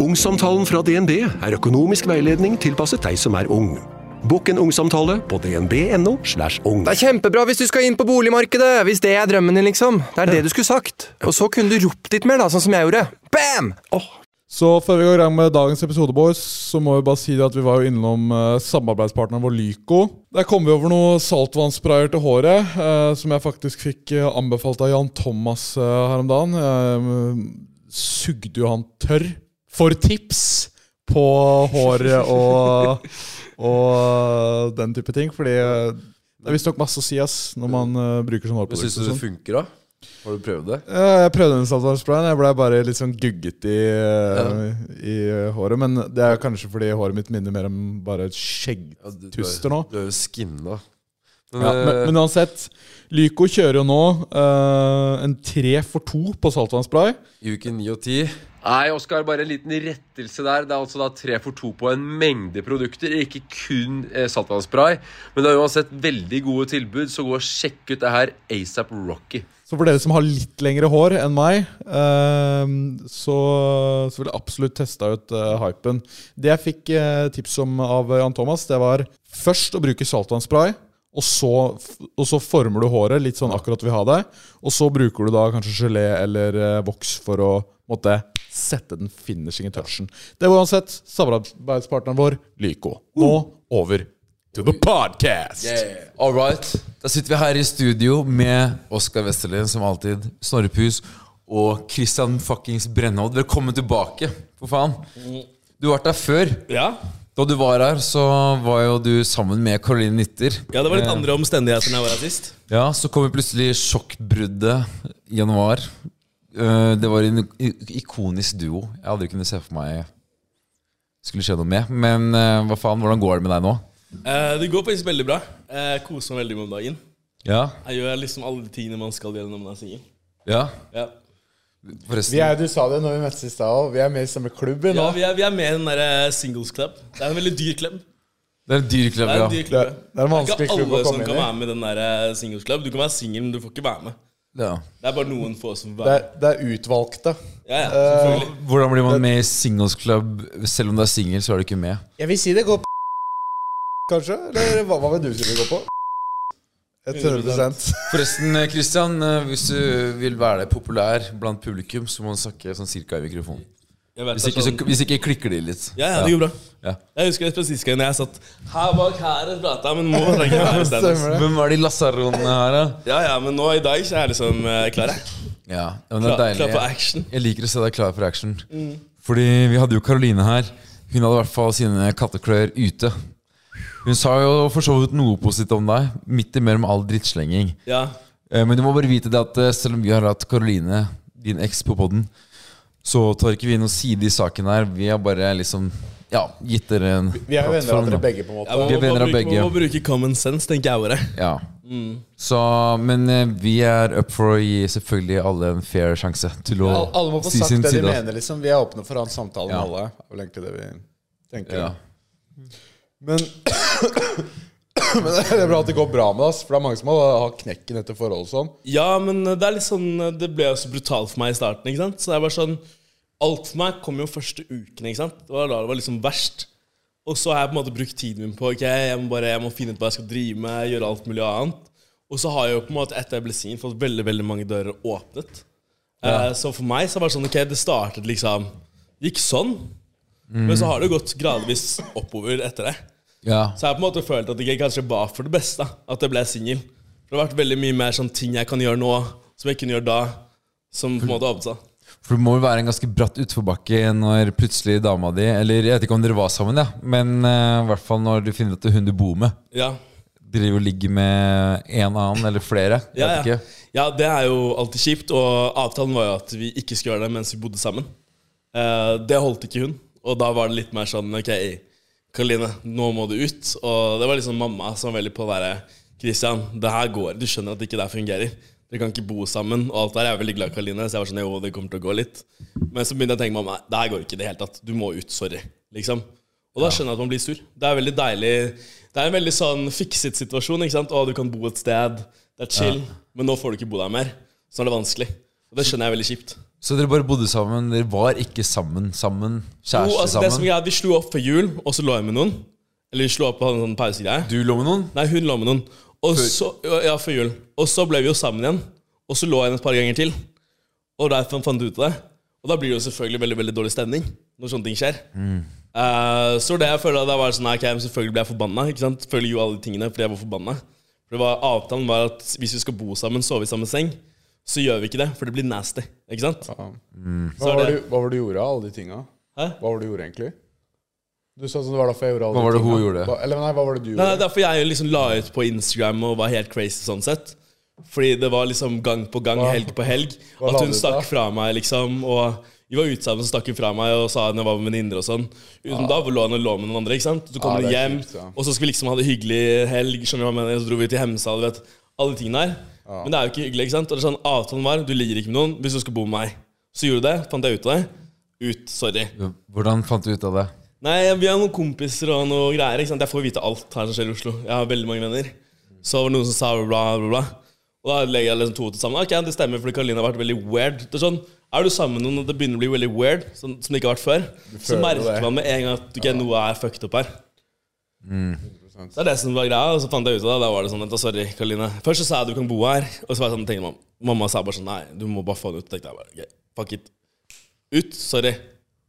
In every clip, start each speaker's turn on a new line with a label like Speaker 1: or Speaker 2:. Speaker 1: Ungsamtalen fra DNB er økonomisk veiledning tilpasset deg som er ung. Bokk en ungsamtale på dnb.no. slash ung.
Speaker 2: Det er kjempebra hvis du skal inn på boligmarkedet! Hvis det er drømmen din, liksom. Det er det du skulle sagt. Og så kunne du ropt litt mer, da, sånn som jeg gjorde. Bam!
Speaker 3: Så før vi går i gang med dagens episode, boys, så må vi bare si det at vi var jo innom eh, samarbeidspartneren vår Lyco. Der kom vi over noe saltvannssprayer til håret, eh, som jeg faktisk fikk eh, anbefalt av Jan Thomas eh, her om dagen. Jeg sugde jo han tørr for tips på håret og, og den type ting, fordi eh, det er visstnok masse å si ass, når man eh, bruker sånn hårprodukt.
Speaker 4: Syns
Speaker 3: og
Speaker 4: du
Speaker 3: sånn.
Speaker 4: det funker, da? Har du prøvd det?
Speaker 3: Ja, Jeg prøvde en saltvannsprayen. Jeg blei bare litt sånn gugget i, eh, i eh, håret. Men det er kanskje fordi håret mitt minner mer om bare et
Speaker 4: Ja, du- du
Speaker 3: skjeggtuster
Speaker 4: er-
Speaker 3: nå.
Speaker 4: Du er jo skinna. Men,
Speaker 3: Ja, men,
Speaker 4: eh,
Speaker 3: men uansett, Lyco kjører jo nå eh, en tre for to på saltvannsspray.
Speaker 4: i eh, uke 9 og 10 Nei, Oskar, bare en liten rettelse der. Det er altså da tre for to på en mengde produkter, ikke kun eh, saltvannsspray. Men det er uansett veldig gode tilbud, så gå og sjekk ut det her ASAP Rocky.
Speaker 3: Så for dere som har litt lengre hår enn meg, eh, så, så vil jeg absolutt teste ut eh, hypen. Det jeg fikk eh, tips om av Jan Thomas, det var først å bruke saltvannsspray. Og så, og så former du håret litt sånn akkurat vi har det. Og så bruker du da kanskje gelé eller eh, voks for å måtte sette den finishing i touchen. Det var uansett samarbeidspartneren vår, Lyco. Nå over to the podcast!
Speaker 5: All right. Da sitter vi her i studio med Oskar Westerlin, som alltid, Snorre Pus og Christian fuckings Brennhold. Velkommen tilbake, for faen. Du har vært der før.
Speaker 6: Ja.
Speaker 5: Da du var her, så var jo du sammen med Caroline Nitter.
Speaker 6: ja, det var litt andre omstendigheter enn jeg var her sist.
Speaker 5: Ja, så kom jo plutselig sjokkbruddet i januar. Eh, Det var en i- ikonisk duo. Jeg aldri kunne se for meg skulle skje noe med. Men eh, hva faen, hvordan går det med deg nå?
Speaker 6: Eh, det går faktisk veldig bra. Eh, Jeg koser meg veldig med om dagen.
Speaker 5: Ja,
Speaker 6: Jeg gjør liksom alle de tingene man skal gjøre når man er singel.
Speaker 5: ja,
Speaker 6: Ja.
Speaker 5: forresten.
Speaker 7: Vi er, du sa det når vi møttes i stad òg, vi er med i samme klubb nå.
Speaker 6: Ja, vi, er, vi er med i den derre singles club. Det er en veldig dyr club.
Speaker 5: Det er en dyr
Speaker 6: Det er
Speaker 5: klubb,
Speaker 6: en
Speaker 5: ja.
Speaker 6: dyr
Speaker 7: Det,
Speaker 6: klubb. ja.
Speaker 7: det er en
Speaker 6: Det er
Speaker 7: vanskelig
Speaker 6: ikke
Speaker 7: klubb å
Speaker 6: alle som
Speaker 7: komme
Speaker 6: kan
Speaker 7: inn i.
Speaker 6: være med i den der eh, singles club. Du kan være singel, men du får ikke være med.
Speaker 5: ja.
Speaker 6: Det er bare noen få som får
Speaker 7: Det
Speaker 6: være
Speaker 7: er, eh, det er utvalgte.
Speaker 6: med. Ja, ja, selvfølgelig.
Speaker 5: Hvordan blir man med i singles club? Selv om du er singel, så er du ikke med.
Speaker 7: Jeg vil si det går på kanskje? Eller hva, hva vil du si det går på? 100
Speaker 5: Forresten, eh, Christian, eh, hvis du vil være populær blant publikum, så må du snakke sånn cirka i mikrofonen.
Speaker 6: Jeg vet
Speaker 5: Hvis
Speaker 6: det er
Speaker 5: ikke,
Speaker 6: sånn-
Speaker 5: så, hvis ikke klikker de litt.
Speaker 6: ja, ja, det går bra.
Speaker 5: Ja.
Speaker 6: Jeg husker det sist gang jeg satt her bak her og prata, men nå trenger jeg være i stedet.
Speaker 7: Stemmer det.
Speaker 5: Hvem er de lasaronene her, da?
Speaker 6: Ja, ja, men nå i dag så er jeg liksom eh, klar, jeg.
Speaker 5: Ja, ja, men det
Speaker 6: Klar,
Speaker 5: er
Speaker 6: klar for
Speaker 5: deilig.
Speaker 6: action. Mm.
Speaker 5: Jeg liker å se deg klar for action. Fordi vi hadde jo Karoline her. Hun hadde i hvert fall sine katteklør ute. Hun sa jo for så vidt noe positivt om deg, midt imellom all drittslenging.
Speaker 6: Ja.
Speaker 5: Eh, Men du må bare vite det at eh, selv om vi har hatt Karoline, din eks, på poden, så tar ikke vi noen side i saken her. Vi har bare liksom ja, gitt dere en
Speaker 7: Vi er jo venner av
Speaker 5: plattform,
Speaker 7: dere
Speaker 5: da.
Speaker 7: begge, på en måte.
Speaker 6: Ja, man
Speaker 5: Vi
Speaker 6: må
Speaker 5: er venner
Speaker 6: bare
Speaker 5: av
Speaker 6: bruke-
Speaker 5: begge.
Speaker 6: Man må bruke common sense, tenker jeg bare.
Speaker 5: Ja.
Speaker 7: Mm.
Speaker 5: Så, men eh, vi er up for å gi selvfølgelig alle en fair sjanse til å
Speaker 7: Al- Alle må få
Speaker 5: si
Speaker 7: sagt
Speaker 5: sin
Speaker 7: det de
Speaker 5: side.
Speaker 7: mener, liksom. Vi er åpne for å ha en samtale med
Speaker 5: Ja.
Speaker 7: alle. Det er vel egentlig det vi tenker.
Speaker 5: Ja.
Speaker 7: Men, men det er bra at det går bra med oss, for det er mange som har har knekken etter forhold og sånn.
Speaker 6: Ja, men det er litt sånn Det ble jo så brutalt for meg i starten. ikke sant? Så det var sånn Alt for meg kom jo første uken. ikke sant? Det var da det var liksom verst. Og så har jeg på en måte brukt tiden min på ok, jeg må bare, jeg må finne ut hva jeg skal drive med, gjøre alt mulig annet. Og så har jeg jo på en måte etter jeg ble singel, fått veldig veldig mange dører åpnet. Eh, så for meg så var det sånn ok, det startet liksom Gikk sånn. Men så har det jo gått gradvis oppover etter det.
Speaker 5: Ja.
Speaker 6: Så jeg har på en måte følt at det ikke kanskje var for det beste da, at jeg ble singel. For Det har vært veldig mye mer sånn ting jeg kan gjøre nå, som jeg kunne gjøre da. Som på en måte åpnet seg.
Speaker 5: For det må jo være en ganske bratt utforbakke når plutselig dama di Eller jeg vet ikke om dere var sammen, ja, men eh, i hvert fall når du finner at det er hun du bor med,
Speaker 6: Ja.
Speaker 5: driver og ligger med en annen eller flere. Jeg
Speaker 6: Ja,
Speaker 5: vet
Speaker 6: ja.
Speaker 5: ikke.
Speaker 6: ja, det er jo alltid kjipt. Og avtalen var jo at vi ikke skulle gjøre det mens vi bodde sammen. Eh, det holdt ikke hun. Og da var det litt mer sånn Ok, Karoline, nå må du ut. Og det var liksom mamma som var veldig på å være Christian, det her går. Du skjønner at ikke det her fungerer. Dere kan ikke bo sammen. Og alt der. Jeg er veldig glad i Karoline, så jeg var sånn Jo, det kommer til å gå litt. Men så begynte jeg å tenke mamma, det her går ikke i det hele tatt. Du må ut. Sorry. Liksom. Og da skjønner jeg at man blir sur. Det er veldig deilig Det er en veldig sånn fikset situasjon. ikke sant? Å, du kan bo et sted. Det er chill. Men nå får du ikke bo der mer. Så nå er det vanskelig. Og det skjønner jeg er veldig kjipt.
Speaker 5: Så dere bare bodde sammen? Dere var ikke sammen? Sammen? Kjæreste
Speaker 6: Jo, altså, det som
Speaker 5: sammen?
Speaker 6: greia, Vi slo opp for jul, og så lå jeg med noen. Eller vi slo opp på en sånn pausegreie.
Speaker 5: Du lå med noen?
Speaker 6: Nei, hun lå med noen. Og så, ja, før jul. Og så ble vi jo sammen igjen. Og så lå jeg henne et par ganger til. Og derfor fant jeg ut av det. Og da blir det jo selvfølgelig veldig veldig dårlig stemning når sånne ting skjer. Eh, så det jeg føler da var sånn, ok, men selvfølgelig ble jeg forbanna. ikke sant? Selvfølgelig gjorde jeg alle de tingene fordi jeg var forbanna. For det var, Avtalen var at hvis vi skal bo sammen, sove i samme seng, så gjør vi ikke det. For det blir nasty. ikke sant?
Speaker 3: Hva
Speaker 6: er
Speaker 3: var,
Speaker 6: det-
Speaker 3: det, du, hva var det du gjorde av alle de tinga?
Speaker 6: Hæ?
Speaker 3: Hva var det du gjorde, egentlig? Du sa sånn, det var derfor jeg gjorde alle
Speaker 5: Hva var
Speaker 3: de
Speaker 5: det hun
Speaker 3: tingene.
Speaker 5: gjorde?
Speaker 3: Hva- Eller nei, hva var det du
Speaker 6: Nei, nei,
Speaker 3: gjorde?
Speaker 6: derfor jeg liksom la ut på Instagram og var helt crazy sånn sett. Fordi det var liksom gang på gang,
Speaker 3: Hva-
Speaker 6: helg på helg.
Speaker 3: hva la
Speaker 6: At
Speaker 3: du ut
Speaker 6: hun
Speaker 3: da?
Speaker 6: stakk fra meg, liksom. Og vi var ute sammen, så stakk hun fra meg og sa hun jeg var med venninner og sånn. Utenom da hvor lå hun og lå med noen andre, ikke sant. Så
Speaker 3: Ja,
Speaker 6: kom hun
Speaker 3: Ah. det er
Speaker 6: hjem,
Speaker 3: kjipt, ja.
Speaker 6: og så skulle vi liksom ha det hyggelig helg, skjønner du hva jeg mener. Så dro vi til Hemsedal, du vet. Alle de tingene der.
Speaker 3: Ah.
Speaker 6: Men det er jo ikke hyggelig, ikke sant. Og det er sånn, avtalen var du ligger ikke med noen hvis du skal bo med meg. Så gjorde du det, fant jeg ut av det. Ut, sorry.
Speaker 5: Hvordan fant du ut av det?
Speaker 6: Nei, vi har noen kompiser og noe greier. Ikke sant? Jeg får vite alt her som skjer i Oslo. Jeg har veldig mange venner. Så var det noen som sa bla, bla, bla. Og da legger jeg liksom to og to sammen. Ok, det stemmer, fordi Karoline har vært veldig weird. Det Er sånn, er du sammen med noen og det begynner å bli veldig weird, sånn, som det ikke har vært før, så
Speaker 3: føler
Speaker 6: merker
Speaker 3: det.
Speaker 6: man med en gang at ok, noe er fucked up her.
Speaker 3: Mm.
Speaker 6: Det er det som var greia, og så fant jeg ut av det. Da var det sånn at, sorry, Karoline. Først så sa jeg du kan bo her, og så var jeg sånn, tenkte mamma. Mamma sa bare sånn, nei, du må bare få den ut. Tenkte jeg bare, ok, fuck it. Ut, sorry.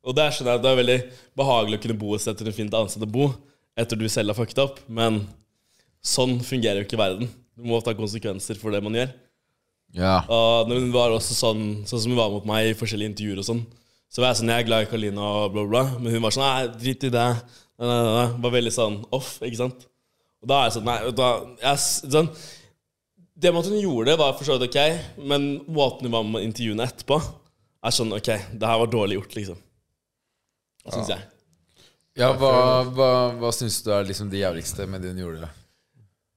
Speaker 6: Og der skjønner jeg at det er veldig behagelig å kunne bo et sted til et fint annet sted å bo, etter du selv har fucket opp, men sånn fungerer jo ikke verden. Du må ta konsekvenser for det man gjør.
Speaker 5: Ja.
Speaker 6: Og når hun var også sånn, sånn som hun var mot meg i forskjellige intervjuer og sånn, så var jeg sånn, jeg er glad i Karolina og bla bla, bla, men hun var sånn, nei, dritt i det, nei, nei, nei, nei, var veldig sånn off, ikke sant? Og da er jeg sånn, nei, vet du hva, jeg, s- sånn, det med at hun gjorde det var for så vidt ok, men måten hun var med intervjuene etterpå, er sånn, ok, det her var dårlig gjort, liksom. Synes jeg.
Speaker 5: ja hva hva, hva syns du er liksom det jævligste med det hun gjorde?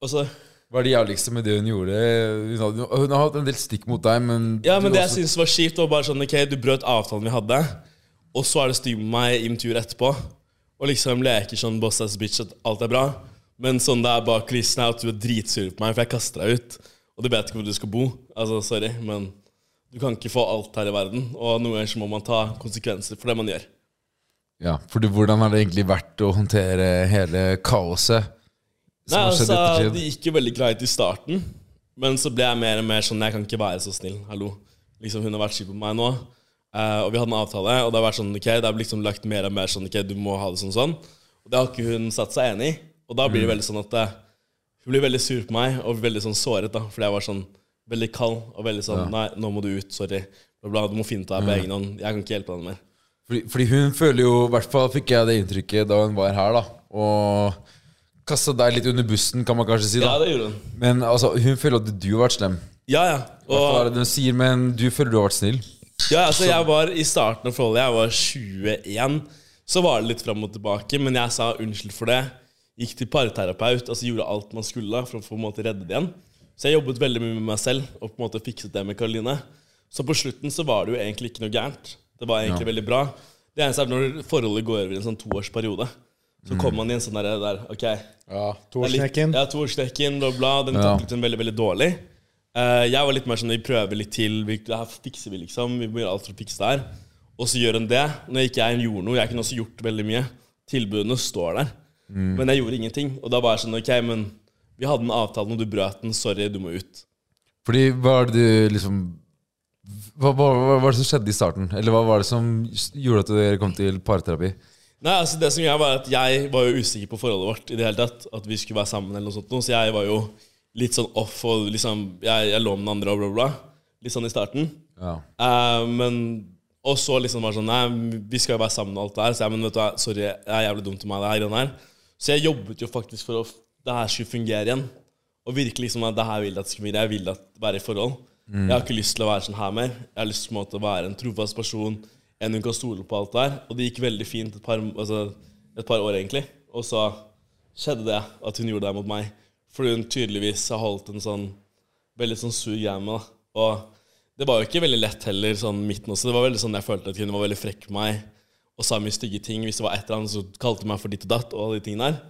Speaker 6: Og så,
Speaker 5: Hva er det jævligste med det hun gjorde? Hun, hadde, hun har hatt en del stikk mot deg, men
Speaker 6: ja, men
Speaker 5: du
Speaker 6: det jeg
Speaker 5: også-
Speaker 6: synes var kjipt var bare sånn, ok, du brøt avtalen vi hadde, og så er det styr med meg i min tur etterpå, og liksom leker sånn boss ass bitch at alt er bra, men sånn det er bak kulissene er at du er dritsur på meg, for jeg kaster deg ut, og du vet ikke hvor du skal bo. Altså, sorry, men du kan ikke få alt her i verden, og noen ganger så må man ta konsekvenser for det man gjør.
Speaker 5: Ja, for du- hvordan har det egentlig vært å håndtere hele kaoset?
Speaker 6: Nei,
Speaker 5: har skjedd
Speaker 6: altså,
Speaker 5: i ettertid?
Speaker 6: det gikk jo veldig greit i starten, men så ble jeg mer og mer sånn Jeg kan ikke være så snill. Hallo. Liksom, hun har vært kjip på meg nå, eh, og vi hadde en avtale, og det har vært sånn Ok, det har liksom lagt mer og mer sånn Ok, du må ha det sånn sånn. Og det har ikke hun satt seg enig i, og da
Speaker 5: Mm.
Speaker 6: blir det veldig sånn at eh, hun blir veldig sur på meg, og veldig sånn såret, da, fordi jeg var sånn veldig kald og veldig sånn Nei, nå må du ut. Sorry. Bla, bla, du må finne ut av det på egen hånd. Jeg kan ikke hjelpe deg mer.
Speaker 5: Fordi, fordi hun føler jo, i hvert fall fikk jeg det inntrykket da hun var her, da. Og kasta deg litt under bussen, kan man kanskje si.
Speaker 6: Ja,
Speaker 5: da
Speaker 6: det gjorde hun.
Speaker 5: Men altså, hun føler at du har vært slem.
Speaker 6: Ja, ja.
Speaker 5: Hva
Speaker 6: Og,
Speaker 5: er det hun sier, men du føler du har vært snill.
Speaker 6: Ja, altså jeg var I starten av forholdet, jeg var 21, så var det litt fram og tilbake. Men jeg sa unnskyld for det. Gikk til parterapeut, altså gjorde alt man skulle for å få på en måte redde det igjen. Så jeg jobbet veldig mye med meg selv og på en måte fikset det med Karoline. Så på slutten så var det jo egentlig ikke noe gærent. Det var egentlig veldig bra. Det eneste er når forholdet går over i en sånn toårsperiode, så kommer man i en sånn derre der, OK,
Speaker 3: Ja,
Speaker 6: det er litt-
Speaker 3: Torsnekken.
Speaker 6: Ja, Torsnekken, bla, bla. Den taklet hun veldig, veldig dårlig. Eh, jeg var litt mer sånn Vi prøver litt til. Vi, det her fikser vi, liksom. Vi må gjøre alt for å fikse det her. Og så gjør hun det. Når ikke jeg gjorde noe Jeg kunne også gjort veldig mye. Tilbudene står der. Men jeg gjorde ingenting. Og da var jeg sånn OK, men vi hadde en avtale, og du brøt den. Sorry, du må ut.
Speaker 5: Fordi hva er det du liksom hva, hva, hva var det som skjedde i starten? Eller hva var det som gjorde at dere kom til parterapi?
Speaker 6: Nei, altså det som jeg var at jeg var jo usikker på forholdet vårt i det hele tatt. At vi skulle være sammen eller noe sånt. noe, Så jeg var jo litt sånn off, og liksom Jeg, jeg lå med den andre og bla, bla. bla. Litt sånn i starten.
Speaker 5: Ja.
Speaker 6: Eh, men Og så liksom var det sånn Nei, vi skal jo være sammen og alt det her. Så jeg, men vet du hva, sorry, det er jævlig dumt av meg, det her greiene her. Så jeg jobbet jo faktisk for at det her skulle fungere igjen. Og virkelig liksom at det her vil jeg at det skal fungere. Jeg vil at være i forhold. Jeg har ikke lyst til å være sånn her mer. Jeg har lyst til på en måte å være en trofast person, en hun kan stole på alt det her. Og det gikk veldig fint et par, altså, et par år, egentlig. Og så skjedde det at hun gjorde det mot meg. Fordi hun tydeligvis har holdt en sånn veldig sånn sur greie med. da. Og det var jo ikke veldig lett heller, sånn midten også. Det var veldig sånn jeg følte at hun var veldig frekk med meg og sa mye stygge ting. Hvis det var et eller annet, så kalte hun meg for ditt og datt og alle de tingene der.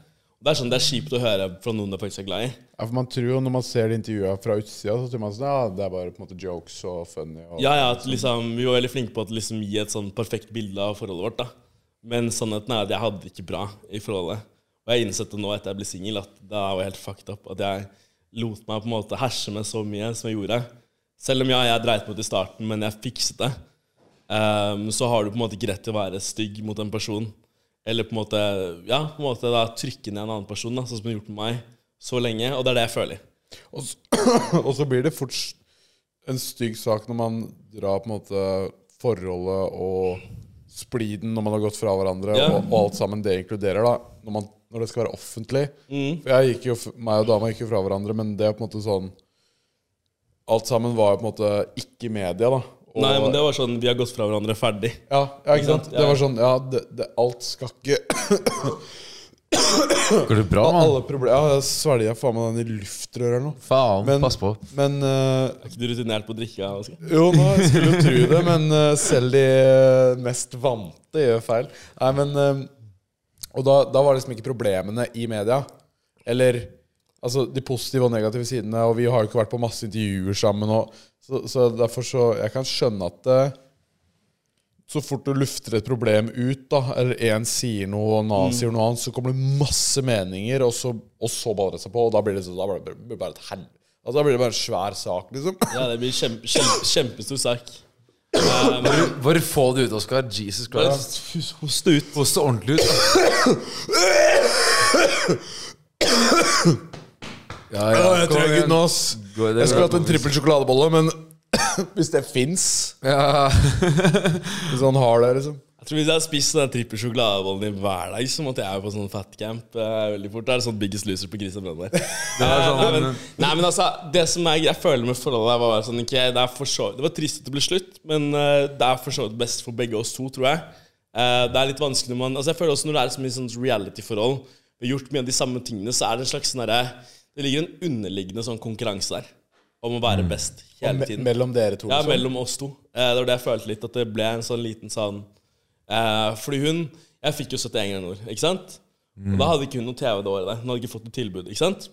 Speaker 6: Det er sånn, det er kjipt å høre fra noen du faktisk er glad i.
Speaker 3: Ja, for man tror jo Når man ser de intervjua fra utsida, så tror man sånn, ja, det er bare på en måte jokes og funny. Og,
Speaker 6: Ja, ja, at liksom, Vi var veldig flinke på å liksom, gi et sånn perfekt bilde av forholdet vårt. da. Men sannheten er at jeg hadde det ikke bra i forholdet. Og jeg har innsett det nå etter jeg ble singel, at da var jeg helt fucked up. At jeg lot meg på en måte herse med så mye som jeg gjorde. Selv om ja, jeg dreit meg ut i starten, men jeg fikset det. Ehm, så har du på en måte ikke rett til å være stygg mot en person. Eller på en måte, ja, på en måte da trykke ned en annen person, da, sånn som du har gjort med meg så lenge. Og det er det jeg føler.
Speaker 3: og, så, og så blir det fort s- en stygg sak når man drar på en måte forholdet og spliden når man har gått fra hverandre,
Speaker 6: Ja.
Speaker 3: og, og alt sammen det inkluderer, da. Når, man, når det skal være offentlig.
Speaker 6: Mm.
Speaker 3: For jeg gikk jo, f- meg og dama gikk jo fra hverandre, men det er på en måte sånn Alt sammen var jo på en måte ikke media, da. Og-
Speaker 6: Nei, men det var sånn, Vi har gått fra hverandre ferdig.
Speaker 3: Ja, ja ikke sant?
Speaker 6: sant? Ja.
Speaker 3: Det var sånn Ja, det, det, alt skal ikke
Speaker 5: Går det bra, mann?
Speaker 3: Alle problemer Ja, jeg svelger faen meg den i luftrøret eller noe.
Speaker 5: Faen,
Speaker 3: Men-
Speaker 5: pass på.
Speaker 3: Men eh,
Speaker 6: Er ikke du rutinert på å drikke? Oskar?
Speaker 3: Jo, nå skulle du tro det, men eh, selv de eh, mest vante gjør feil. Nei, men eh, Og da, da var liksom ikke problemene i media. Eller altså de positive og negative sidene, og vi har jo ikke vært på masse intervjuer sammen. Og, så, så derfor så Jeg kan skjønne at det, så fort du lufter et problem ut, da, eller én sier noe, og en annen sier noe annet, så kommer det masse meninger, og så, og så baller det seg på, og da blir det, så, da blir det bare et helvete. Altså, da blir det bare en svær sak, liksom.
Speaker 6: Ja, det blir kjempe, kjempe, kjempestor sak. Eh, men
Speaker 5: Bare få det ut, Oskar. Jesus
Speaker 6: bare
Speaker 5: Christ.
Speaker 6: Hoste ut.
Speaker 5: Post det ordentlig ut. Ja, ja.
Speaker 3: Å, jeg
Speaker 5: Kom
Speaker 3: tror jeg er
Speaker 5: igjen.
Speaker 3: good nå, ass.
Speaker 5: Gå i det,
Speaker 3: Jeg skulle
Speaker 5: gå i
Speaker 3: hatt en
Speaker 5: det.
Speaker 3: trippel
Speaker 6: liksom.
Speaker 3: sjokoladebolle, men hvis det fins
Speaker 5: Ja.
Speaker 3: Hvis han har det, liksom.
Speaker 6: Jeg tror Hvis jeg hadde spist den trippel sjokoladebollen din hver dag, så måtte jeg jo på sånn fatcamp eh, veldig fort. Det er sånn Biggest Loser på Grisebrønn der. Eh,
Speaker 3: sånn,
Speaker 5: sånn-
Speaker 6: nei, men, nei, men altså, det som jeg, jeg føler med forholdet der, var bare sånn ok, det, er for så, det var trist at det ble slutt, men eh, det er for så vidt best for begge oss to, tror jeg. Eh, det er litt vanskelig når man Altså, jeg føler også når det er så mye sånn reality-forhold, vi har gjort mye av de samme tingene, så er det en slags sånn derre Det ligger en underliggende sånn konkurranse der om å være best hele
Speaker 3: Mm. Me
Speaker 6: tiden.
Speaker 3: mellom dere to.
Speaker 6: Ja,
Speaker 3: liksom.
Speaker 6: mellom oss to. Eh, det var det jeg følte litt, at det ble en sånn liten sånn eh, Fordi hun Jeg fikk jo 71 grader nord, ikke sant? Og
Speaker 3: Mm.
Speaker 6: da hadde ikke hun noe TV det året der. Hun hadde ikke fått noe tilbud, ikke sant?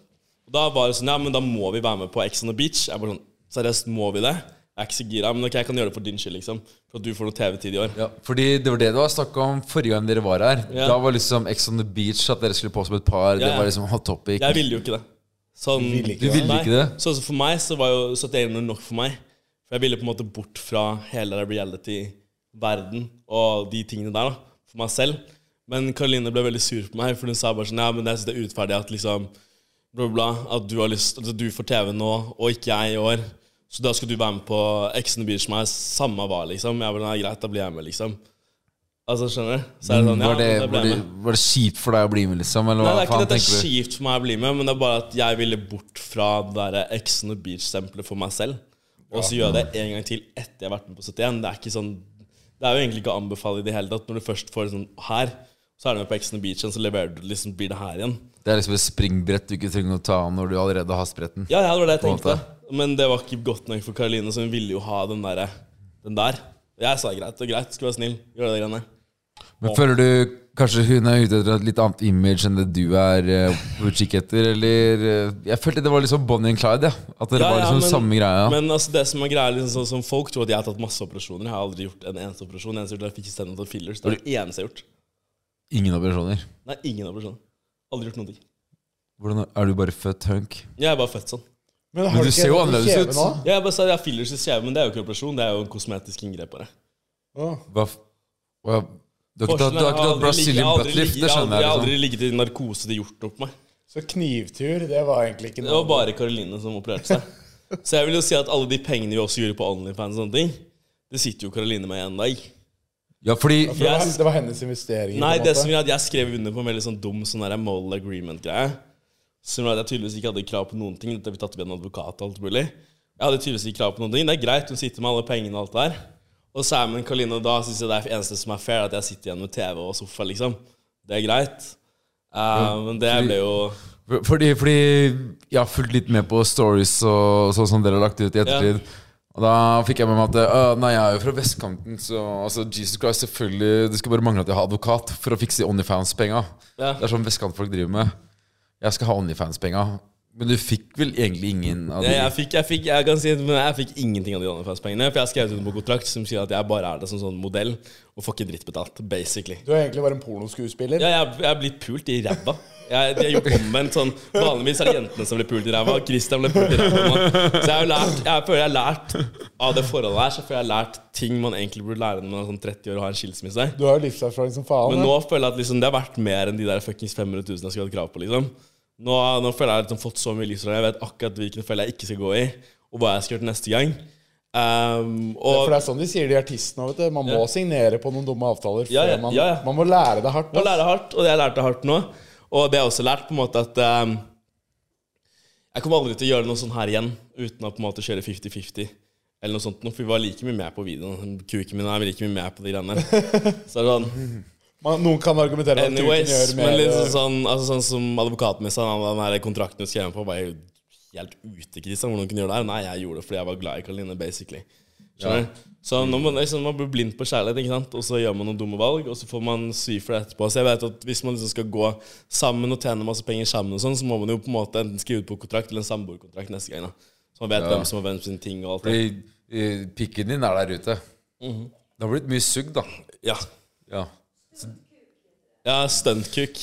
Speaker 6: Og da var det sånn Ja, men da må vi være med på Ex on the Beach. Jeg bare sånn Seriøst, må vi det? Jeg er ikke så gira, men ok, jeg kan gjøre det for din skyld, liksom. For at du får noe TV-tid i år.
Speaker 5: Ja, fordi det var det det var snakk om forrige gang dere var her.
Speaker 6: Ja.
Speaker 5: Da var liksom Ex on the beach at dere skulle på som et par.
Speaker 6: Ja,
Speaker 5: Det
Speaker 6: ja.
Speaker 5: var liksom hot topic.
Speaker 6: Jeg ville jo ikke det. Sånn,
Speaker 5: Du ville
Speaker 6: Nei.
Speaker 5: ikke det?
Speaker 6: Så så for meg så var jo 71 minutter nok for meg. For jeg ville på en måte bort fra hele den reality-verden og de tingene der, da. For meg selv. Men Karoline ble veldig sur på meg, for hun sa bare sånn Ja, men jeg synes det er urettferdig at liksom bla, bla, bla, at du har lyst At du får TV nå, og ikke jeg i år. Så da skal du være med på Ex on the Beach med meg, samme hva, liksom. Jeg bare, nei, greit, da blir jeg med, liksom. Altså, skjønner du? Så er det sånn,
Speaker 5: Mm,
Speaker 6: ja,
Speaker 5: var, det,
Speaker 6: men da
Speaker 5: var,
Speaker 6: blir jeg
Speaker 5: det,
Speaker 6: med.
Speaker 5: var det kjipt for deg å bli med, liksom? Eller
Speaker 6: Nei,
Speaker 5: hva
Speaker 6: det er ikke
Speaker 5: faen
Speaker 6: det at det
Speaker 5: tenker
Speaker 6: er
Speaker 5: du?
Speaker 6: kjipt for meg å bli med, men det er bare at jeg ville bort fra det der Ex on the Beach-stempelet for meg selv. Og så gjør jeg det en gang til etter jeg har vært med på 71. Det er ikke sånn Det er jo egentlig ikke å anbefale i det hele tatt. Når du først får sånn her, så er du med på Ex on the Beach, og så leverer du liksom blir det her igjen.
Speaker 5: Det er liksom et springbrett du ikke trenger å ta av når du allerede har spretten.
Speaker 6: Ja, ja, det var det jeg
Speaker 5: På en
Speaker 6: tenkte. Men det var ikke godt nok for Karoline, så hun ville jo ha den derre Den der. Jeg sa greit, det er greit, skal være snill. Gjør det greiene.
Speaker 5: Men føler du kanskje hun er ute etter et litt annet image enn det du er eh, på utkikk etter? Eller eh, Jeg følte det var liksom Bonnie and Clyde, ja. At dere
Speaker 6: Ja,
Speaker 5: var
Speaker 6: ja,
Speaker 5: liksom
Speaker 6: men-
Speaker 5: samme greia.
Speaker 6: Men altså, det som er greia, liksom, sånn som folk tror at jeg har tatt masse operasjoner. Jeg har aldri gjort en eneste operasjon. Jeg, eneste jeg, gjorde, jeg fikk stand-up og fillers. Det er det eneste jeg har gjort.
Speaker 5: Ingen operasjoner.
Speaker 6: Nei, ingen operasjoner. Aldri gjort noen ting.
Speaker 5: Hvordan Er du bare født hunk?
Speaker 6: Jeg er bare født sånn.
Speaker 3: Men, har
Speaker 5: Men du
Speaker 3: ikke
Speaker 5: ser jo
Speaker 3: en kjeve
Speaker 5: annerledes ut.
Speaker 3: nå?
Speaker 6: Jeg er bare sa jeg har fillers i kjeven, men det er jo ikke operasjon. Det er jo en kosmetisk inngrep. bare.
Speaker 5: Hva f- hva- Du har ikke tatt-
Speaker 6: Forskjellen
Speaker 5: du
Speaker 6: er
Speaker 5: har
Speaker 6: at
Speaker 5: ikke tatt
Speaker 6: jeg
Speaker 5: Brazilian
Speaker 6: har aldri
Speaker 5: buttlift,
Speaker 6: ligget-
Speaker 5: det
Speaker 6: jeg har aldri-
Speaker 5: skjønner
Speaker 6: Jeg har
Speaker 5: jeg.
Speaker 6: aldri
Speaker 5: liksom
Speaker 6: ligget i narkose til gjort noe på meg.
Speaker 3: Så knivtur, det var egentlig ikke
Speaker 6: Det var bare Karoline som opererte seg. Så jeg vil jo si at alle de pengene vi også gjorde på Onlyfans og sånne ting, det sitter jo Karoline med en dag.
Speaker 5: Ja, fordi
Speaker 3: For det, var,
Speaker 6: Yes.
Speaker 3: det var hennes investeringer.
Speaker 6: Nei,
Speaker 3: på en
Speaker 6: det
Speaker 3: måte.
Speaker 6: som gjør at jeg skrev under på en veldig sånn dum sånn der moral agreement-greie, som gjør at jeg tydeligvis ikke hadde krav på noen ting. Dette ble tatt opp i en advokat og alt mulig. Jeg hadde tydeligvis ikke krav på noen ting. Det er greit, hun sitter med alle pengene og alt det der. Og Simon Kaline, og da syns jeg det er det eneste som er fair, at jeg sitter igjen med TV og sofa, liksom. Det er greit. Eh, men det ble jo
Speaker 5: For- Fordi, fordi jeg har fulgt litt med på stories og sånn som dere har lagt ut i ettertid. Og da fikk jeg med meg at «Å, Nei, jeg er jo fra vestkanten, så altså, Jesus Christ, selvfølgelig Det skulle bare mangle at jeg har advokat for å fikse OnlyFans-penga.
Speaker 6: Ja.
Speaker 5: Det er sånn vestkantfolk driver med. Jeg skal ha Onlyfans-penga. Men du fikk vel egentlig ingen av de
Speaker 6: Jeg, jeg, fikk, jeg, fikk, jeg kan si at- men jeg fikk ingenting av de OnlyFans-pengene. For jeg har skrevet under på kontrakt som sier at jeg bare er der som sånn modell og får ikke drittbetalt. Basically.
Speaker 3: Du er egentlig bare en pornoskuespiller.
Speaker 6: Ja, jeg, jeg er blitt pult i ræva. Jeg, de har gjort omvendt sånn Vanligvis er det jentene som blir pult i ræva. og Christian ble pult i ræva. nå. Så jeg, har jo lært, jeg føler jeg har lært av det forholdet her Så føler jeg har lært ting man egentlig burde lære når man er sånn 30 år og har en skilsmisse.
Speaker 3: Du har jo livserfaring som faen.
Speaker 6: Men
Speaker 3: ja.
Speaker 6: nå føler jeg at liksom, det er verdt mer enn de der fuckings 500 000 jeg skulle hatt krav på. liksom Nå, nå føler jeg at jeg har fått så mye livsråd. Jeg vet akkurat hvilken felle jeg ikke skal gå i, og hva jeg skal gjøre til neste gang. Um, og
Speaker 3: For det er sånn de sier de artistene. Vet du. Man må
Speaker 6: Ja.
Speaker 3: signere på noen dumme avtaler.
Speaker 6: Ja, ja,
Speaker 3: før man,
Speaker 6: ja, ja.
Speaker 3: man må lære det hardt.
Speaker 6: Man
Speaker 3: ass.
Speaker 6: lærer hardt, og det har jeg lært det hardt nå. Og det har jeg også lært på en måte at eh, Jeg kommer aldri til å gjøre noe sånn her igjen uten å på en måte kjøre 50-50. Eller noe sånt, nå, for vi var like mye med på videoen. Kuken min er like mye med på de greiene der. Så er det sånn
Speaker 3: Man, noen kan argumentere at du kan
Speaker 6: Anyways,
Speaker 3: gjøre mer.
Speaker 6: men
Speaker 3: eh,
Speaker 6: liksom sånn, altså sånn som advokaten min sa, han hadde den her kontrakten hun skrev på, var jo helt ute, Kristian. Hvordan kunne gjøre det her? Nei, jeg gjorde det fordi jeg var glad i Karoline, basically. Skjønner du? Så nå må, liksom, man blir blind på kjærlighet, ikke sant? og så gjør man noen dumme valg, og så får man sy for det etterpå. Så jeg vet at hvis man liksom skal gå sammen og tjene masse penger sammen, og sånn, så må man jo på en måte enten skrive ut på kontrakt eller en samboerkontrakt neste gang. da. Så man vet hvem som har hvem sin ting og alt det.
Speaker 5: Fordi eh, pikken din er der ute. Det har blitt mye sugd, da.
Speaker 6: Mhm. Ja.
Speaker 5: Ja.
Speaker 6: ja Stuntkuk.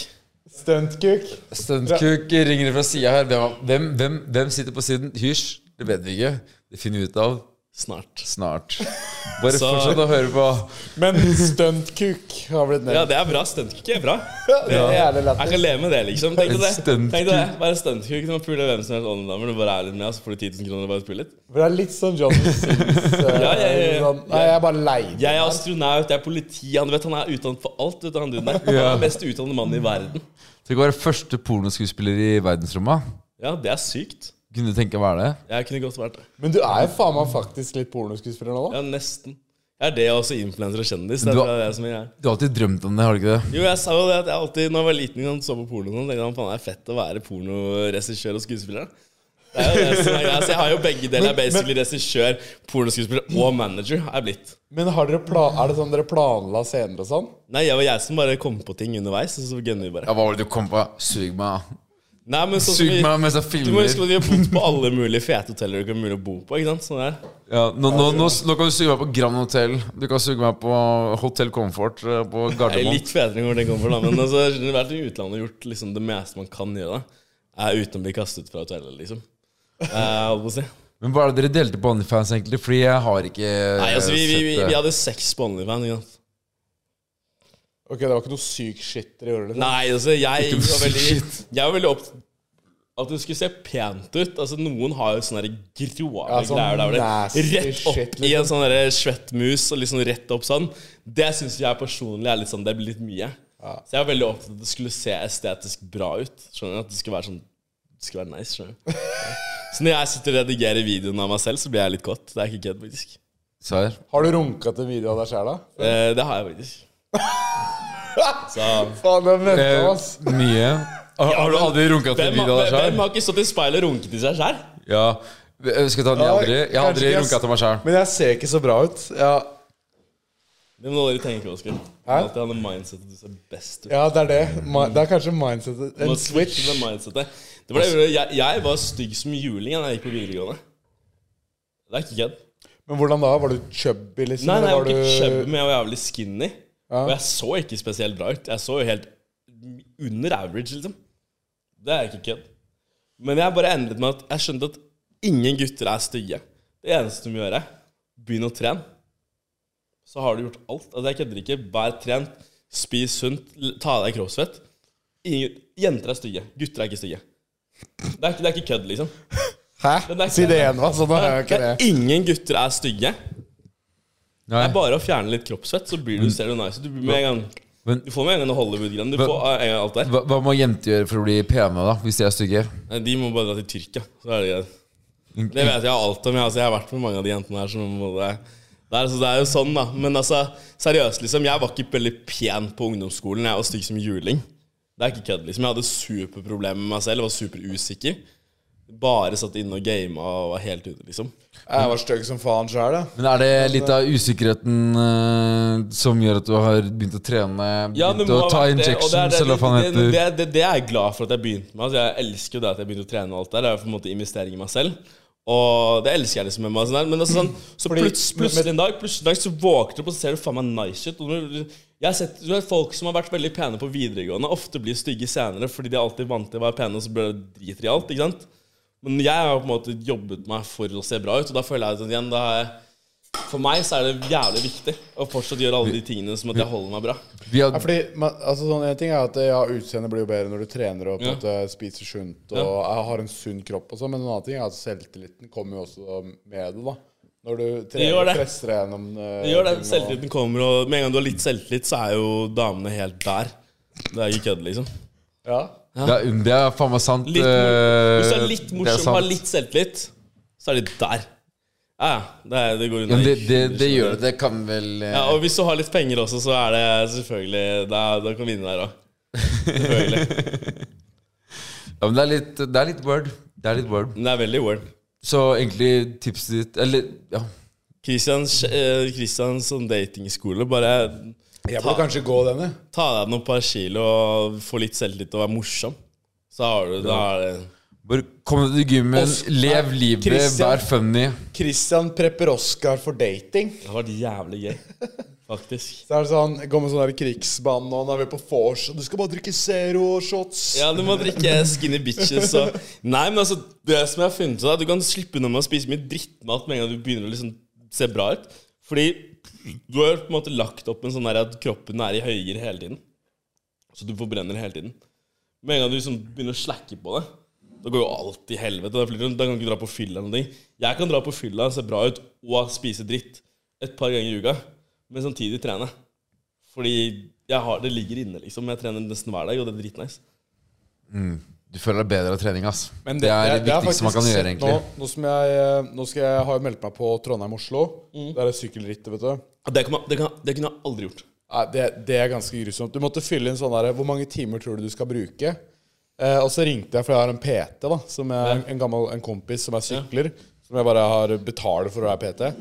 Speaker 3: Stuntkuk.
Speaker 5: Stuntkuk ringer fra sida her. Hvem, hvem, hvem, hvem sitter på siden? Hysj, det vet vi ikke. Det finner vi ut av
Speaker 6: Snart.
Speaker 5: snart. Bare
Speaker 6: Så-
Speaker 5: fortsett å høre på.
Speaker 3: Men stuntkuk har blitt
Speaker 6: Ja,
Speaker 3: nevnt.
Speaker 6: det er bra. Stuntkuk er bra.
Speaker 3: Det er jævlig
Speaker 6: Jeg
Speaker 3: lættis.
Speaker 6: kan leve med det, liksom. Tenk deg det.
Speaker 5: Stuntkuk.
Speaker 6: Tenk deg det. Bare stuntkuk når man puler hvem som helst online-damer. Du bare er litt med, og så får du 10 000 kroner bare pulet.
Speaker 3: For det er litt sånn John Sims. eh,
Speaker 6: Ja, ja, ja, ja.
Speaker 3: Sånn, nei, jeg er bare lei.
Speaker 6: Jeg er astronaut, jeg er politi. Han, vet, han er utdannet for alt, vet du, han duden der. Han er den mest utdannede mannen i verden.
Speaker 5: Tenk å være første pornoskuespiller i verdensrommet.
Speaker 6: Ja, det er sykt.
Speaker 5: Kunne du tenke å være det?
Speaker 6: Jeg kunne godt vært det.
Speaker 3: Men du er jo faen meg faktisk litt pornoskuespiller nå, da.
Speaker 6: Ja, nesten. Jeg er det og også influenser og kjendis. Det
Speaker 5: Du
Speaker 6: er
Speaker 5: har-
Speaker 6: det jeg som jeg er.
Speaker 5: Du har alltid drømt om det, har du ikke det?
Speaker 6: Jo, jeg sa jo det at jeg alltid, når jeg var liten, ikke sant, så på porno, og sånn, tenkte jeg faen, det er fett å være pornoregissør og skuespiller. da. Det er jo det som er greia. Så jeg har jo begge deler. Jeg er basically regissør, pornoskuespiller og manager. har Jeg er blitt.
Speaker 3: Men har dere pla er det sånn dere planla scener og sånn?
Speaker 6: Nei, jeg var jeg som bare kom på ting underveis, og så gønner vi bare.
Speaker 5: Ja, hva var det du kom på? Sug meg.
Speaker 6: Nei, men sånn som
Speaker 5: Sug
Speaker 6: vi,
Speaker 5: meg mens jeg
Speaker 6: du må
Speaker 5: filmer.
Speaker 6: huske at vi har bodd på alle mulige fete hoteller du kan mulig å bo på, ikke sant? Sånn der.
Speaker 5: Ja, nå, nå, nå, nå kan du suge meg på Grand Hotel. Du kan suge meg på Hotel Comfort eh, på
Speaker 6: Jeg er
Speaker 5: Gardermoen.
Speaker 6: litt fetere enn hvor det kommer fra, men altså, jeg har vært i utlandet og gjort liksom, det meste man kan gjøre, da. Er uten å bli kastet fra hotellet, liksom. Eh, holdt på å si.
Speaker 5: Men hva er det dere delte på OnlyFans, egentlig? Fordi jeg har ikke
Speaker 6: Nei, altså, vi, vi, vi,
Speaker 5: sett
Speaker 6: vi
Speaker 5: det.
Speaker 6: hadde sex på OnlyFans, ikke sant?
Speaker 3: Ok, det var ikke noe syk shit dere gjorde? Liksom.
Speaker 6: Nei, altså, jeg
Speaker 5: Ikke
Speaker 6: var
Speaker 5: noe
Speaker 6: veldig, jeg var veldig opptatt at det skulle se pent ut. Altså, Noen har jo sånne der grove
Speaker 3: Ja, sånn
Speaker 6: greier der
Speaker 3: nasty
Speaker 6: hvor det rett opp
Speaker 3: shit, liksom.
Speaker 6: i en sånn der svettmus og liksom rett opp sånn. Det syns jeg personlig er litt sånn, det blir litt mye. Så jeg var veldig opptatt av at det skulle se estetisk bra ut. Skjønner du? At det skulle være sånn Det skulle være nice. skjønner du? Så når jeg sitter og redigerer videoen av meg selv, så blir jeg litt kåt. Det er ikke kødd, faktisk.
Speaker 5: Så her.
Speaker 3: Har du runka til en video av deg sjæl, da?
Speaker 6: Eh, Det har jeg faktisk. Så
Speaker 3: Faen, det er møtte,
Speaker 5: Eh,
Speaker 3: ass.
Speaker 5: mye. Har, har du aldri runka til
Speaker 6: hvem,
Speaker 5: video av deg
Speaker 6: hvem
Speaker 5: sjøl?
Speaker 6: har ikke stått i speilet og runket i seg sjæl?
Speaker 5: Ja. Eh, Skal jeg ta den? Jeg har aldri, jeg har
Speaker 3: Kanskje
Speaker 5: aldri
Speaker 3: ikke jeg-
Speaker 5: runka til meg sjøl.
Speaker 3: Men jeg ser ikke så bra ut. Ja,
Speaker 6: Det må dere tenke på, Oskar.
Speaker 3: Hæ?
Speaker 6: Alltid ha det mindsetet du ser best ut.
Speaker 3: ja det er det. Ma- Det er kanskje mindsetet.
Speaker 6: Du må
Speaker 3: En
Speaker 6: switche
Speaker 3: switch.
Speaker 6: det mindsetet. Det var det jeg, gjorde. jeg, jeg var stygg som juling da jeg gikk på videregående. Det er ikke kødd.
Speaker 3: Men hvordan da? Var du chubby, liksom?
Speaker 6: Nei, nei, jeg
Speaker 3: eller
Speaker 6: var ikke chubby,
Speaker 3: du...
Speaker 6: men jeg var jævlig skinny. Og jeg så ikke spesielt bra ut. Jeg så jo helt under average, liksom. Det er ikke kødd. Men jeg bare endret med at jeg skjønte at ingen gutter er stygge. Det eneste du må gjøre, begynn å trene. Så har du gjort alt. Altså, jeg kødder ikke. Vær trent, spis sunt, l- ta av deg kroppsfett. Ingen, jenter er stygge. Gutter er ikke stygge. Det er ikke, det er ikke kødd, liksom. Men
Speaker 3: Hæ?
Speaker 6: det er ikke-
Speaker 3: Si det igjen, hva? Sånn er jo
Speaker 6: Det
Speaker 3: ikke
Speaker 6: er
Speaker 3: det.
Speaker 6: ingen gutter er stygge.
Speaker 5: Nei.
Speaker 6: Det er bare å fjerne litt kroppsfett, så blir du, ser du nice ut. Du, blir med en gang-
Speaker 5: Men-
Speaker 6: du får med en gang noe Hollywood-greier. Du
Speaker 5: Men-
Speaker 6: får eh, en gang alt der.
Speaker 5: Hva, hva må jenter gjøre for å bli pene, da? Hvis de er stygge?
Speaker 6: Nei, De må bare dra til Tyrkia. Så er det greit. Det vet jeg alt om. Jeg, altså, jeg har vært med mange av de jentene her. Som, på en måte- det, er, så det er jo sånn, da. Men altså, seriøst, liksom. Jeg var ikke veldig pen på ungdomsskolen. Jeg var stygg som juling. Det er ikke kødd, liksom. Jeg hadde superproblemer med meg selv. Jeg var superusikker. Bare satt inne og gama og var helt ute, liksom.
Speaker 3: Jeg var stygg som faen sjøl, jeg.
Speaker 5: Men er det litt av usikkerheten eh, som gjør at du har begynt å trene?
Speaker 6: Ja, det
Speaker 5: Begynt
Speaker 6: må
Speaker 5: å
Speaker 6: ha
Speaker 5: ta
Speaker 6: vært det, og det er-
Speaker 5: injections,
Speaker 6: det er-
Speaker 5: eller hva faen
Speaker 6: det- det-
Speaker 5: heter
Speaker 6: Det, det, det er jeg glad for at jeg begynte med. Altså, jeg elsker jo det at jeg begynte å trene og alt der. Det er jo på en måte investering i meg selv. Og det elsker jeg liksom med meg. og Sånn der. Men altså, sånn, så pluts, plutselig en dag Plutselig en dag så våkner du opp, og så ser du faen meg nice ut. Og når- jeg har sett du vet, Folk som har vært veldig pene på videregående, ofte blir stygge senere fordi de er alltid vant til å være pene, og så blir det driter i alt. ikke sant? Men jeg har på en måte jobbet meg for å se bra ut, og da føler jeg at igjen da har jeg For meg så er det jævlig viktig å fortsatt gjøre alle de tingene som at jeg holder meg bra.
Speaker 5: Vi har,
Speaker 3: Ja, fordi, man, altså sånn En ting er at ja, utseendet blir jo bedre når du trener og på en
Speaker 6: Ja.
Speaker 3: måte spiser sunt og har en sunn kropp, og sånn, men en annen ting er at selvtilliten kommer jo også med det. da Når du
Speaker 6: gjør
Speaker 3: trener
Speaker 6: det.
Speaker 3: og presser deg gjennom eh,
Speaker 6: Det gjør det.
Speaker 3: ting og-
Speaker 6: Selvtilliten kommer, og med en gang du har litt selvtillit, så er jo damene helt der. Det er ikke kødd, liksom.
Speaker 3: Ja.
Speaker 5: ja, det er faen meg sant. eh,
Speaker 6: Litt, mor- hvis du er litt
Speaker 5: det er
Speaker 6: morsom og
Speaker 5: sant.
Speaker 6: har litt selvtillit, så er de der. Ja, ja. Det, er- det går
Speaker 5: Ja,
Speaker 6: unna.
Speaker 5: men det, det,
Speaker 6: ikke-
Speaker 5: det gjør det. Det kan vel eh,
Speaker 6: Ja, og hvis du har litt penger også, så er det selvfølgelig Da, da kan vi vinne der òg. Selvfølgelig.
Speaker 5: ja, men det, er litt, det er litt word. Det er litt word.
Speaker 6: Men det er veldig word.
Speaker 5: Så egentlig tipset ditt Eller ja.
Speaker 6: Christian, eh, Christian som datingskole, bare
Speaker 3: Jeg burde kanskje gå den, jeg.
Speaker 6: ta deg noen par kilo og få litt selvtillit og være morsom. Så har du Da er det
Speaker 5: Bare kom deg til gymmen,
Speaker 3: Oss-
Speaker 5: lev
Speaker 3: Nei,
Speaker 5: livet,
Speaker 3: Christian.
Speaker 5: vær funny.
Speaker 3: Christian prepper Oscar for dating.
Speaker 6: Det har vært jævlig gøy, faktisk.
Speaker 3: Så er det sånn, går med sånn der krigsband og nå er vi på vors, og du skal bare drikke zero-shots.
Speaker 6: Ja, du må drikke skinny bitches og Nei, men altså, det som jeg har funnet ut, er at du kan slippe unna med å spise mye drittmat med en gang du begynner å liksom se bra ut. Fordi du har på en måte lagt opp en sånn der at kroppen er i høyere hele tiden. Så du forbrenner hele tiden. Med en gang du liksom begynner å slakke på det, da går jo alt i helvete. Da, flytter du- da kan du ikke dra på fylla eller noe. Jeg kan dra på fylla, se bra ut og spise dritt et par ganger i uka, men samtidig trene. Fordi jeg har, det ligger inne, liksom. Jeg trener nesten hver dag, og det er dritnice.
Speaker 5: Du føler deg bedre av trening, ass.
Speaker 3: Men
Speaker 5: det, er det,
Speaker 3: jeg har
Speaker 5: viktigste man kan
Speaker 3: faktisk
Speaker 5: gjøre,
Speaker 3: sett
Speaker 5: egentlig.
Speaker 3: Nå, nå, som jeg, eh, nå skal jeg, har jeg meldt meg på Trondheim-Oslo.
Speaker 6: Mm.
Speaker 3: Der er det sykkelrittet, vet du.
Speaker 6: Ja, Det, kan man, det, kan, det kunne jeg aldri gjort.
Speaker 3: Nei, det, det er ganske grusomt. Du måtte fylle inn sånn der Hvor mange timer tror du du skal bruke? Eh, og så ringte jeg, for jeg har en PT, da som er en gammel en kompis som er sykler. Som jeg bare har betaler for å være PT.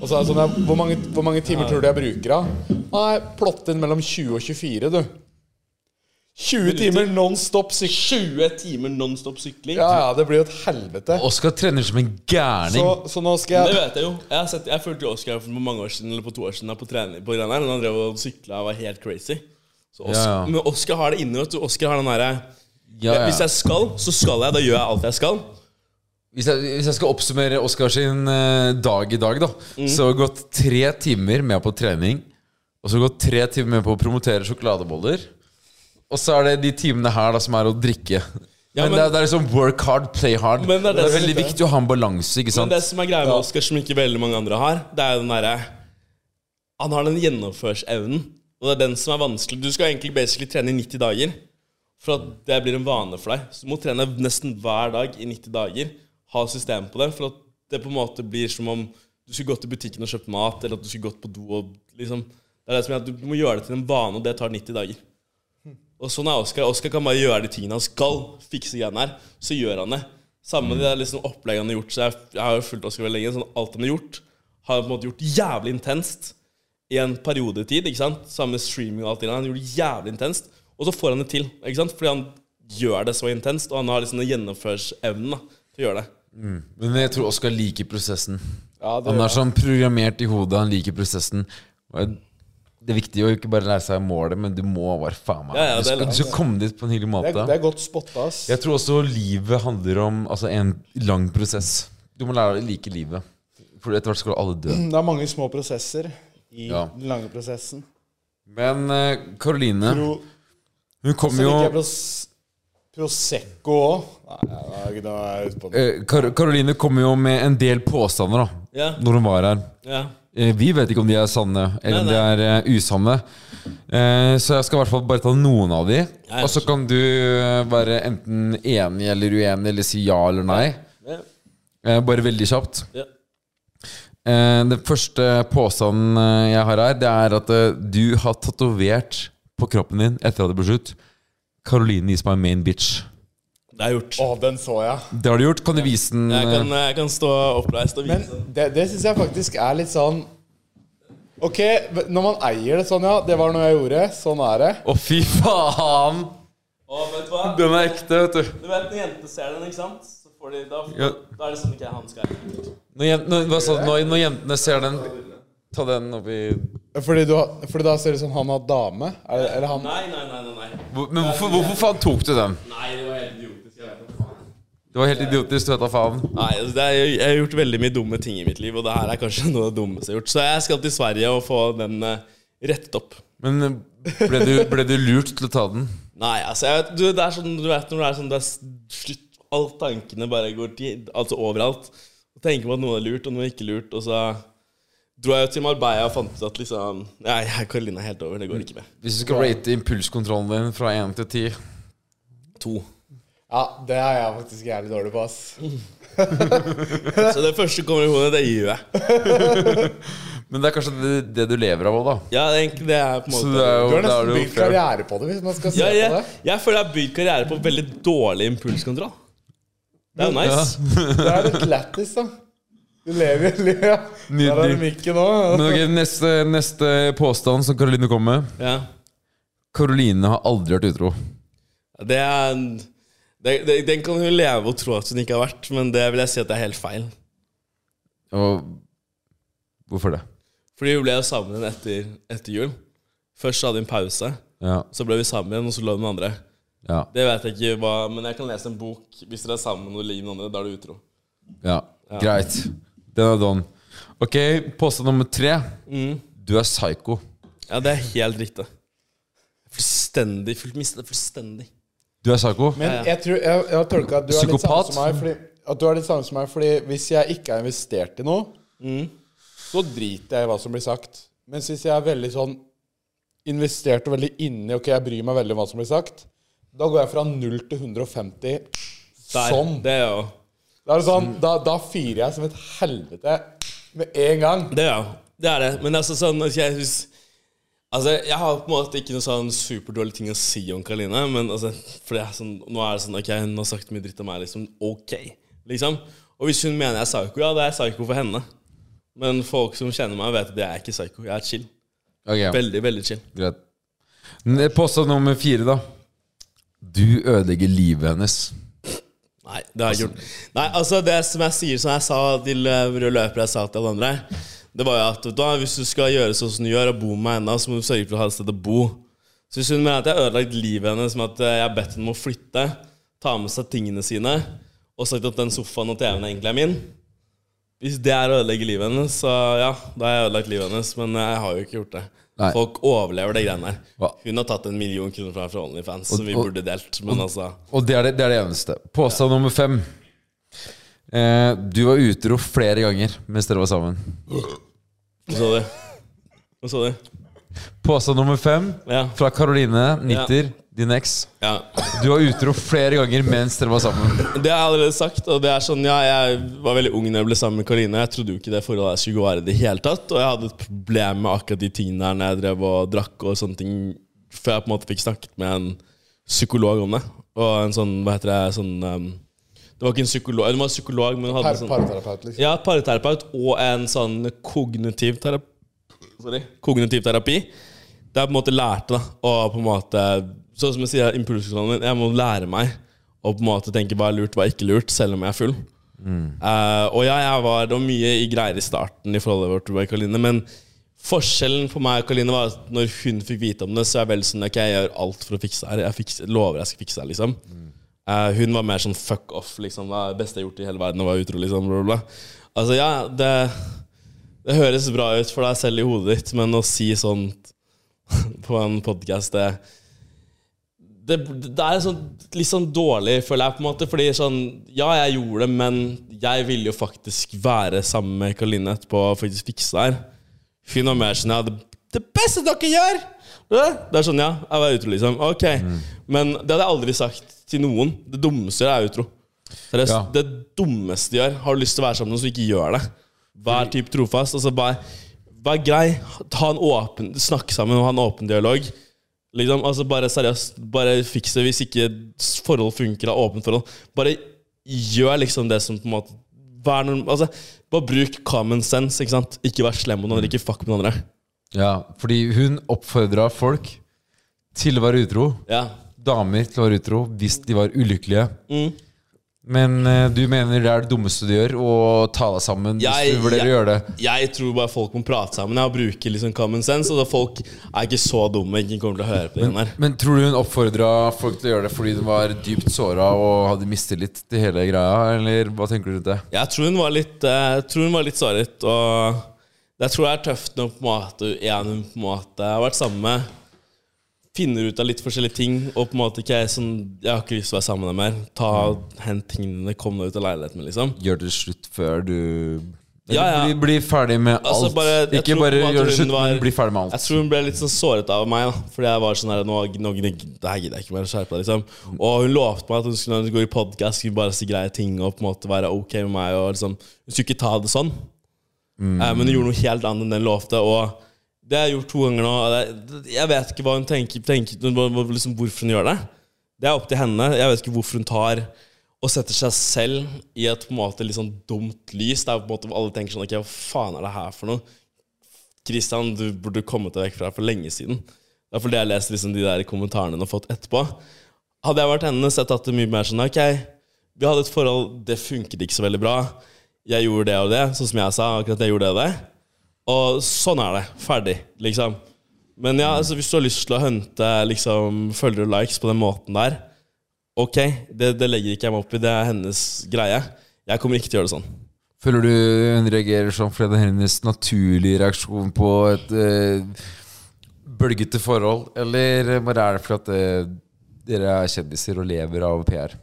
Speaker 3: Og så er det sånn ja, Hvor mange, hvor mange timer tror du jeg bruker, da? Nei, plott inn mellom 20 og 24, du. 20 timer non stop sykling.
Speaker 6: 20 timer nonstop sykling.
Speaker 3: Ja, ja, det blir jo et helvete.
Speaker 5: Oskar trener som en
Speaker 3: Så,
Speaker 5: gærning.
Speaker 3: så nå skal
Speaker 6: Det
Speaker 3: jeg
Speaker 6: vet jeg jo. Jeg, har sett, jeg fulgte jo Oskar for mange år siden Eller på to år siden da, på trening på Grenland. Han drev og sykla og var helt crazy. Så Os-
Speaker 5: Ja, ja.
Speaker 6: Men Oskar har det inne. vet du. Oskar har den derre
Speaker 5: Ja, ja.
Speaker 6: Hvis jeg skal, så skal jeg. Da gjør jeg alt jeg skal.
Speaker 5: Hvis jeg, hvis jeg skal oppsummere Oskar sin eh, dag i dag, da
Speaker 6: Mm.
Speaker 5: Så har vi gått tre timer med på trening. Og så har vi gått tre timer med på å promotere sjokoladeboller. Og så er det de timene her da som er å drikke.
Speaker 6: Ja,
Speaker 5: men, det,
Speaker 6: men-
Speaker 5: er, det er liksom work hard, play hard.
Speaker 6: Men det er det som-
Speaker 5: veldig viktig å ha en balanse. ikke
Speaker 6: Men
Speaker 5: sant?
Speaker 6: det som er greia med Oskar, som ikke veldig mange andre har, det er jo den derre Han har den gjennomførsevnen, og det er den som er vanskelig. Du skal egentlig basically trene i 90 dager for at det blir en vane for deg. Så du må trene nesten hver dag i 90 dager. Ha system på det, for at det på en måte blir som om du skulle gått i butikken og kjøpt mat, eller at du skulle gått på do og liksom Det er det som gjør at du må gjøre det til en vane, og det tar 90 dager. Og sånn er Oskar. Oskar kan bare gjøre de tingene han skal. Fikse greiene her. Så gjør han det. Samme med det der liksom opplegget han har gjort. Så jeg, jeg har jo fulgt Oskar veldig lenge. Sånn, alt han har gjort, har han på en måte gjort jævlig intenst i en periodetid. ikke sant? Samme med streaming og alt det der. Han gjorde det jævlig intenst. Og så får han det til. ikke sant? Fordi han gjør det så intenst, og han har liksom den gjennomførsevnen da, til å gjøre det.
Speaker 5: Men jeg tror Oskar liker prosessen.
Speaker 3: Ja, det
Speaker 5: han
Speaker 3: gjør
Speaker 5: er sånn programmert i hodet, han liker prosessen. Og Det er viktig å ikke bare lære seg målet, men du må bare faen meg
Speaker 6: Ja, ja,
Speaker 5: Du
Speaker 6: det er-
Speaker 5: skal, du skal komme dit på en hyggelig
Speaker 3: Det
Speaker 5: måte.
Speaker 3: er, det er godt spotta, ass.
Speaker 5: Jeg tror også livet handler om altså, en lang prosess. Du må lære deg å like livet. For etter hvert skal alle dø.
Speaker 3: Det er mange små prosesser i
Speaker 5: Ja.
Speaker 3: den lange prosessen.
Speaker 5: Men Karoline,
Speaker 3: Pro,
Speaker 5: hun kom
Speaker 3: så
Speaker 5: jo
Speaker 3: liker jeg pros, Prosecco òg. Nei, da er jeg ute på den.
Speaker 5: eh, Kar Karoline kom jo med en del påstander da
Speaker 6: Ja,
Speaker 5: Når hun var her.
Speaker 6: ja.
Speaker 5: Eh, Vi vet ikke om de er sanne, eller om de
Speaker 6: Nei,
Speaker 5: er eh, usanne. Eh, Så jeg skal i hvert fall bare ta noen av de.
Speaker 6: Ja, ja.
Speaker 5: Og så kan du eh, være enten enig eller uenig, eller si ja eller nei.
Speaker 6: ja,
Speaker 5: Eh, Bare veldig kjapt.
Speaker 6: ja.
Speaker 5: Eh, Den første påstanden eh, jeg har her, det er at eh, du har tatovert på kroppen din etter at det ble slutt. Caroline is my main bitch.
Speaker 6: Det er gjort.
Speaker 3: Å, den så jeg.
Speaker 5: Det har du gjort. Kan du vise den? eh?
Speaker 6: Jeg kan, jeg kan stå oppreist og
Speaker 3: Men
Speaker 6: vise.
Speaker 3: det, det syns jeg faktisk er litt sånn Ok, når man eier det sånn, ja. Det var noe jeg gjorde. Sånn er det.
Speaker 5: Å, fy faen!
Speaker 6: Å, vet du hva?
Speaker 5: Den er ekte, vet du.
Speaker 6: Du vet når jenter ser den, ikke sant? Så får de, da,
Speaker 5: Ja.
Speaker 6: da er det sånn ikke jeg han skal.
Speaker 5: Når, jen- når, hva sa du? når, når jentene ser den Ta den oppi
Speaker 3: Fordi, du, har- fordi da ser det ut som han har dame. Er det, eller han
Speaker 6: Nei, nei, nei, nei, nei.
Speaker 5: Hvor- Men hvorfor, hvorfor faen tok du den?
Speaker 6: Nei, det var helt idiotisk. Jeg vet ikke.
Speaker 5: Det var helt idiotisk, du vet da faen.
Speaker 6: Nei, altså, det er, jeg har gjort veldig mye dumme ting i mitt liv, og det her er kanskje noe av det dummeste jeg har gjort. Så jeg skal til Sverige og få den eh, rettet opp.
Speaker 5: Men eh, ble du, ble du lurt til å ta den?
Speaker 6: Nei, altså, jeg vet, du, det er sånn, du vet når det er sånn, det er s- slutt, alle tankene bare går til, altså overalt. Og tenker på at noe er lurt, og noe er ikke lurt, og så dro jeg jo til Marbella og fant ut at liksom, nei, jeg er Karoline helt over, det går ikke med.
Speaker 5: Hvis du skal rate impulskontrollen din fra 1 til 10
Speaker 6: To.
Speaker 3: Ja, det er jeg faktisk jævlig dårlig på, ass.
Speaker 6: Så det første kommer i hodet, det gjør jeg.
Speaker 5: Men det er kanskje det, det du lever av òg, da.
Speaker 6: Ja, egentlig, det er på en
Speaker 5: Så
Speaker 6: måte...
Speaker 5: det er jo,
Speaker 3: Du har
Speaker 5: da er
Speaker 3: nesten
Speaker 5: det jo
Speaker 3: bygd
Speaker 5: fair.
Speaker 3: karriere på det, hvis man skal se
Speaker 6: Ja,
Speaker 3: på
Speaker 6: jeg,
Speaker 3: det.
Speaker 6: jeg føler jeg har bygd karriere på veldig dårlig impulskontroll. Det er jo nice.
Speaker 3: Det er litt lættis, da. Du lever jo livet. ja. Der er
Speaker 5: Nydelig.
Speaker 3: det mikken òg.
Speaker 5: Men ok, neste, neste påstand som Karoline kom med.
Speaker 6: Ja.
Speaker 5: Karoline har aldri vært utro.
Speaker 6: Det er, det, det, den kan hun leve og tro at hun ikke har vært, men det vil jeg si at det er helt feil.
Speaker 5: Og hvorfor det?
Speaker 6: Fordi hun ble jo sammen igjen etter, etter jul. Først hadde hun pause,
Speaker 5: Ja.
Speaker 6: så ble vi sammen igjen, og så lå hun med andre.
Speaker 5: Ja.
Speaker 6: Det vet jeg ikke hva, men jeg kan lese en bok. Hvis dere er sammen og ligger med andre, da er du utro.
Speaker 5: ja. Greit. Den er done. Ok, påstand nummer tre. Du er psycho.
Speaker 6: Ja, det er helt riktig. Fullstendig. Full, mistet fullstendig.
Speaker 5: Du er psycho?
Speaker 3: Men jeg tror jeg, jeg har tolka at du er litt samme
Speaker 5: Psykopat.
Speaker 3: som meg. Fordi, at du er litt samme som meg Fordi hvis jeg ikke har investert i noe,
Speaker 6: Mm.
Speaker 3: så driter jeg i hva som blir sagt. Mens hvis jeg er veldig sånn investert og veldig inni Ok, jeg bryr meg veldig om hva som blir sagt, da går jeg fra 0 til 150
Speaker 6: Der,
Speaker 3: sånn.
Speaker 6: Det er jo
Speaker 3: Da, er det sånn da, da fyrer jeg som et helvete med en gang.
Speaker 6: Det, ja. Det er det. Men altså, sånn at jeg synes, Altså, jeg har på en måte ikke noe sånn superdårlig ting å si om Karoline, men altså For det er sånn, nå er det sånn Ok, hun har sagt mye dritt om meg, liksom. Ok. Liksom. Og hvis hun mener jeg er psyko, ja, da er jeg psyko for henne. Men folk som kjenner meg, vet at jeg er ikke psyko. Jeg er chill.
Speaker 5: Ok,
Speaker 6: Veldig, veldig chill.
Speaker 5: greit. N- eh, Påstand nummer fire, da. Du ødelegger livet hennes.
Speaker 6: Nei, det har jeg ikke gjort. Nei, altså Det som jeg sier, som jeg sa til eh, rød løper, jeg sa til alle andre, det var jo at vet du hva, hvis du skal gjøre sånn som du gjør, og bo med henne, så må du sørge for å ha et sted å bo. Så hvis hun mener at jeg har ødelagt livet hennes med at eh, jeg har bedt henne om å flytte, ta med seg tingene sine, og sagt at den sofaen og TV-en egentlig er min Hvis det er å ødelegge livet hennes, så ja, da har jeg ødelagt livet hennes. Men jeg har jo ikke gjort det.
Speaker 5: Nei.
Speaker 6: Folk overlever det greiene der.
Speaker 5: Hva?
Speaker 6: Hun har tatt en million kroner fra fra OnlyFans, som vi
Speaker 5: og-
Speaker 6: burde delt. Men altså
Speaker 5: Og det er det, det, er det eneste. Påstand nummer fem. Eh, du var utro flere ganger mens dere var sammen.
Speaker 6: Hva sa du? Hva sa du?
Speaker 5: Påstand nummer fem
Speaker 6: Ja.
Speaker 5: fra Karoline Nitter, din eks.
Speaker 6: ja.
Speaker 5: Du var utro flere ganger mens dere var sammen.
Speaker 6: Det har jeg allerede sagt. Og det er sånn, ja, Jeg var veldig ung da jeg ble sammen med Karine. Jeg trodde jo ikke det forholdet her skulle vare i det hele tatt. Og jeg hadde et problem med akkurat de tingene der når jeg drev og drakk og sånne ting, før jeg på en måte fikk snakket med en psykolog om det. Og en sånn, hva heter det, sånn ehm, Det var ikke en psykolog, hun var psykolog, men hun hadde
Speaker 3: Par,
Speaker 6: en sånn
Speaker 3: parterapeut, liksom.
Speaker 6: Ja, parterapeut og en sånn kognitiv terapi. Sorry. Kognitiv terapi. Det er på en måte lærte, da. Og på en måte Sånn som jeg sier, impulskontrollen min. Jeg må lære meg å på en måte tenke hva er lurt, hva er ikke lurt, selv om jeg er full. Eh, og ja, jeg var, det var mye i greier i starten i forholdet vårt med Karoline, men forskjellen for meg og Karoline var at når hun fikk vite om det, så er jeg vel sånn Ok, jeg gjør alt for å fikse det her. Jeg fikser, lover jeg skal fikse det her, liksom. Eh, hun var mer sånn fuck off, liksom. Det er det beste jeg har gjort i hele verden, å være utro, liksom. Bla, bla, bla. Altså, ja, det, det høres bra ut for deg selv i hodet ditt, men å si sånt på en podkast, det det, det er sånn, litt sånn dårlig, føler jeg, på en måte. Fordi sånn Ja, jeg gjorde det, men jeg ville jo faktisk være sammen med Karoline etterpå og faktisk fikse det her. Finn og mer sånn Ja, det, det beste dere gjør! Det det er sånn, ja. Jeg var utro, liksom. Ok. Men det hadde jeg aldri sagt til noen. Det dummeste jeg gjør, er utro. Seriøst.
Speaker 5: Ja.
Speaker 6: Det dummeste jeg gjør. Har du lyst til å være sammen med noen, så ikke gjør det. Vær typ trofast. Altså, vær, vær grei. Ta en åpen, snakk sammen og ha en åpen dialog. Liksom, altså Bare seriøst, bare fiks det hvis ikke forhold funker av åpent forhold. Bare gjør liksom det som på en måte vær norm, altså, Bare bruk common sense. Ikke sant? Ikke vær slem mot andre, ikke fuck med andre.
Speaker 5: Ja, fordi hun oppfordra folk til å være utro.
Speaker 6: Ja,
Speaker 5: Damer til å være utro hvis de var ulykkelige.
Speaker 6: Mm.
Speaker 5: Men eh, du mener det er det dummeste du gjør, å ta deg sammen
Speaker 6: Jeg-
Speaker 5: hvis du vurderer å
Speaker 6: jeg-
Speaker 5: gjøre det?
Speaker 6: Jeg tror bare folk må prate sammen ja, og bruke liksom common sense. Og da folk er ikke så dumme. Ingen kommer til å høre på det igjen her.
Speaker 5: Men tror du hun oppfordra folk til å gjøre det fordi hun var dypt såra og hadde mistillit til hele greia, eller hva tenker du rundt det?
Speaker 6: Jeg tror hun var litt eh, Jeg tror hun var litt såret Og jeg tror det er tøft når på en måte En hun på en måte har vært sammen med Finner ut av litt forskjellige ting Og på en måte ikke er sånn Jeg har ikke lyst til å være sammen med deg mer Ta, hent tingene dine Kom deg ut av leiligheten min liksom
Speaker 5: Gjør det slutt før du
Speaker 6: Ja, ja.
Speaker 5: Bli, bli ferdig med
Speaker 6: Altså,
Speaker 5: alt.
Speaker 6: bare-
Speaker 5: ikke
Speaker 6: jeg tror
Speaker 5: bare
Speaker 6: på at
Speaker 5: gjør det
Speaker 6: hun
Speaker 5: slutt,
Speaker 6: var-
Speaker 5: men bli ferdig med alt.
Speaker 6: Jeg tror hun ble litt sånn såret av meg da Fordi jeg var sånn her Nå, nå gidder jeg- det her gidder jeg ikke mer å skjerpe deg liksom Og hun lovte meg at hun skulle når hun går i podcast Skulle bare si greie ting Og på en måte være ok med meg Og liksom Hun skulle ikke ta det sånn Eh, Men hun gjorde noe helt annet enn den lovte Og det har jeg gjort to ganger nå og det, Jeg vet ikke hva hun tenker, tenker hva- hva- liksom, Hvorfor hun gjør det Det er opp til henne Jeg vet ikke hvorfor hun tar Og setter seg selv i et på en måte litt sånn dumt lys Der på en måte alle tenker sånn Ok, hva faen er det her for noe? Kristian, du burde kommet deg vekk fra her for lenge siden. Det er fordi jeg har lest liksom de der kommentarene hun har fått etterpå. Hadde jeg vært henne, så hadde jeg tatt det mye mer sånn Ok, vi hadde et forhold, det funket ikke så veldig bra. Jeg gjorde det og det, sånn som jeg sa. akkurat jeg gjorde det Og det. Og sånn er det. Ferdig, liksom. Men ja, altså, hvis du har lyst til å hente liksom, følgere og likes på den måten der, ok, det, det legger ikke jeg meg opp i. Det er hennes greie. Jeg kommer ikke til å gjøre det sånn.
Speaker 5: Føler du hun reagerer sånn fordi det er hennes naturlige reaksjon på et eh, bølgete forhold, eller bare er det fordi at eh, dere er kjendiser og lever av PR?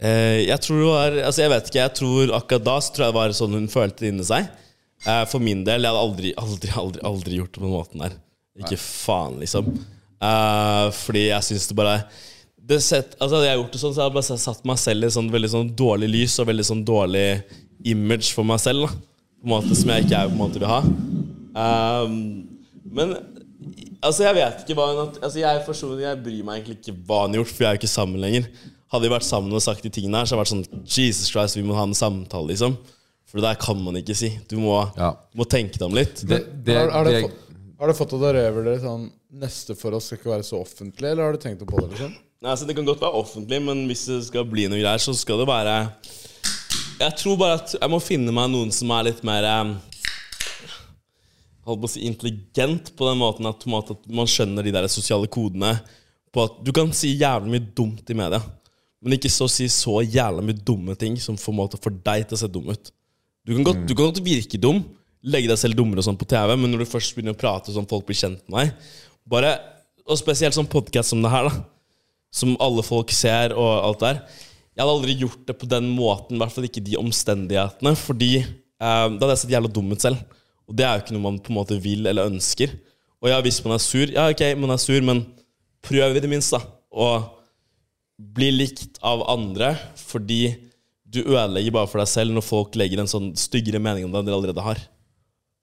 Speaker 6: Eh, jeg tror det var Altså jeg vet ikke, jeg tror akkurat da Så tror jeg det var sånn hun følte det inni seg. Eh, for min del, jeg hadde aldri, aldri, aldri, aldri gjort det på den måten der. Ikke faen, liksom. Eh, fordi jeg syns det bare det sett, altså Hadde jeg gjort det sånn, så hadde jeg bare satt meg selv i et sånn veldig sånn dårlig lys og veldig sånn dårlig image for meg selv. da På en måte Som jeg ikke er på en måte vil ha. Ehm, men altså jeg vet ikke hva hun har- altså, jeg, forstår, jeg bryr meg egentlig ikke hva hun har gjort, for jeg er jo ikke sammen lenger. Hadde vi vært sammen og sagt de tingene her, så hadde jeg vært sånn Jesus Christ, vi må ha en samtale, liksom. For det der kan man ikke si. Du må,
Speaker 5: Ja.
Speaker 6: må tenke deg om litt.
Speaker 5: Det, det,
Speaker 3: har, har,
Speaker 5: det,
Speaker 3: det fått, har det fått at dere revurderer sånn Neste for oss skal ikke være så offentlig, eller har du tenkt på det? liksom?
Speaker 6: Nei, altså Det kan godt være offentlig, men hvis det skal bli noe greier, så skal det være Jeg tror bare at jeg må finne meg noen som er litt mer eh, Holdt på å si intelligent, på den måten at, på en måte at man skjønner de der sosiale kodene. På at Du kan si jævlig mye dumt i media, men ikke så si så jævlig mye dumme ting som på en måte får deg til å se dum ut. Du kan godt, du kan godt virke dum, legge deg selv dummere og sånn på TV, men når du først begynner å prate sånn folk blir kjent med deg Bare, Og spesielt sånn podkast som det her, da som alle folk ser og alt der. Jeg hadde aldri gjort det på den måten, i hvert fall ikke de omstendighetene, fordi eh, da hadde jeg sett jævla dum ut selv. Og det er jo ikke noe man på en måte vil eller ønsker. Og ja, hvis man er sur, ja ok, man er sur, men prøv i det minste, da. Og bli likt av andre, fordi du ødelegger bare for deg selv når folk legger en sånn styggere mening om deg enn de allerede har.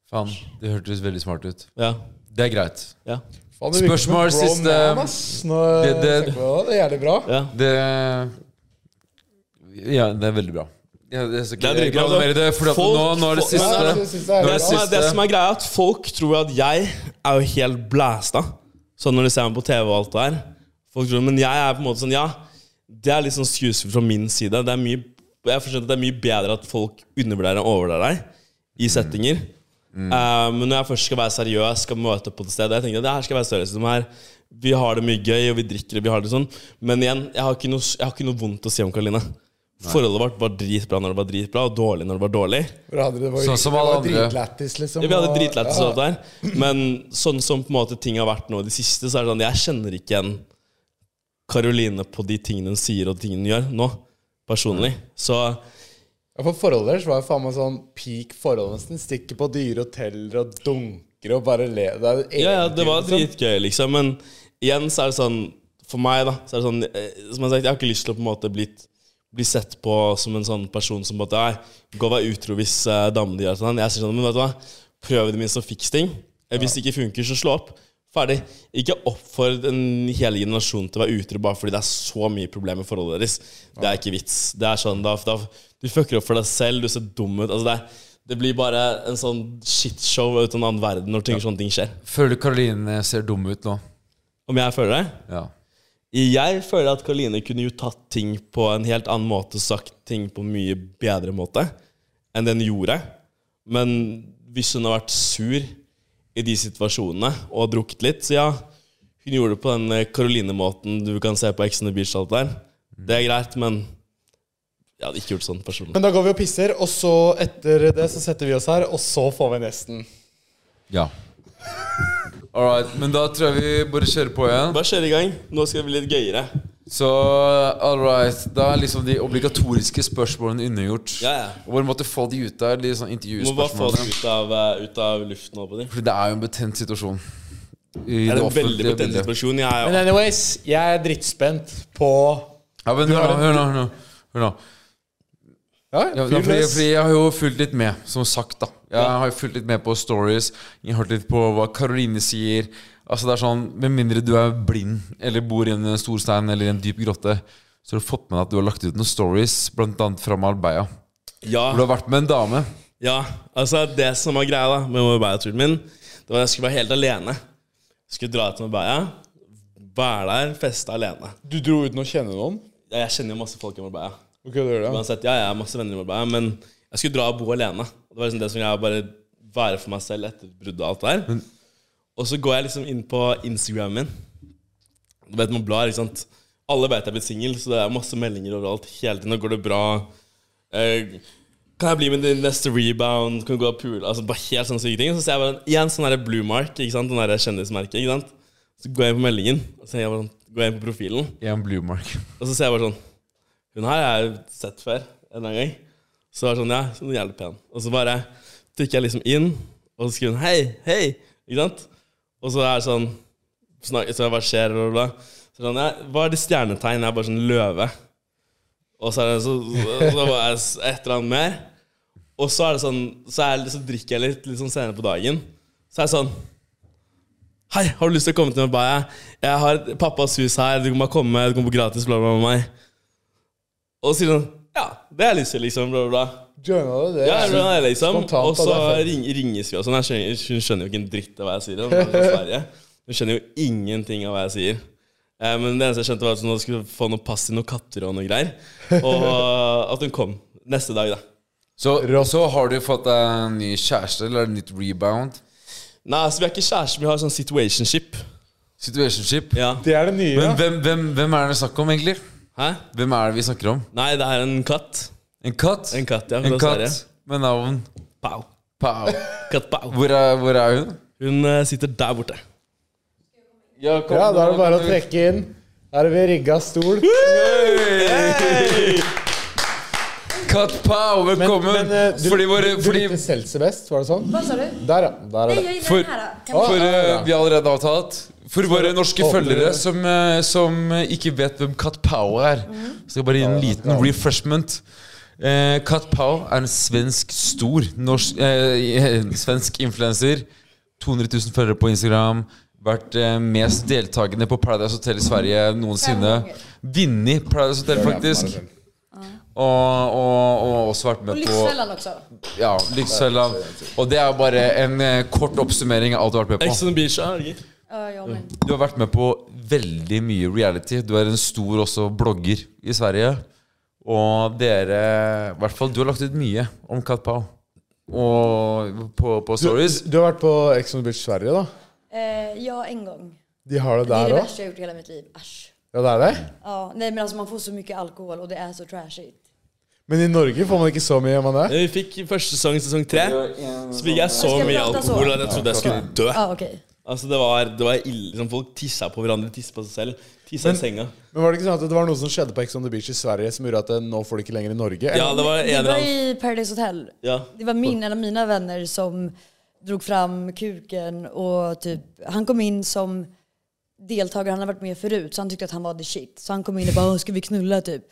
Speaker 5: faen, det hørtes veldig smart ut.
Speaker 6: Ja,
Speaker 5: Det er greit.
Speaker 6: ja,
Speaker 3: Faen, det virker som
Speaker 5: Spørsmål
Speaker 3: en grown
Speaker 5: siste-
Speaker 3: man, ass. Nå, det,
Speaker 5: Det- det-
Speaker 3: det er jævlig bra.
Speaker 6: ja.
Speaker 5: Det Ja, det er veldig bra. Ja, det, er
Speaker 6: Det er dritbra, altså.
Speaker 5: dritbra. Det, fordi at
Speaker 6: folk-
Speaker 5: nå, nå er det
Speaker 6: folk-
Speaker 5: siste.
Speaker 6: Men-
Speaker 3: altså, jeg synes det er
Speaker 5: Nå er
Speaker 6: Det,
Speaker 3: jævlig
Speaker 5: det
Speaker 6: som er,
Speaker 5: siste.
Speaker 6: det som er greia, er at folk tror at jeg er jo helt blæsta. Sånn når de ser meg på TV og alt det der. Folk tror, Men jeg er på en måte sånn, ja. Det er litt sånn skuespill fra min side. Det er mye, jeg forstår at det er mye bedre at folk undervurderer enn overvurderer deg i settinger. Eh, men når jeg først skal være seriøs, skal møte opp på et sted Jeg tenker at det her skal være seriøst som her. Vi har det mye gøy, og vi drikker og vi har det sånn. Men igjen, jeg har ikke noe, jeg har ikke noe vondt å si om Karoline. Forholdet vårt var dritbra når det var dritbra, og dårlig når det var dårlig.
Speaker 3: Hvor hadde Det var,
Speaker 5: Sånn som alle
Speaker 3: det var
Speaker 5: andre.
Speaker 3: dritlættis, liksom.
Speaker 6: Ja, vi hadde
Speaker 3: og-
Speaker 6: dritlættis
Speaker 3: ja.
Speaker 6: av det her. Men sånn som på en måte ting har vært nå i det siste, så er det sånn jeg kjenner ikke igjen Karoline på de tingene hun sier og de tingene hun gjør nå, personlig. Så
Speaker 3: Ja, for forholdet deres var jo faen meg sånn peak forhold, nesten. Stikker på dyre hoteller og dunker og bare le. Det er
Speaker 6: ja, ja, det var
Speaker 3: eventyr, liksom.
Speaker 6: dritgøy, liksom. Men igjen så er det sånn For meg, da, så er det sånn eh, Som jeg har sagt, jeg har ikke lyst til å på en måte bli, bli sett på som en sånn person som bare Nei, gå og vær utro hvis eh, damene de gjør sånn. Jeg sier sånn, men vet du hva, prøv i det minste å fikse ting. Eh, Hvis det ikke funker, så slå opp. Ferdig. Ikke oppfordr en hel generasjon til å være utro bare fordi det er så mye problemer i forholdet deres. Det er ikke vits. Det er sånn, da, da, Du fucker opp for deg selv, du ser dum ut. Altså, det, er, det blir bare en sånn shitshow ut av en annen verden når ting, sånne ting skjer.
Speaker 5: Føler du Karoline ser dum ut nå?
Speaker 6: Om jeg føler det?
Speaker 5: Ja.
Speaker 6: Jeg føler at Karoline kunne jo tatt ting på en helt annen måte og sagt ting på en mye bedre måte enn den gjorde. Men hvis hun har vært sur i de situasjonene og drukket litt, så ja, hun gjorde det på den eh, Karoline-måten du kan se på Ex on the Beach og alt der. Det er greit, men jeg hadde ikke gjort sånn personlig.
Speaker 3: Mm. Men da går vi og pisser, og så etter det så setter vi oss her, og så får vi inn gjesten.
Speaker 5: ja. All right, men da tror jeg vi bare kjører på igjen.
Speaker 6: Bare kjør i gang. Nå skal det bli litt gøyere.
Speaker 5: Så all right, da er liksom de obligatoriske spørsmålene unnagjort.
Speaker 6: Ja, ja.
Speaker 5: Og bare måtte få de ut der, de sånn
Speaker 6: Må bare få det
Speaker 5: intervjuspørsmålene.
Speaker 6: ut av, eh, ut av luften. Over de.
Speaker 5: Fordi det er jo en betent situasjon. I
Speaker 6: Det er en
Speaker 5: offentlige
Speaker 6: veldig betent
Speaker 5: bildet.
Speaker 6: situasjon. Jeg er
Speaker 3: Men anyways, jeg er drittspent på
Speaker 5: Ja, men hør nå, hør nå, hør nå. Hør nå.
Speaker 3: Ja,
Speaker 5: Ja,
Speaker 3: fyr
Speaker 5: fordi,
Speaker 3: løs.
Speaker 5: fordi jeg har jo fulgt litt med, som sagt. da Jeg har jo fulgt litt med på stories, jeg har hørt litt på hva Karoline sier. Altså det er sånn, Med mindre du er blind eller bor i en stor stein eller i en dyp grotte, så har du fått med deg at du har lagt ut noen stories, blant annet fra Marbella.
Speaker 6: ja.
Speaker 5: Hvor du har vært med en dame.
Speaker 6: Ja, altså det som var greia da med Marbella-turen min, det var at jeg skulle være helt alene. Jeg skulle dra til Marbella, være der, feste alene.
Speaker 3: Du dro uten å kjenne noen?
Speaker 6: Ja, Jeg kjenner jo masse folk i Marbella.
Speaker 3: Ok, det gjør det.
Speaker 6: Uansett, ja, jeg har masse venner i Marbella, men jeg skulle dra og bo alene. Det var liksom det som jeg bare være for meg selv etter bruddet og alt det der. Og så går jeg liksom inn på Instagramen min. Du vet man blar, ikke sant? Alle vet jeg er blitt singel, så det er masse meldinger overalt. Hele tiden går det bra. Eh, kan jeg bli med din neste rebound? Kan du gå og pule? Altså bare helt sånne syke ting. Så ser jeg bare igjen sånn der blue mark, ikke sant? Den der kjendismerket, ikke sant? Så går jeg inn på meldingen, og så ser jeg bare sånn- går jeg inn på profilen.
Speaker 5: I en blue mark.
Speaker 6: Og så ser jeg bare sånn Hun her har jeg sett før en eller annen gang. Så var det sånn, ja, så hun er jævlig pen. Og så bare trykker jeg liksom inn, og så skriver hun hei, hei. Ikke sant? Og så er det sånn snakker, Så jeg bare ser og bla. Så er det sånn, ja, hva er det stjernetegn? Jeg er bare sånn løve. Og så er det så, så, så bare er det et eller annet mer. Og så er det sånn Så, er, det- så drikker jeg litt, litt sånn senere på dagen. Så er det sånn Hei, har du lyst til å komme til meg? Bare, jeg- jeg har et- pappas hus her, du kan bare komme, du kan bo gratis, bla, bla, bla. med meg. Og så sier hun ja, det har jeg lyst til, liksom, bla, bla, bla.
Speaker 3: Joina du det?
Speaker 6: Ja, bla, bla, liksom.
Speaker 3: Spontant,
Speaker 6: Og så
Speaker 3: da, det er fett.
Speaker 6: ring, ringes vi og sånn. Jeg skjønner, hun skjønner jo ikke en dritt av hva jeg sier. Hun er fra Sverige. Hun skjønner jo ingenting av hva jeg sier. Eh, men det eneste jeg skjønte, var at hun skulle få noe pass til noen katter og noe greier. Og at hun kom neste dag, da.
Speaker 5: Så, så har du fått deg en ny kjæreste eller en nytt rebound.
Speaker 6: Nei, altså, vi er ikke kjærester, vi har sånn situationship.
Speaker 5: Situationship.
Speaker 6: Ja.
Speaker 3: Det er det nye.
Speaker 5: Men hvem, hvem, hvem er det snakk om, egentlig?
Speaker 6: Hæ?
Speaker 5: Hvem er det vi snakker om?
Speaker 6: Nei, det her er en katt.
Speaker 5: En katt?
Speaker 6: En katt, ja,
Speaker 5: En
Speaker 6: fra
Speaker 5: katt
Speaker 6: Sverige.
Speaker 5: med navn
Speaker 6: Pow.
Speaker 5: Pau.
Speaker 6: Katt pow.
Speaker 5: Hvor er, hvor er hun?
Speaker 6: Hun eh, sitter der borte.
Speaker 3: Ja, da er det bare å trekke inn. Da er det vi rigga stol.
Speaker 5: Katt Pau, velkommen!
Speaker 3: eh, du,
Speaker 5: fordi våre,
Speaker 3: du
Speaker 5: fordi,
Speaker 3: likte Seltserbest, var det sånn?
Speaker 8: Hva sa du?
Speaker 3: Der, ja. Der er
Speaker 8: Jeg
Speaker 3: det.
Speaker 8: gjør
Speaker 5: For-
Speaker 8: den her, da. Kan
Speaker 5: for
Speaker 8: vi-
Speaker 5: eh, vi allerede har talt For våre norske
Speaker 3: Åpner
Speaker 5: følgere
Speaker 3: dere.
Speaker 5: som, eh, som eh, ikke vet hvem Katt Pau er, skal jeg bare gi en liten refreshment. Eh, Katt Pau er en svensk stor norsk, eh, eh, svensk influenser. 200 000 følgere på Instagram. Vært eh, mest deltakende på Paradise Hotel i Sverige noensinne.
Speaker 8: ganger.
Speaker 5: Vunnet Paradise Hotel, faktisk. Og, og, og også vært
Speaker 8: Og
Speaker 5: med på
Speaker 8: Lykkefellen også.
Speaker 5: ja, Lykkefella. Og det er jo bare en eh, kort oppsummering av alt du har vært med på.
Speaker 6: Ex on the beach, ja. er det ikke?
Speaker 8: Ja, ja, men.
Speaker 5: Du har vært med på veldig mye reality. Du er en stor også blogger i Sverige. Og dere I hvert fall du har lagt ut mye om Kat Pau. Og på, på stories.
Speaker 3: Du har vært på Ex on the Beach Sverige, da.
Speaker 8: Eh, ja, en gång.
Speaker 3: De har det
Speaker 8: Det är det
Speaker 3: der òg?
Speaker 8: värsta jag gjort i hela mitt liv. Äsch.
Speaker 3: Ja, det er det?
Speaker 8: Ja, nej, men alltså man får så mycket alkohol och det är så trashigt.
Speaker 3: Men i Norge får man ikke så mye, gjør man det?
Speaker 6: Eh, Vi fikk første sesong, sesong tre. Så fikk jeg så
Speaker 8: Skal jeg
Speaker 6: mye
Speaker 8: prate så?
Speaker 6: alkohol at jeg trodde jeg skulle dø.
Speaker 8: Ja, okej.
Speaker 6: Altså det var, det var ille liksom, Folk tissa på hverandre, tissa på seg selv. Tissa i senga.
Speaker 3: Men var det ikke sånn at det var noe som skjedde på Ex on the Beach i Sverige som gjorde at eh, nå får du ikke lenger i Norge?
Speaker 6: Ja, det var en
Speaker 8: Det
Speaker 6: eller
Speaker 8: var
Speaker 6: annen
Speaker 8: i Paradise Hotel.
Speaker 6: ja.
Speaker 8: Det var min, en av mina vänner som drog fram kuken och typ, han kom in som deltagare, han har varit med förut så han tyckte att han var the shit. Så han kom in och bara "Åh, ska vi knulla typ?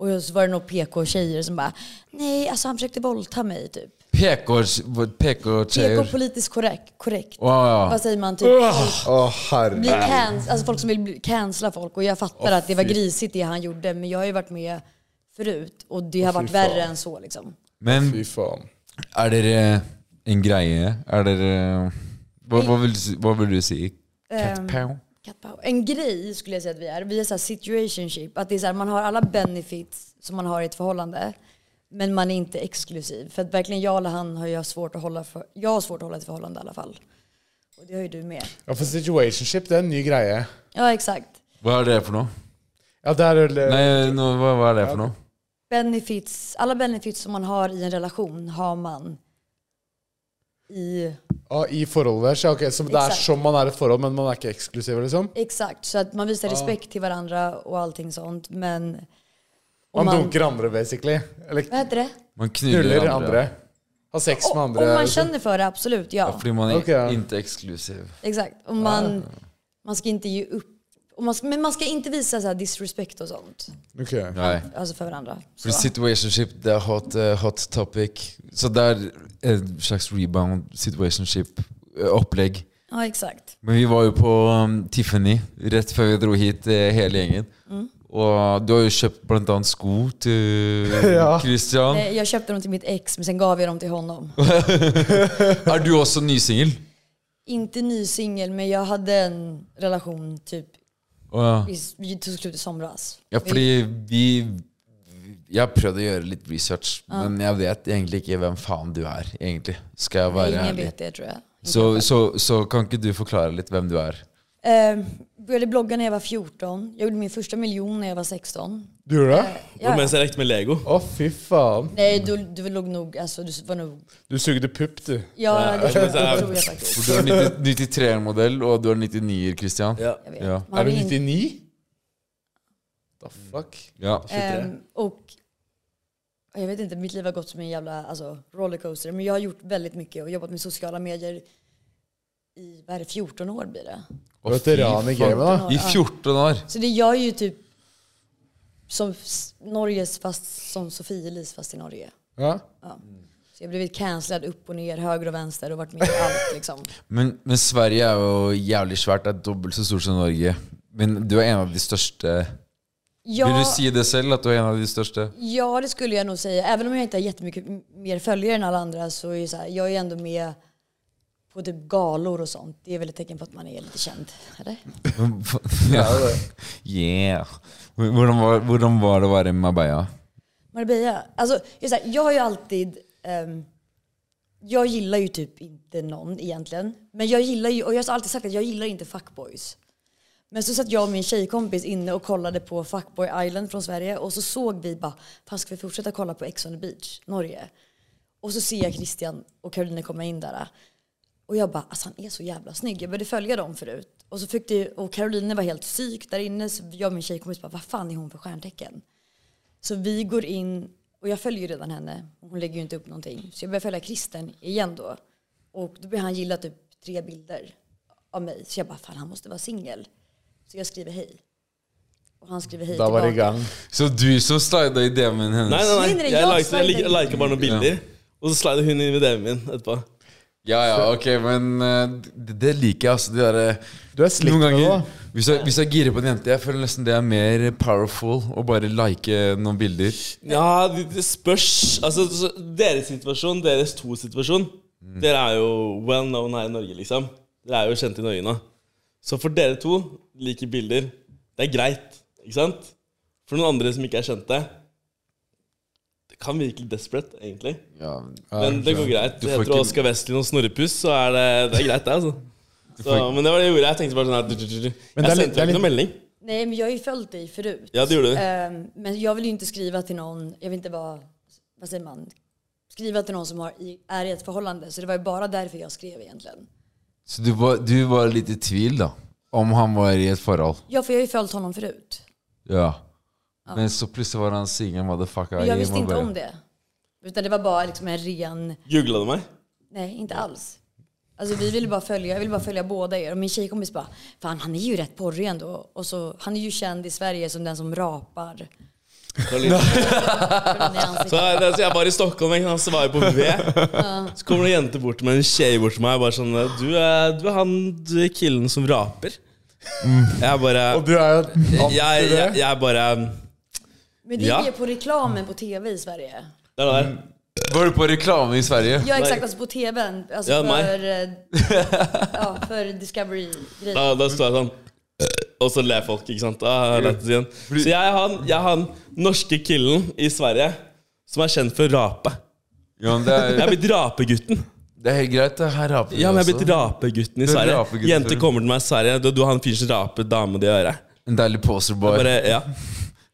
Speaker 8: Och så var det några PK-tjejer som bara, nej alltså han försökte våldta mig typ. PK
Speaker 5: PK-tjejer.
Speaker 8: politiskt korrekt. korrekt.
Speaker 5: Å, ja.
Speaker 8: Vad säger man? Typ,
Speaker 3: Å, herre.
Speaker 8: bli canc- alltså folk som vill bli- cancella folk. Och jag fattar att det var grisigt det han gjorde, men jag har ju varit med förut och det har varit värre än så liksom.
Speaker 5: Men
Speaker 3: Fy faen.
Speaker 5: er dere en greie? Er dere Hva, hva, vil, du si- hva vil du si? Catpow?
Speaker 8: Kattpaow. En grej skulle jag säga att vi är. Vi är så här situationship. Att det är så här, man har alla benefits som man har i ett förhållande. Men man är inte exklusiv. För att verkligen jag eller han har ju svårt att hålla för, jag har svårt att hålla ett förhållande i alla fall. Och det har ju du med.
Speaker 3: Ja, for situationship, det er en ny greie.
Speaker 8: Ja exakt.
Speaker 5: Hva er det for noe?
Speaker 3: Ja, det er vel eh,
Speaker 5: Nei, nå, hva, hva er det for noe?
Speaker 8: Benefits, alla benefits som man har i en relation har man i
Speaker 3: Ja, ah, I forholdet deres. Ja, ok, så det er
Speaker 8: Exakt.
Speaker 3: som man er i et forhold, men man er ikke eksklusiv, liksom?
Speaker 8: Exakt, så att man visar respekt till varandra och allting sånt. Men... om
Speaker 3: Man, dunker andre, basically. Eller
Speaker 8: Vad heter det?
Speaker 5: Man knuller
Speaker 3: knuller
Speaker 5: andre.
Speaker 3: andre. Har sex med
Speaker 8: Om
Speaker 3: andre.
Speaker 8: om man
Speaker 3: liksom.
Speaker 8: känner för det, absolut. Ja,
Speaker 5: Ja, fordi man er
Speaker 3: Ok, ja.
Speaker 5: ikke eksklusiv.
Speaker 8: exakt. Och man, man ska inte ge upp. Och man ska, men man ska inte visa så här disrespect och sånt.
Speaker 3: Ok.
Speaker 5: Nei.
Speaker 8: Alltså för varandra. Så.
Speaker 5: For situationship, det er hot, eh, hot topic. Så det er en slags rebound situationship-opplegg.
Speaker 8: Ja, exakt.
Speaker 5: Men vi var jo på um, Tiffany rett før vi dro hit, eh, hele gjengen.
Speaker 8: Mm.
Speaker 5: Og du har jo kjøpt blant annet sko til
Speaker 3: Ja.
Speaker 5: Christian.
Speaker 8: Eh, Jag köpte dem till mitt ex, men sen gav jag dem till honom.
Speaker 5: Er du også nysingel?
Speaker 8: inte ny singel, men jag hade en relation typ
Speaker 5: Å, ja.
Speaker 8: i, vi tog slut i somras.
Speaker 5: ja, fordi vi Jeg har prøvd å gjøre litt research, men jeg vet egentlig ikke hvem faen du er, egentlig. Skal jeg være
Speaker 8: Ingen
Speaker 5: ærlig.
Speaker 8: vet det tror jag.
Speaker 5: Så, så, så kan ikke du forklare litt hvem du er?
Speaker 8: Eh, började blogga när jag var 14. Jag gjorde min första miljon när jag var 16.
Speaker 3: Du gjorde det?
Speaker 8: Ja.
Speaker 6: Mens jeg lekte med Lego.
Speaker 3: Å, fy faen.
Speaker 8: Nej, du, du låg nog, alltså du var nog...
Speaker 3: Du sugde pupp, du.
Speaker 8: Ja, det tror
Speaker 6: men så
Speaker 8: jag,
Speaker 6: här-
Speaker 8: tror jag faktiskt.
Speaker 5: For du er 93-modell, og du er 99-er, Christian.
Speaker 6: Ja.
Speaker 8: Jag vet.
Speaker 5: Ja.
Speaker 8: Man
Speaker 3: Er du
Speaker 8: vill inte-
Speaker 3: 99? The fuck?
Speaker 5: Ja.
Speaker 8: Ehm, och jag vet inte, mitt liv har gått som en jävla alltså, rollercoaster. Men jag har gjort väldigt mycket og jobbat med sociala medier i, vad är det, 14 år blir det.
Speaker 5: Å,
Speaker 3: Veteran i
Speaker 5: fy faen.
Speaker 3: gamet, da.
Speaker 5: I 14 år!
Speaker 8: Så det är jag är ju typ som s- Norges fast som Sofie-Elise fast i Norge.
Speaker 3: Ja.
Speaker 8: Så jag har blivit cancellad upp och ner, höger och vänster och varit med i allt liksom.
Speaker 5: Men, men Sverige er jo jævlig svært. Det er dobbelt så stort som Norge. Men du er en av de største Vil
Speaker 8: Jag,
Speaker 5: du si det selv, at du er en av de største?
Speaker 8: ja, det skulle jag nog säga. Även om jag inte har jättemycket m- mer följare än alla andra så är ju så här, jag är ändå med på typ galor och sånt. Det är väl ett tecken på att man är lite känd, eller?
Speaker 5: Ja. Yeah. Hvordan var, hvordan var det å være i Marbella?
Speaker 8: Marbella. Alltså, jag, här, jag har ju alltid... ehm, jag gillar ju typ inte någon egentligen. Men jag gillar ju, och jag har alltid sagt att jag gillar inte fuckboys. Men så satt jag och min tjejkompis inne och kollade på Fuckboy Island från Sverige och så såg vi bara, fan ska vi fortsätta kolla på Ex on the beach, Norge? Och så ser jag Christian och Caroline komma in där. äh, Och jag bara, alltså han är så jävla snygg. Jag började följa dem förut. Och, så fick det, och Caroline var helt psyk där inne så jag och min tjejkompis bara, vad fan är hon för stjärntecken? Så vi går in, och jag följer ju redan henne. Hon lägger ju inte upp någonting. Så jag börjar följa Kristen igen då. Och då börjar han gilla typ tre bilder av mig. Så jag bara, fan han måste vara singel. Så jag skriver hej. Och han skriver hej
Speaker 3: Da var det i
Speaker 8: tillbaka.
Speaker 3: gang.
Speaker 5: Så du som slida i DM-en
Speaker 6: Nei,
Speaker 5: hennes?
Speaker 6: nei,
Speaker 8: Mindre
Speaker 6: nei.
Speaker 8: jeg
Speaker 6: Jeg liker, jeg,
Speaker 8: slider
Speaker 6: liker, jeg liker bare noen bilder. Og så slider hun inn i DM-en min etterpå.
Speaker 5: Ja, ja, ok, men eh, det, det liker jeg, altså. De derre
Speaker 3: Du er slitt
Speaker 5: Noen
Speaker 3: med det,
Speaker 5: ganger,
Speaker 3: da.
Speaker 5: hvis jeg, hvis jeg girer på en jente, jeg føler nesten det er mer powerful å bare like noen bilder.
Speaker 6: Ja, det, det spørs Altså, så deres situasjon, deres to situasjon Dere er jo well known her i Norge, liksom. Dere er jo kjent i Norge nå. Så for dere to, like bilder, det er greit, ikke sant? For noen andre som ikke er kjente Det kan virke litt desperate, egentlig.
Speaker 5: Ja,
Speaker 6: Men det går greit.
Speaker 5: Du
Speaker 6: Det
Speaker 5: får
Speaker 6: heter
Speaker 5: ikke-
Speaker 6: Oskar Westlin og Snorrepuss, så er det, det er greit, det, altså. Så, men det var det jeg gjorde. Jeg tenkte bare sånn her du, du, du.
Speaker 3: det er
Speaker 6: Jeg
Speaker 3: litt-
Speaker 6: sendte jo
Speaker 3: det er
Speaker 6: ikke noen melding.
Speaker 8: Nej men jag har ju följt dig förut.
Speaker 6: Ja, det gjorde du.
Speaker 8: Ehm, men jag vill ju inte skriva till någon, jag vill inte vara, vad säger man, skriva till någon som har, i- är i ett förhållande. Så det var ju bara därför jag skrev egentligen.
Speaker 5: Så du var, du var litt i tvil, da? Om han var i et forhold?
Speaker 8: Ja, för jag har ju följt honom förut.
Speaker 5: Ja. Men så plutselig var han singel motherfucker.
Speaker 8: Men jag visste
Speaker 5: må
Speaker 8: inte
Speaker 5: bare-
Speaker 8: om det. Utan det var bara liksom en ren,
Speaker 6: Jugla du meg?
Speaker 8: nej inte alls. Alltså vi ville bara följa, jag ville bara följa båda er. Och min tjejkompis bara, fan han är ju rätt porrig ändå. Och så, han är ju känd i Sverige som den som rapar.
Speaker 6: Karolina.
Speaker 8: Hvordan i ansiktet?
Speaker 6: Så jeg, det- så jeg var i Stockholm, ikke sant, så var jeg på V. Så kommer det en jente bort til meg, en tjej bort til meg, bare sånn Du er, du er han du er killen som raper. Jeg bare
Speaker 3: Og du er jo anti
Speaker 6: Jeg,
Speaker 3: det.
Speaker 6: jeg, jeg bare
Speaker 8: Men det
Speaker 6: Ja.
Speaker 8: är på reklamen på tv i Sverige.
Speaker 6: Det er det der.
Speaker 5: Var du på reklame i Sverige?
Speaker 8: Ja exakt, alltså på tvn. Alltså
Speaker 6: Ja, mig.
Speaker 8: för, eh, ja, för Discovery-grejen.
Speaker 6: Da, da står jeg sånn Og så ler folk, ikke sant? Ah, rett igjen. Så jeg er, han, jeg er han norske killen i Sverige som er kjent for å rape.
Speaker 5: Ja, men det
Speaker 6: Jeg
Speaker 5: er,
Speaker 6: er blitt rapegutten.
Speaker 5: det er helt greit. det Her altså. raper vi
Speaker 6: Ja, men jeg er
Speaker 5: også.
Speaker 6: blitt rapegutten i
Speaker 5: Du er
Speaker 6: Sverige.
Speaker 5: rapegutten.
Speaker 6: Jenter kommer til meg i Sverige. Du, du har en fyr som raper dame det i øret.
Speaker 5: En deilig poserboy.
Speaker 6: Bare, ja.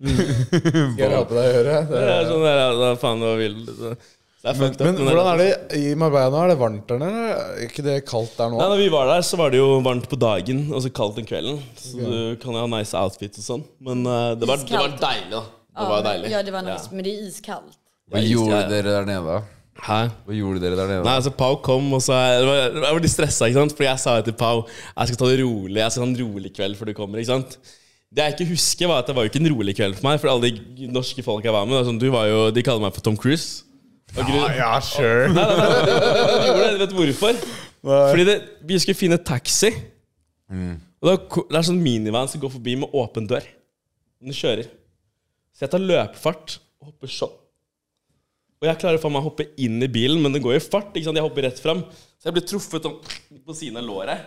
Speaker 3: Skal jeg rape deg i øret? Det
Speaker 6: Det
Speaker 3: er-
Speaker 6: er sånn der, ja, da, faen, hva vil du? Så det er fucked up.
Speaker 3: Men hvordan er det i Marbella nå? Er det varmt der nede? Er ikke det kaldt der nå?
Speaker 6: Nei, når vi var der, så var det jo varmt på dagen og så kaldt den kvelden. Så du kan jo ha nice outfits og sånn. Men eh, det, var, det var
Speaker 8: Iskaldt.
Speaker 6: deilig, da. Det
Speaker 8: Ja,
Speaker 6: var deilig.
Speaker 8: ja, det var nice, men det är iskallt.
Speaker 5: Hva
Speaker 6: Ja,
Speaker 5: gjorde
Speaker 6: ja.
Speaker 5: dere der nede? da?
Speaker 6: Hæ?
Speaker 5: Hva gjorde dere der nede?
Speaker 6: Nei, altså Pau kom, og så Jeg var- jeg var litt stressa, ikke sant? Fordi jeg sa jo til Pau Jeg skal ta det rolig, jeg skal ha en rolig kveld før du kommer, ikke sant? Det jeg ikke husker, var at det var jo ikke en rolig kveld for meg. For alle de norske folk jeg var med, det var sånn, du var jo, de kaller meg for Tom Cruise. Og grunn-
Speaker 3: Ja, sure.
Speaker 6: de gjorde det, vet du hvorfor? Fordi det, vi skulle finne taxi. Og da, ko- det er sånn minivan som går forbi med åpen dør. Den kjører. Så jeg tar løpefart og hopper sånn. Og jeg klarer faen meg å hoppe inn i bilen, men den går i fart. ikke sant? Jeg hopper rett fram. Så jeg blir truffet sånn på siden av låret.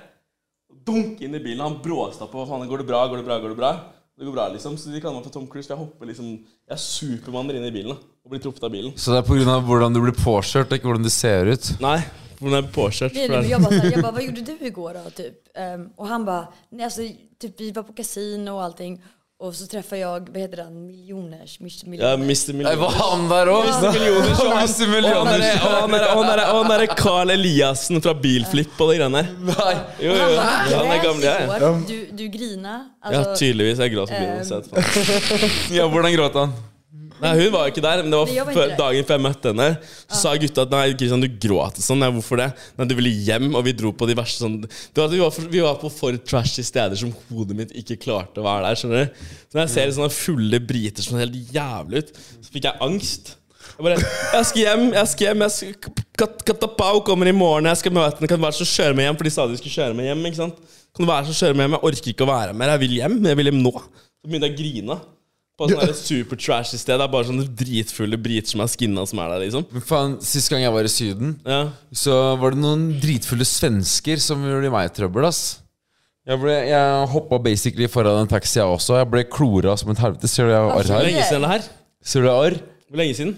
Speaker 6: Dunk inn i bilen. Han bråstopper. Hva faen, går det bra? Går det bra? Går det bra? Det går bra, liksom. Så de kaller meg for Tom Cruise. for Jeg hopper liksom Jeg supermanner inn i bilen da, og blir truffet av bilen.
Speaker 5: Så det er pga. hvordan du blir påkjørt, ikke hvordan du ser ut?
Speaker 6: Nei, for den er påkjørt.
Speaker 8: Det är
Speaker 6: for det
Speaker 8: det, men
Speaker 6: er-
Speaker 8: jag, bara, så här, jag bara, vad gjorde du igår då? Typ. Ehm, och han bara, nej alltså, typ, vi var på kasino och allting. Och så träffade jag, vad heter han, miljoners, mis-
Speaker 6: Ja,
Speaker 8: miljoners.
Speaker 5: Nei,
Speaker 6: Mr. Million.
Speaker 5: Var han der òg? Mr.
Speaker 6: Og han
Speaker 5: Millioner.
Speaker 6: derre- og han derre- og han derre- og han derre Carl Eliassen fra Bilflipp og de greiene der.
Speaker 5: Nei.
Speaker 6: Jo, jo,
Speaker 8: Han
Speaker 6: jo.
Speaker 8: bara, du
Speaker 6: Han er
Speaker 8: grät
Speaker 6: gamle, jeg.
Speaker 8: igår, du, du grina.
Speaker 6: Ja,
Speaker 8: Alltså,
Speaker 6: tydeligvis. Jeg gråt på bilen. så jeg vet faen.
Speaker 5: Ja, hvordan gråt han?
Speaker 6: Nei, hun var jo ikke der, men det var
Speaker 8: Nei, jeg var ikke
Speaker 6: før,
Speaker 8: der.
Speaker 6: dagen før jeg møtte henne. Så sa gutta at nei, Kristian, du gråt sånn. Nei, hvorfor det? Nei, du ville hjem, og vi dro på de verste sånn det var, at vi, var for, vi var på for trashy steder som hodet mitt ikke klarte å være der, skjønner du. Så når jeg
Speaker 8: Mm.
Speaker 6: ser sånne fulle briter som ser helt jævlig ut, så fikk jeg angst. Jeg bare Jeg skal hjem, jeg skal hjem. Jeg skal, Kat Katapau kommer i morgen, jeg skal møte henne. Kan du være så snill å kjøre meg hjem? For de sa de skulle kjøre meg hjem, ikke sant. Kan du være så snill å kjøre meg hjem? Jeg orker ikke å være mer. Jeg vil hjem. Jeg vil hjem nå. Så begynte jeg å grine. På sånn et super trashy sted. Det er bare sånne dritfulle briter som er skinna, som er der, liksom.
Speaker 5: Men faen, Sist gang jeg var i Syden,
Speaker 6: Ja.
Speaker 5: så var det noen dritfulle svensker som gjorde meg trøbbel. ass Jeg, ble, jeg hoppa basically foran en taxi, jeg også. Jeg ble klora som et helvete. Ser du jeg har arr
Speaker 6: Hvor
Speaker 5: her?
Speaker 6: lenge siden er det her?
Speaker 5: Ser du jeg har arr?
Speaker 6: Hvor lenge siden?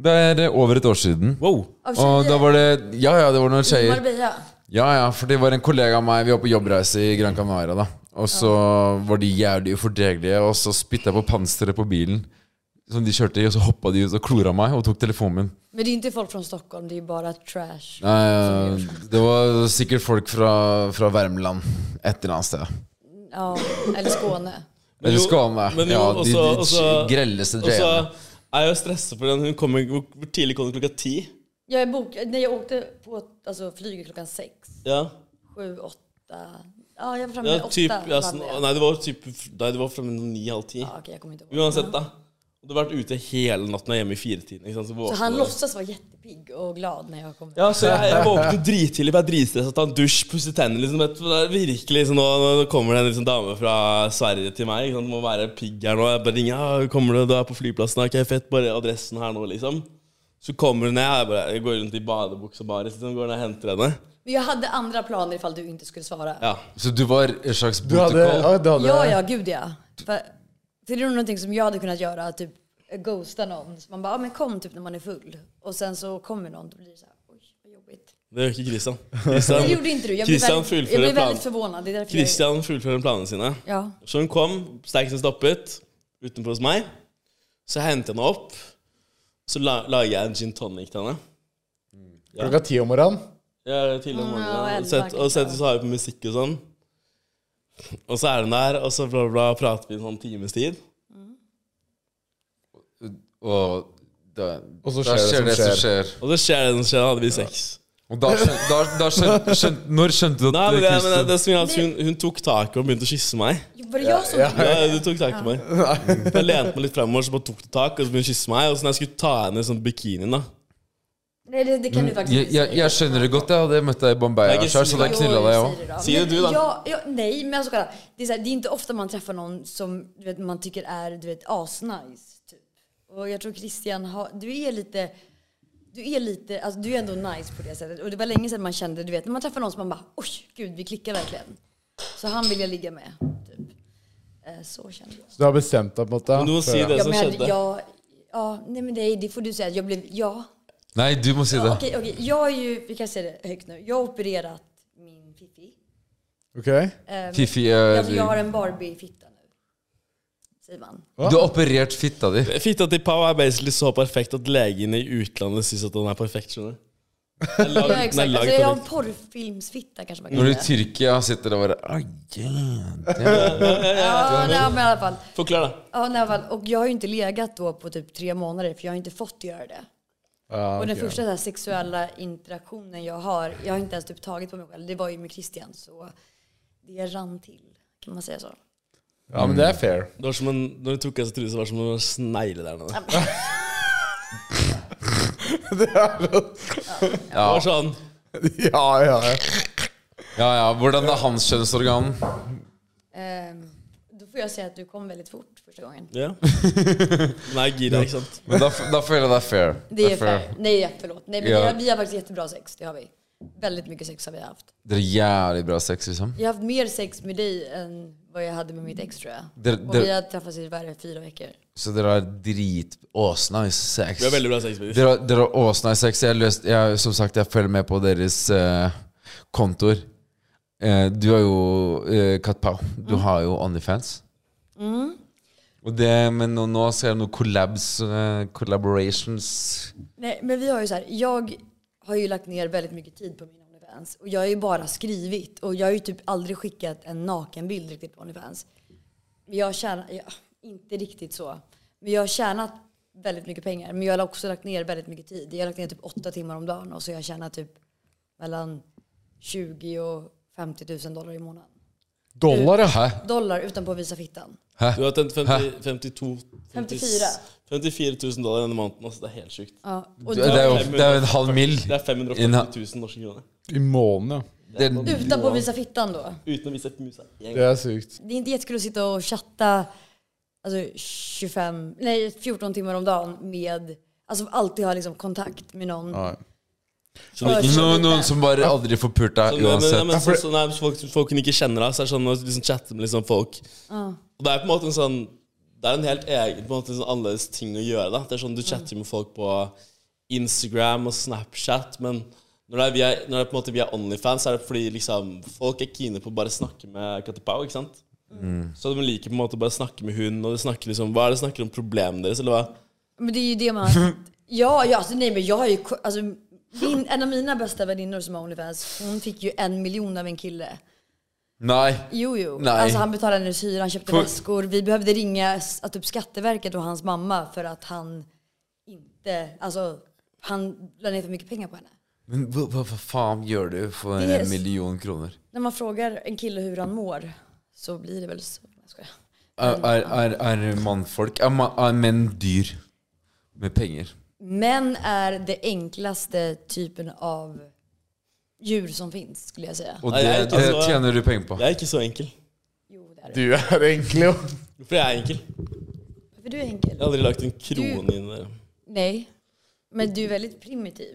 Speaker 5: Det er eh, over et år siden.
Speaker 6: Wow.
Speaker 8: av
Speaker 5: Og da
Speaker 8: tjejer
Speaker 5: var det Ja, ja, det var noen
Speaker 8: i
Speaker 5: tjejer.
Speaker 8: Marbella.
Speaker 5: Ja, ja, for det var en kollega av meg Vi var på jobbreise i Gran Canaria da Og så var de jævlig ufordelige Og så spyttet jeg på panseret på bilen Som de kjørte i Og så hoppet de ut og klora meg Og tok telefonen min
Speaker 8: Men det är inte folk från Stockholm, det är bara trash.
Speaker 5: Nei, Det var sikkert folk fra, fra Värmland Et eller annet sted
Speaker 8: Ja, eller Skåne.
Speaker 6: Men
Speaker 5: Eller
Speaker 6: jo-
Speaker 5: Skåne
Speaker 6: men jo,
Speaker 5: Ja, de, de
Speaker 6: også- også-
Speaker 5: grelleste
Speaker 6: Og så
Speaker 5: drejene
Speaker 6: er jeg jo stressa for den. Hun kommer, hvor hvor tidlig kom hun? Klokka ti?
Speaker 8: Jag, är bok, nej, jag åkte på alltså, flyget klockan sex,
Speaker 6: Ja.
Speaker 8: sju, åtta. Ja, jag var framme
Speaker 6: Ja,
Speaker 8: åtta.
Speaker 6: typ, ja,
Speaker 8: landade
Speaker 6: sånn,
Speaker 8: jag.
Speaker 6: nei, det var typ Nei, det var fra ni-halv ti.
Speaker 8: Ja, okej, jag kommer inte ihåg.
Speaker 6: Uansett, da. Du har vært ute hele natten og er hjemme i firetiden. Ikke sant? Så,
Speaker 8: Så
Speaker 6: våkner
Speaker 8: han
Speaker 6: du.
Speaker 8: låtsas vara jättepigg och glad när jag kom.
Speaker 6: Ja, så jeg, jeg våknet drittidlig, for jeg er dritstressa. Ta en dusj, pusse tennene. Liksom, vet du, det er virkelig liksom, nå, nå kommer det en liksom, dame fra Sverige til meg. Ikke sant? Må være pigg her nå. Jeg bare ringer. Ja, 'Kommer du? Du er på flyplassen?' Ok, fett. Bare adressen her nå, liksom. Så kommer hun ned. Jeg, bare, jeg går rundt i badebuksa bare. Liksom, går ned og henter henne.
Speaker 8: Men jag hade andra planer ifall du inte skulle svara.
Speaker 6: Ja.
Speaker 5: Så du var en slags
Speaker 3: Du hadde,
Speaker 5: protokoll
Speaker 3: ja, du hadde
Speaker 8: Ja, ja, gud ja. För, för det är nog någonting som jag hade kunnat göra, typ ghosta någon. Så man bara, ja, men kom typ när man är full. Och sen så kommer någon, då blir det så här, oj, vad jobbigt.
Speaker 6: Det gjør ikke Christian.
Speaker 8: Det
Speaker 6: Christian,
Speaker 8: gjorde inte du. Jag blir
Speaker 6: Christian
Speaker 8: väldigt, jag blir
Speaker 6: fullfører, plan,
Speaker 8: väldigt förvånad. Det är därför jag,
Speaker 6: Christian fullfører planene sine.
Speaker 8: ja.
Speaker 6: Så hun kom, sterkt som stoppet, utenfor hos meg. Så hentet jeg henne opp. Så la, lager jeg en gin tonic til henne.
Speaker 3: klokka ti om morgenen.
Speaker 6: Ja, tidlig om
Speaker 8: Ja,
Speaker 6: morgenen.
Speaker 8: elleve
Speaker 6: Og sett,
Speaker 8: er
Speaker 6: og
Speaker 8: ikke
Speaker 6: sett, så har vi på musikk og sånn. Og så er hun der, og så bla, bla, bla, prater vi en sånn times tid.
Speaker 5: Og da,
Speaker 3: Og så
Speaker 5: da
Speaker 3: skjer det
Speaker 5: skjer
Speaker 3: som
Speaker 5: det som skjer
Speaker 6: Og så skjer det som skjer, da hadde vi sex.
Speaker 5: Og da skjønte, da, da skjønte, skjønte Når skjønte du at
Speaker 6: Nei, men det, men det,
Speaker 5: Christian
Speaker 6: det som er at hun, hun tok taket og begynte å kysse meg.
Speaker 8: Jo, Var det jag som tog
Speaker 6: Ja,
Speaker 8: det?
Speaker 6: du tok tak på meg. Jeg lente meg litt fremover, så bare tok du tak, og så begynte hun å kysse meg. Og så når jeg skulle ta henne i sånn bikinien, da
Speaker 8: Nej, det,
Speaker 6: Mm.
Speaker 8: det kan du faktiskt
Speaker 5: jeg,
Speaker 8: inte
Speaker 5: jeg,
Speaker 8: säga.
Speaker 5: jeg skjønner det godt. Jeg hadde møtt deg i Bombay,
Speaker 6: Jeg er
Speaker 5: Ashar, så da
Speaker 6: jeg
Speaker 8: Jo,
Speaker 5: knulla deg
Speaker 8: jag
Speaker 5: òg.
Speaker 8: säger det då.
Speaker 6: Säger
Speaker 8: Men
Speaker 6: du då?
Speaker 8: Jag, jag, nej, men alltså kolla. Det är, så här, det är inte ofta man träffar någon som du vet, man tycker är du vet, asnice. Typ. Och jag tror Christian har, du är lite... Du är lite, alltså du är ändå nice på det sättet. Och det var länge sedan man kände, du vet, när man träffar någon som man bara oj, gud vi klickar verkligen. Så han vill jag ligga med. Typ. Eh, Så kände jag.
Speaker 3: Så du har bestemt deg på en måte?
Speaker 6: Men du må
Speaker 3: før-
Speaker 6: si det
Speaker 8: Ja,
Speaker 6: som
Speaker 8: men jag,
Speaker 6: skjedde.
Speaker 8: jag, ja, nej men det, det får du säga. Jag blev, ja,
Speaker 5: Nei, du må si
Speaker 8: Ja,
Speaker 5: det.
Speaker 8: Okej, okej. Jag är ju, vi kan säga det högt nu. Jag har opererat min fiffi.
Speaker 3: Ok.
Speaker 8: Ehm,
Speaker 5: Fifi,
Speaker 8: jag, jag har
Speaker 5: eh,
Speaker 8: en Barbie-fitta nu. Säger man.
Speaker 5: du har operert fitta di.
Speaker 6: Fitta til Pau er basically så perfekt at legene i utlandet syns at den er perfekt. skjønner du? Den er
Speaker 8: Ja,
Speaker 6: laget-
Speaker 8: exakt. Altså,
Speaker 6: den er
Speaker 8: Alltså,
Speaker 6: laget
Speaker 8: jag har en
Speaker 6: perfekt.
Speaker 8: porrfilmsfitta kanske man kan
Speaker 5: Når du i
Speaker 8: säga.
Speaker 5: Tyrkia sitter og bare Ai, yeah,
Speaker 8: Ja, nej, men i alla fall.
Speaker 6: Forklar, da.
Speaker 8: Ja, nej, i alla fall. Och jag har ju inte legat då på typ tre månader för jag har inte fått göra det. och den första så här, sexuella interaktionen jag har, jag har inte ens typ tagit på mig själv. Det var ju med Christian så det rann till. Kan man säga så?
Speaker 3: Ja, men det er fair.
Speaker 6: Det var som en, når du tok av seg trusa, var det som en snegle der nede. Det var sånn
Speaker 3: ja, ja, ja.
Speaker 5: Ja, ja. Hvordan er hans kjønnsorgan?
Speaker 8: Ehm, då får jag säga att du kom väldigt fort första gången.
Speaker 6: ja. Nei, gira, ikke sant?
Speaker 5: Men da, f- da føler jeg det er fair.
Speaker 8: Det är fair. Nej, förlåt. Nej, men
Speaker 5: Ja.
Speaker 8: vi, har, vi har faktiskt jättebra sex. Det har vi. Väldigt mycket sex har vi haft.
Speaker 5: Dere er jævlig bra sex, liksom.
Speaker 8: Jag har haft mer sex med dig än vad jag hade med mitt ex tror jag.
Speaker 5: Det-
Speaker 8: och
Speaker 5: det-
Speaker 8: vi har träffats i varje fyra veckor.
Speaker 5: Så dere har drit åsnice sex.
Speaker 6: Vi har veldig bra sex med dem.
Speaker 5: Dere, har- dere har åsnice sex. Jeg, har løst, jeg, som sagt, jeg følger med på deres eh, kontor. Eh, du har jo eh, Kat Pau. Du
Speaker 6: Mm.
Speaker 5: har jo Onlyfans. Og det, men nå, nå ser jeg noen collabs, eh, collaborations.
Speaker 8: Nej, men vi har ju så här, jag har ju lagt ner väldigt mycket tid på min Onlyfans och jag har ju bara skrivit och jag har ju typ aldrig skickat en nakenbild riktigt på Onlyfans. Men Jag har tjänat, ja, inte riktigt så, men jag har tjänat väldigt mycket pengar. Men jag har också lagt ner väldigt mycket tid. Jag har lagt ner typ åtta timmar om dagen och så har jag tjänat typ mellan 20 och 50 000 dollar i månaden.
Speaker 5: Dollar, ja. Hæ?
Speaker 8: Dollar utan på att visa fittan.
Speaker 6: Du har tjent 50, 52
Speaker 8: 54.
Speaker 6: 54 000 dollar denne måneden. Altså, det er helt sjukt.
Speaker 8: Ja, och
Speaker 5: Det er jo det er jo en halv mil.
Speaker 6: Det er 540 000 norske kroner.
Speaker 3: I måneden, ja.
Speaker 5: Det,
Speaker 8: Utan på att visa fittan då.
Speaker 6: Uten å vise et mus. en gang.
Speaker 3: Det er sykt.
Speaker 8: Det är inte jättekul att sitta och chatta alltså 25, nej 14 timmar om dagen med, alltså alltid ha liksom kontakt med någon.
Speaker 3: Ja.
Speaker 8: Och-
Speaker 5: No, noen som bare aldri får pult deg
Speaker 6: Sånn, men, men,
Speaker 5: uansett.
Speaker 6: men, så, så, nei, folk, folk hun ikke kjenner deg, så er det sånn å liksom, chatte med liksom, folk Og det er på en måte en sånn Det er en helt egen, på en måte en sånn annerledes ting å gjøre. da Det er sånn Du chatter med folk på Instagram og Snapchat, men når det er, via, når det er på en måte via Onlyfans, så er det fordi liksom folk er kine på å bare snakke med Katte Pau, ikke sant?
Speaker 5: Mm.
Speaker 6: Så de liker på en måte å bare snakke med hun, og de snakker liksom Hva er det de snakker om problemene deres, eller hva?
Speaker 8: Men det är ju det man... Ja, ja alltså, nej men jag har ju... ko- Alltså, min, en av mina bästa väninnor som har Onlyfans, hon fick ju en miljon av en kille.
Speaker 5: Nei.
Speaker 8: Jo, jo.
Speaker 5: Nej.
Speaker 8: Alltså, han betalade hennes hyra, han köpte
Speaker 5: Får-
Speaker 8: väskor. Vi behövde ringa s- att typ, Skatteverket och hans mamma för att han inte... Alltså, han la ner för mycket pengar på henne.
Speaker 5: Men hva, hva, hva faen gjør du for
Speaker 8: Det er-
Speaker 5: en million kroner?
Speaker 8: När man frågar en kille hur han mår så blir det väl så. Jag skojar.
Speaker 5: Er, er, er, er mannfolk er, ma- er menn dyr med penger?
Speaker 8: Män er det enklaste typen av djur som finns skulle jag säga.
Speaker 5: Og
Speaker 6: Nei,
Speaker 5: det,
Speaker 6: jeg er ikke
Speaker 5: det
Speaker 6: så-
Speaker 5: tjener du penger på.
Speaker 6: Jeg er ikke så enkel.
Speaker 8: Jo, det är det.
Speaker 3: Du er egentlig jo
Speaker 6: Hvorfor er jeg enkel?
Speaker 8: För du är enkel.
Speaker 6: Jeg har aldri lagt en krone inn der.
Speaker 8: Nej. Men du är väldigt primitiv.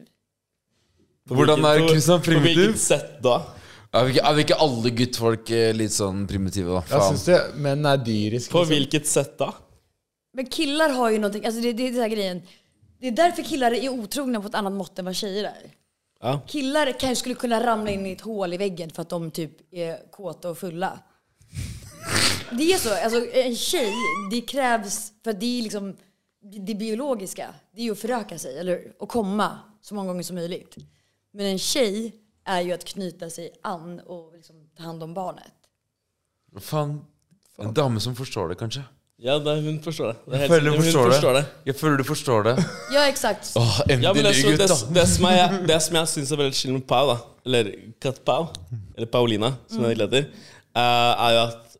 Speaker 5: Hvordan er
Speaker 6: På-
Speaker 5: Kristian
Speaker 6: På hvilket
Speaker 5: primitiv?
Speaker 6: sett da?
Speaker 5: Er vi, ikke, er vi ikke alle guttfolk eh, litt sånn primitive, da?
Speaker 3: Jeg
Speaker 5: Faen.
Speaker 3: syns det, menn er liksom. dyriske.
Speaker 6: På hvilket sett da?
Speaker 8: Men killar har ju någonting, alltså det, det är den här grejen. Det är därför killar är otrogna på ett annat mått än vad tjejer är.
Speaker 6: Ja.
Speaker 8: Killar kanske skulle kunna ramla in i ett hål i väggen för att de typ är kåta och fulla. Det är så. Alltså, en tjej, det krävs, för att det är liksom det, det biologiska. Det är ju att föröka sig, eller hur? Och komma så många gånger som möjligt. Men en tjej är ju att knyta sig an och liksom ta hand om barnet.
Speaker 5: Faen. En dame som forstår det, kanskje.
Speaker 6: Ja, det, hun forstår det. det er helt
Speaker 5: Føler du
Speaker 6: sikkert.
Speaker 5: forstår
Speaker 6: hun
Speaker 5: det.
Speaker 6: forstår det.
Speaker 5: Jeg føler du forstår det.
Speaker 8: Ja, exakt.
Speaker 5: Åh,
Speaker 6: Ja, men
Speaker 5: endelig,
Speaker 6: altså, det,
Speaker 5: gutt, da.
Speaker 6: det som jeg, det som jeg syns er veldig chill med Pau, da eller Kat Pau, eller Paulina, som hun egentlig heter, eh, er jo at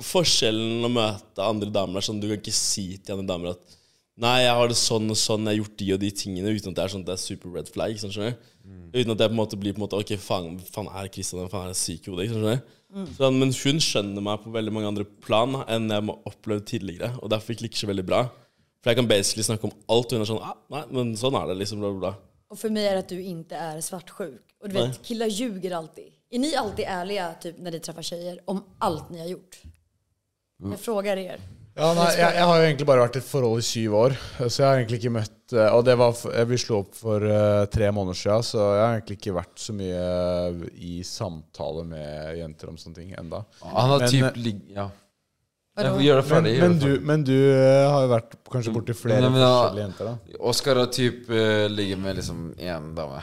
Speaker 6: forskjellen å møte andre damer er sånn Du kan ikke si til andre damer at Nei, jeg har det sånn og sånn, jeg har gjort de og de tingene, uten at det er sånn at det er super red flag. Ikke sant, skjønner du? Uten at jeg på en måte blir på en måte Ok, faen, faen er Kristian en faen er syk i hodet? Ikke sant, skjønner du? Sånn, men hun skjønner meg på veldig mange andre plan enn jeg har opplevd tidligere, og derfor klikker så veldig bra. For jeg kan basically snakke om alt, og hun er sånn ah, Nei, men sånn er det, liksom. Bla, bla, bla.
Speaker 8: Och för mig är det att du inte är svartsjuk. Och du vet, killar ljuger alltid. Är ni alltid ärliga typ, när ni träffar tjejer om allt ni har gjort? Jag frågar er.
Speaker 3: Ja, nei, jeg, jeg har jo egentlig bare vært i et forhold i syv år, så jeg har egentlig ikke møtt eh, Og det var, f- eh, vi slo opp for eh, tre måneder siden, så jeg har egentlig ikke vært så mye eh, i samtale med jenter om sånne ting enda.
Speaker 5: Han har
Speaker 3: Men- eh,
Speaker 5: typ ligg... Ja. Nei, Gjør det
Speaker 3: Men,
Speaker 5: ferdig. gjør
Speaker 3: men,
Speaker 5: det
Speaker 3: du,
Speaker 5: ferdig. Mm.
Speaker 3: men du eh, har jo vært kanskje borti flere
Speaker 5: Nei, men da-
Speaker 3: forskjellige jenter, da.
Speaker 5: Oskar har typ eh, ligget med liksom én dame,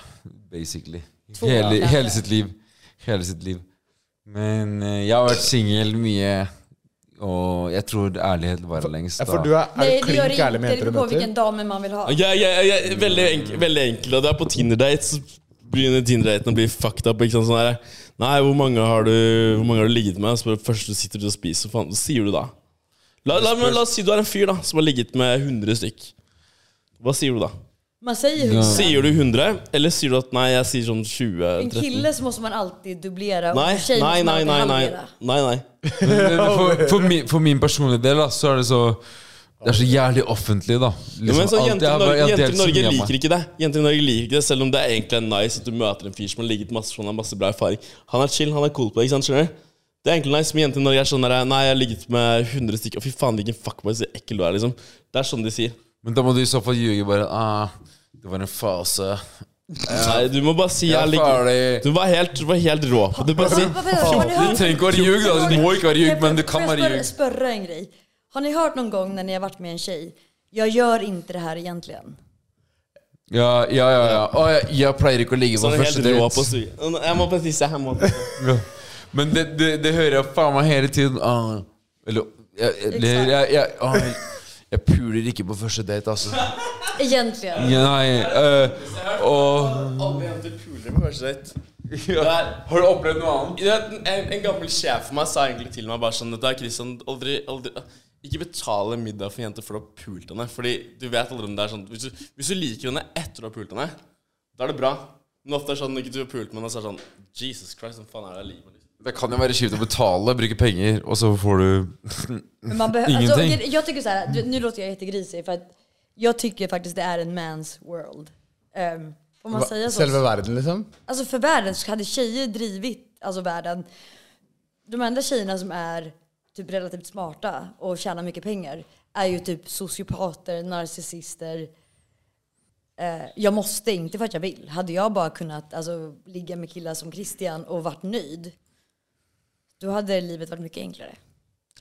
Speaker 5: basically.
Speaker 8: To,
Speaker 5: Hele,
Speaker 8: ja.
Speaker 5: hele sitt liv. Hele sitt liv. Men eh, jeg har vært singel mye, og jeg tror ærlighet varer lengst.
Speaker 3: Ja, for
Speaker 5: da.
Speaker 3: du er, er
Speaker 8: Nej,
Speaker 3: du
Speaker 8: det gör
Speaker 3: klink
Speaker 8: det
Speaker 3: ærlig
Speaker 8: inte.
Speaker 3: med jenter
Speaker 8: Det beror
Speaker 3: du
Speaker 8: på
Speaker 3: møter?
Speaker 8: vilken dam man vill ha.
Speaker 6: Ja, ja, ja, ja, veldig, enk, veldig enkelt. Og du er på Tinder-date, så begynner Tinder-daten å bli fucked up. Ikke sant? Sånn der, Nei, hvor mange har du, hvor mange har du ligget med? Så bare først du sitter du og spiser, faen, hva sier du da? La, la, men, la oss si du er en fyr da som har ligget med 100 stykk. Hva sier du da?
Speaker 8: Man säger hundra.
Speaker 6: Sier du 100, eller sier du at nei, jeg sier sånn 20?
Speaker 8: En
Speaker 6: 13?
Speaker 8: kille så måste man alltid dubblera och
Speaker 6: Nei,
Speaker 8: en tjej
Speaker 6: nei,
Speaker 8: måste man
Speaker 6: nei,
Speaker 8: alltid
Speaker 6: nei. nei,
Speaker 8: halvera.
Speaker 6: nei, nei.
Speaker 5: Men, men for, for, min, for min personlige del da, så er det så Det er så jævlig offentlig, da. Liksom,
Speaker 6: Jo, men så
Speaker 5: alt-
Speaker 6: jenter,
Speaker 5: jeg
Speaker 6: i
Speaker 5: har bare-
Speaker 6: Norge,
Speaker 5: jeg har
Speaker 6: jenter
Speaker 5: delt
Speaker 6: i
Speaker 5: så
Speaker 6: Norge
Speaker 5: mye av meg.
Speaker 6: liker ikke det. Jenter i Norge liker ikke det Selv om det er egentlig er nice at du møter en fyr som har ligget masse sånn, har masse bra erfaring. Han er chill, han er cool på det. ikke sant, skjønner du? Det er egentlig nice, men jenter i Norge er sånn der Nei, jeg har ligget med 100 stykker. Å, fy faen, hvilken fuckboy så ekkel du er, liksom. Det er sånn de sier.
Speaker 5: Men da må du i så fall ljuge bare ah, 'Det var en fase'.
Speaker 6: Nei, du må bare si jeg
Speaker 5: Jeg
Speaker 6: har
Speaker 5: er
Speaker 6: ligget
Speaker 5: ferdig.
Speaker 6: Du var helt, du var helt rå på det. Du bare si
Speaker 8: Vad- vad- vad- har ni hört-
Speaker 5: Du trenger ikke å være ljug, da. Du må ikke være ljug,
Speaker 8: Får-
Speaker 5: men du kan
Speaker 8: får
Speaker 5: være
Speaker 8: jag
Speaker 5: ljug.
Speaker 8: spör- spörra en grej? Har ni hört någon gång när ni har varit med en tjej, jag gör inte det här egentligen?
Speaker 5: Ja, ja, ja. ja. Å, jeg, jeg pleier ikke å ligge på
Speaker 6: sånn helt
Speaker 5: første
Speaker 6: rå på
Speaker 5: date.
Speaker 6: suge. Jeg må bare tisse. Jeg må
Speaker 5: Ja. Men det, det, det hører jeg faen meg hele tiden. Ah, eller jeg, eller jeg, jeg, ah, jeg, jeg puler ikke på første date, altså.
Speaker 8: Egentligen.
Speaker 5: Ja, Nei, eh, og
Speaker 6: Alle jenter puler på første date.
Speaker 5: Har du opplevd noe annet?
Speaker 6: Du vet, en, en gammel sjef for meg sa egentlig til meg bare sånn Dette er Christian, aldri, aldri Ikke betale en middag for en jente for du har pult henne. Fordi du vet aldri om det er sånn Hvis du, hvis du liker henne etter du har pult henne, da er det bra. Men ofte er det sånn når ikke du har pult med henne, så er det sånn Jesus Christ, hva faen er det jeg liker med? liksom?
Speaker 5: Det kan jo være kjipt å betale, bruke penger, og så får du
Speaker 8: Men man behö-
Speaker 5: Ingenting.
Speaker 8: Alltså, jag tycker så här, du- nu låter jag jättegrisig för att jag tycker faktiskt det är en man's world. Ehm, får man säga så?
Speaker 3: Selve verden, liksom?
Speaker 8: Alltså för världen så hade tjejer drivit alltså världen. De enda tjejerna som är typ relativt smarta och tjänar mycket pengar är ju typ sociopater, narcissister. Eh, jag måste, inte för att jag vill. Hade jag bara kunnat alltså, ligga med killar som Christian och varit nöjd, då hade livet varit mycket enklere.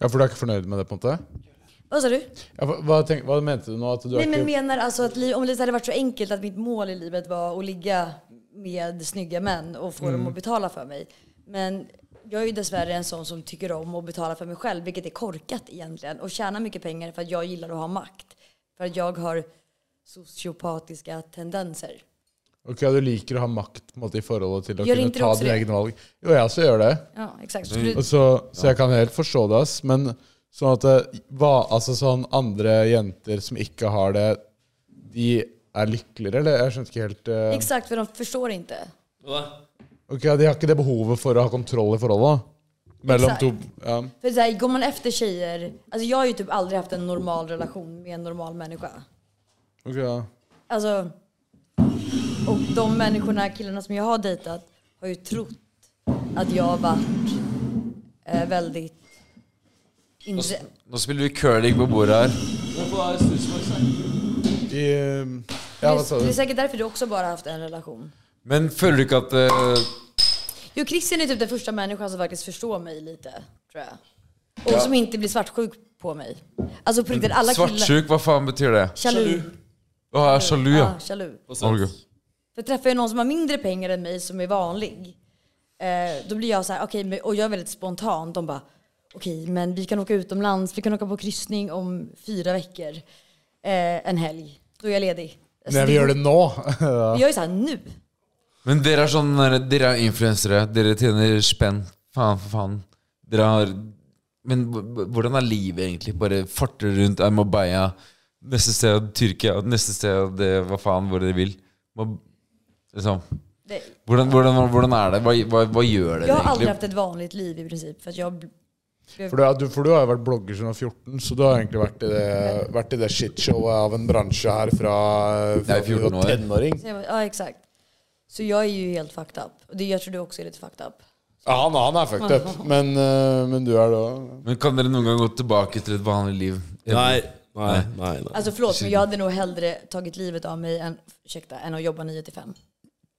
Speaker 3: Ja, For du er ikke fornøyd med det, på en måte?
Speaker 8: Vad sa du?
Speaker 3: Ja, hva, hva, tenk, hva mente du nå? At du
Speaker 8: Nej
Speaker 3: er
Speaker 8: men
Speaker 3: ikke
Speaker 8: menar alltså att liv, om det hade varit så enkelt att mitt mål i livet var att ligga med snygga män och få
Speaker 3: Mm.
Speaker 8: dem att betala för mig. Men jag är ju dessvärre en sån som tycker om att betala för mig själv, vilket är korkat egentligen. Och tjäna mycket pengar för att jag gillar att ha makt. För att jag har sociopatiska tendenser.
Speaker 3: Ok, du liker å ha makt på en måte, i forholdet til å
Speaker 8: Gjør
Speaker 3: kunne
Speaker 8: inte du
Speaker 3: ta
Speaker 8: också
Speaker 3: dine
Speaker 8: det?
Speaker 3: egne valg? Jo, jeg også gjør det.
Speaker 8: Ja, exakt. Så skulle
Speaker 3: Og
Speaker 8: du-
Speaker 3: så, så jeg kan helt forstå det, ass. Men sånn at det, hva, altså sånn andre jenter som ikke har det, de er lykkeligere, eller? Jeg skjønte ikke helt eh,
Speaker 8: Exakt, för de förstår inte.
Speaker 6: Hva da?
Speaker 3: Ok, De har ikke det behovet for å ha kontroll i forholdet? Mellom
Speaker 8: Exakt.
Speaker 3: to ja.
Speaker 8: För så här, går man efter tjejer, alltså jag har ju typ aldrig haft en normal relation med en normal människa.
Speaker 3: Ok, ja.
Speaker 8: Alltså, och de människorna, killarna som jag har dejtat har ju trott att jeg har vært eh, väldigt inte,
Speaker 5: Nå spiller vi curling på bordet her.
Speaker 3: I, eh, ja, hva
Speaker 8: det,
Speaker 3: sa
Speaker 8: det
Speaker 3: du?
Speaker 8: är säkert därför du også bare har haft en relation.
Speaker 5: Men føler du ikke at eh,
Speaker 8: Jo, Christian är typ den första människan som faktiskt förstår mig lite, tror jag. Och som inte blir svartsjuk på mig. Alltså på riktigt, alla killar...
Speaker 5: Svartsjuk, hva faen betyr det?
Speaker 8: Sjalu.
Speaker 5: Å, jeg er sjalu, ja.
Speaker 8: Ja, sjalu.
Speaker 6: Hva sa du?
Speaker 5: Olga.
Speaker 8: För träffar jag någon som har mindre pengar än mig som är vanlig, eh, då blir jag så här, okej, men- och jag är väldigt spontan. De bara, okej okej, men vi kan åka utomlands, vi kan åka på kryssning om fyra veckor, eh, en helg. Då är jag ledig. Alltså,
Speaker 3: När vi gjør det nå.
Speaker 8: Vi gör ju såhär nu.
Speaker 5: Men dere er sånn der- Dere er influensere. Dere tjener spenn. Faen, for faen. Dere har Men h- h- hvordan er livet egentlig? Bare farter rundt er Marbella, neste sted Tyrkia, neste sted eh, hva faen, hvor dere vil. Hva- Liksom.
Speaker 8: Det,
Speaker 5: Hvordan, hvordan, hvordan er det? Hva, hva, hva gjør dere
Speaker 8: jag har aldrig
Speaker 5: egentlig?
Speaker 8: haft ett vanligt liv i princip. För att jag, bl-
Speaker 3: For du, er- du, for du har jo vært blogger siden du var 14, så du har egentlig vært i det, vært i det shitshowet av en bransje her fra, fra
Speaker 5: Jeg er 14 år.
Speaker 3: tenåring.
Speaker 8: så jag, ja, exakt. Så jag är ju helt fucked up. Och det, jag tror du också är lite fucked up.
Speaker 3: Ja, han, han er fucked up, men, eh, men du er det òg.
Speaker 5: Men Kan dere noen gang gå tilbake til et vanlig liv?
Speaker 6: Nei, nei, nei. nei.
Speaker 8: Alltså förlåt, men jag hade nog hellre tagit livet av mig än, ursäkta, än att jobba 9 till 5.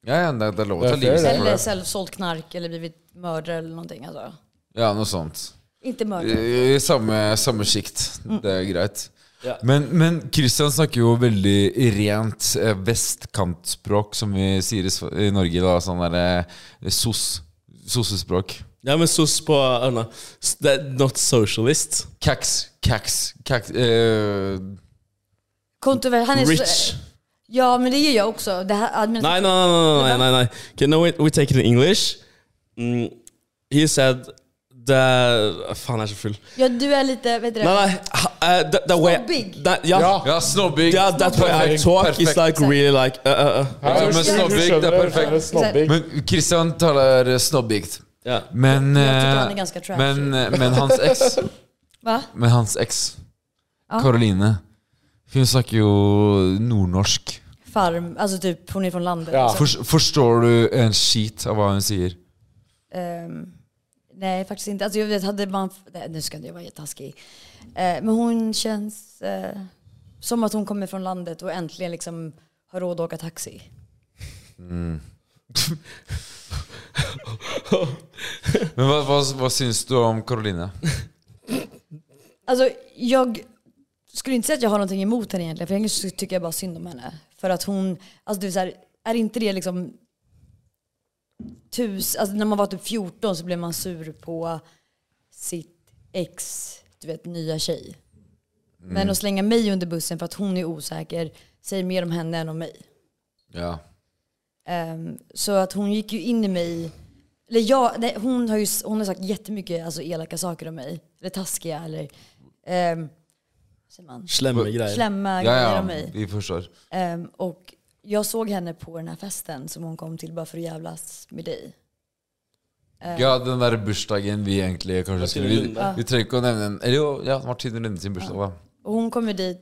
Speaker 5: Ja, ja, det, det er lov å
Speaker 3: Det
Speaker 5: ta
Speaker 3: er fair,
Speaker 5: livet sitt for
Speaker 8: Eller
Speaker 5: det.
Speaker 8: själv sålt knark eller blivit mördare eller någonting. Alltså.
Speaker 5: Ja, noe sånt.
Speaker 8: Inte mördare.
Speaker 5: I i samme, samme sjikt.
Speaker 8: Mm.
Speaker 5: Det er greit.
Speaker 6: Ja.
Speaker 5: Men, men Christian snakker jo veldig rent eh, vestkantspråk, som vi sier i Sv- i Norge. da Sånn derre eh, sos. Sossespråk.
Speaker 6: Ja, men sos på uh, nei. S- det er Not socialist.
Speaker 5: Kaks, kaks, kaks eh,
Speaker 8: Kontrover- han är så-
Speaker 6: Rich.
Speaker 8: Ja, men det är jag också. Det här, administ-
Speaker 6: Nei, nei, nei, nei, nei, nei, nei. Okay, no, we, we take it in English. Mm, he said the Faen, jeg er så full.
Speaker 8: ja, du är lite, vet du
Speaker 6: Nei,
Speaker 8: det?
Speaker 6: nei. ha- eh, the, the way,
Speaker 8: Snobbig.
Speaker 6: That, ja,
Speaker 3: Ja.
Speaker 5: Ja, snobbing.
Speaker 6: yeah, that way I
Speaker 5: Perfekt,
Speaker 6: talk is
Speaker 5: perfekt.
Speaker 6: like really like uh, uh, uh.
Speaker 5: Ja, men snobbig, det er perfekt.
Speaker 3: Snobbig.
Speaker 5: Men Christian taler eh, snobbikt.
Speaker 6: Ja.
Speaker 5: Men,
Speaker 8: Jeg tycker han
Speaker 5: eh,
Speaker 8: er ganske trashy.
Speaker 5: men, eh, men hans eks
Speaker 8: Va?
Speaker 5: Men hans eks,
Speaker 8: Ah.
Speaker 5: Karoline, hun snakker jo nordnorsk.
Speaker 8: Farm, alltså typ hon är från landet.
Speaker 3: Ja.
Speaker 8: liksom.
Speaker 5: Fors- forstår du en skit av hva hun sier?
Speaker 8: Ehm, nej, faktiskt inte. Alltså jag vet, hade man... Nej, nu ska inte jag vara jättetaskig. Eh, men hon känns eh, som att hon kommer från landet och äntligen liksom har råd att åka taxi.
Speaker 5: Men Hva, hva, hva syns du om Karoline?
Speaker 8: Alltså jag skulle inte säga att jag har någonting emot henne egentligen. För egentligen så tycker jag bara synd om henne. För att hon, alltså du är så här, är inte det liksom tus, alltså när man var typ 14 så blev man sur på sitt ex, du vet nya tjej. Men att slänga mig under bussen för att hon är osäker säger mer om henne än om mig.
Speaker 5: Ja.
Speaker 8: Ehm, så att hon gick ju in i mig. Eller jag, nej, hon, har ju, s- hon har sagt jättemycket alltså, elaka saker om mig. Eller taskiga eller... ehm, vad säger man?
Speaker 6: Slemme greier.
Speaker 8: Slämma
Speaker 5: ja,
Speaker 8: grejer
Speaker 5: ja,
Speaker 8: om mig.
Speaker 5: vi forstår.
Speaker 8: Ehm, och jag såg henne på den här festen som hon kom till bara för att jävlas med dig.
Speaker 5: Ja, den der bursdagen vi egentlig kanskje skulle Vi, vi trenger ikke å nevne den. Eller jo, ja, Martine Lunde sin bursdag, da.
Speaker 8: Och hon kommer dit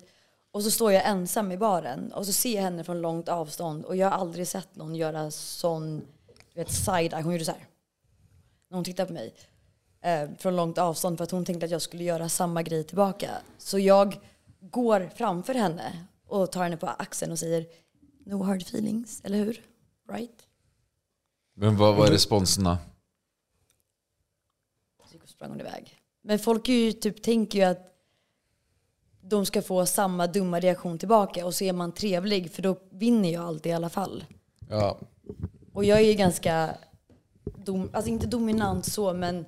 Speaker 8: och så står jeg ensam i baren och så ser jag henne från långt avstånd och jag har aldrig sett någon göra sån du vet, side-eye. Hon gjorde så här. När hon tittade på mig eh, från långt avstånd för att hon tänkte att jag skulle göra samma grej tillbaka. Så jag går framför henne och tar henne på axeln och säger No hard feelings, eller hur? Right?
Speaker 5: Men hva var responsen da?
Speaker 8: Så sprang hon iväg. Men folk är ju, typ, tänker ju att de ska få samma dumma reaktion tillbaka och så är man trevlig för då vinner jag alltid i alla fall.
Speaker 3: Ja.
Speaker 8: Och jag är ju ganska, dom, alltså inte dominant så, men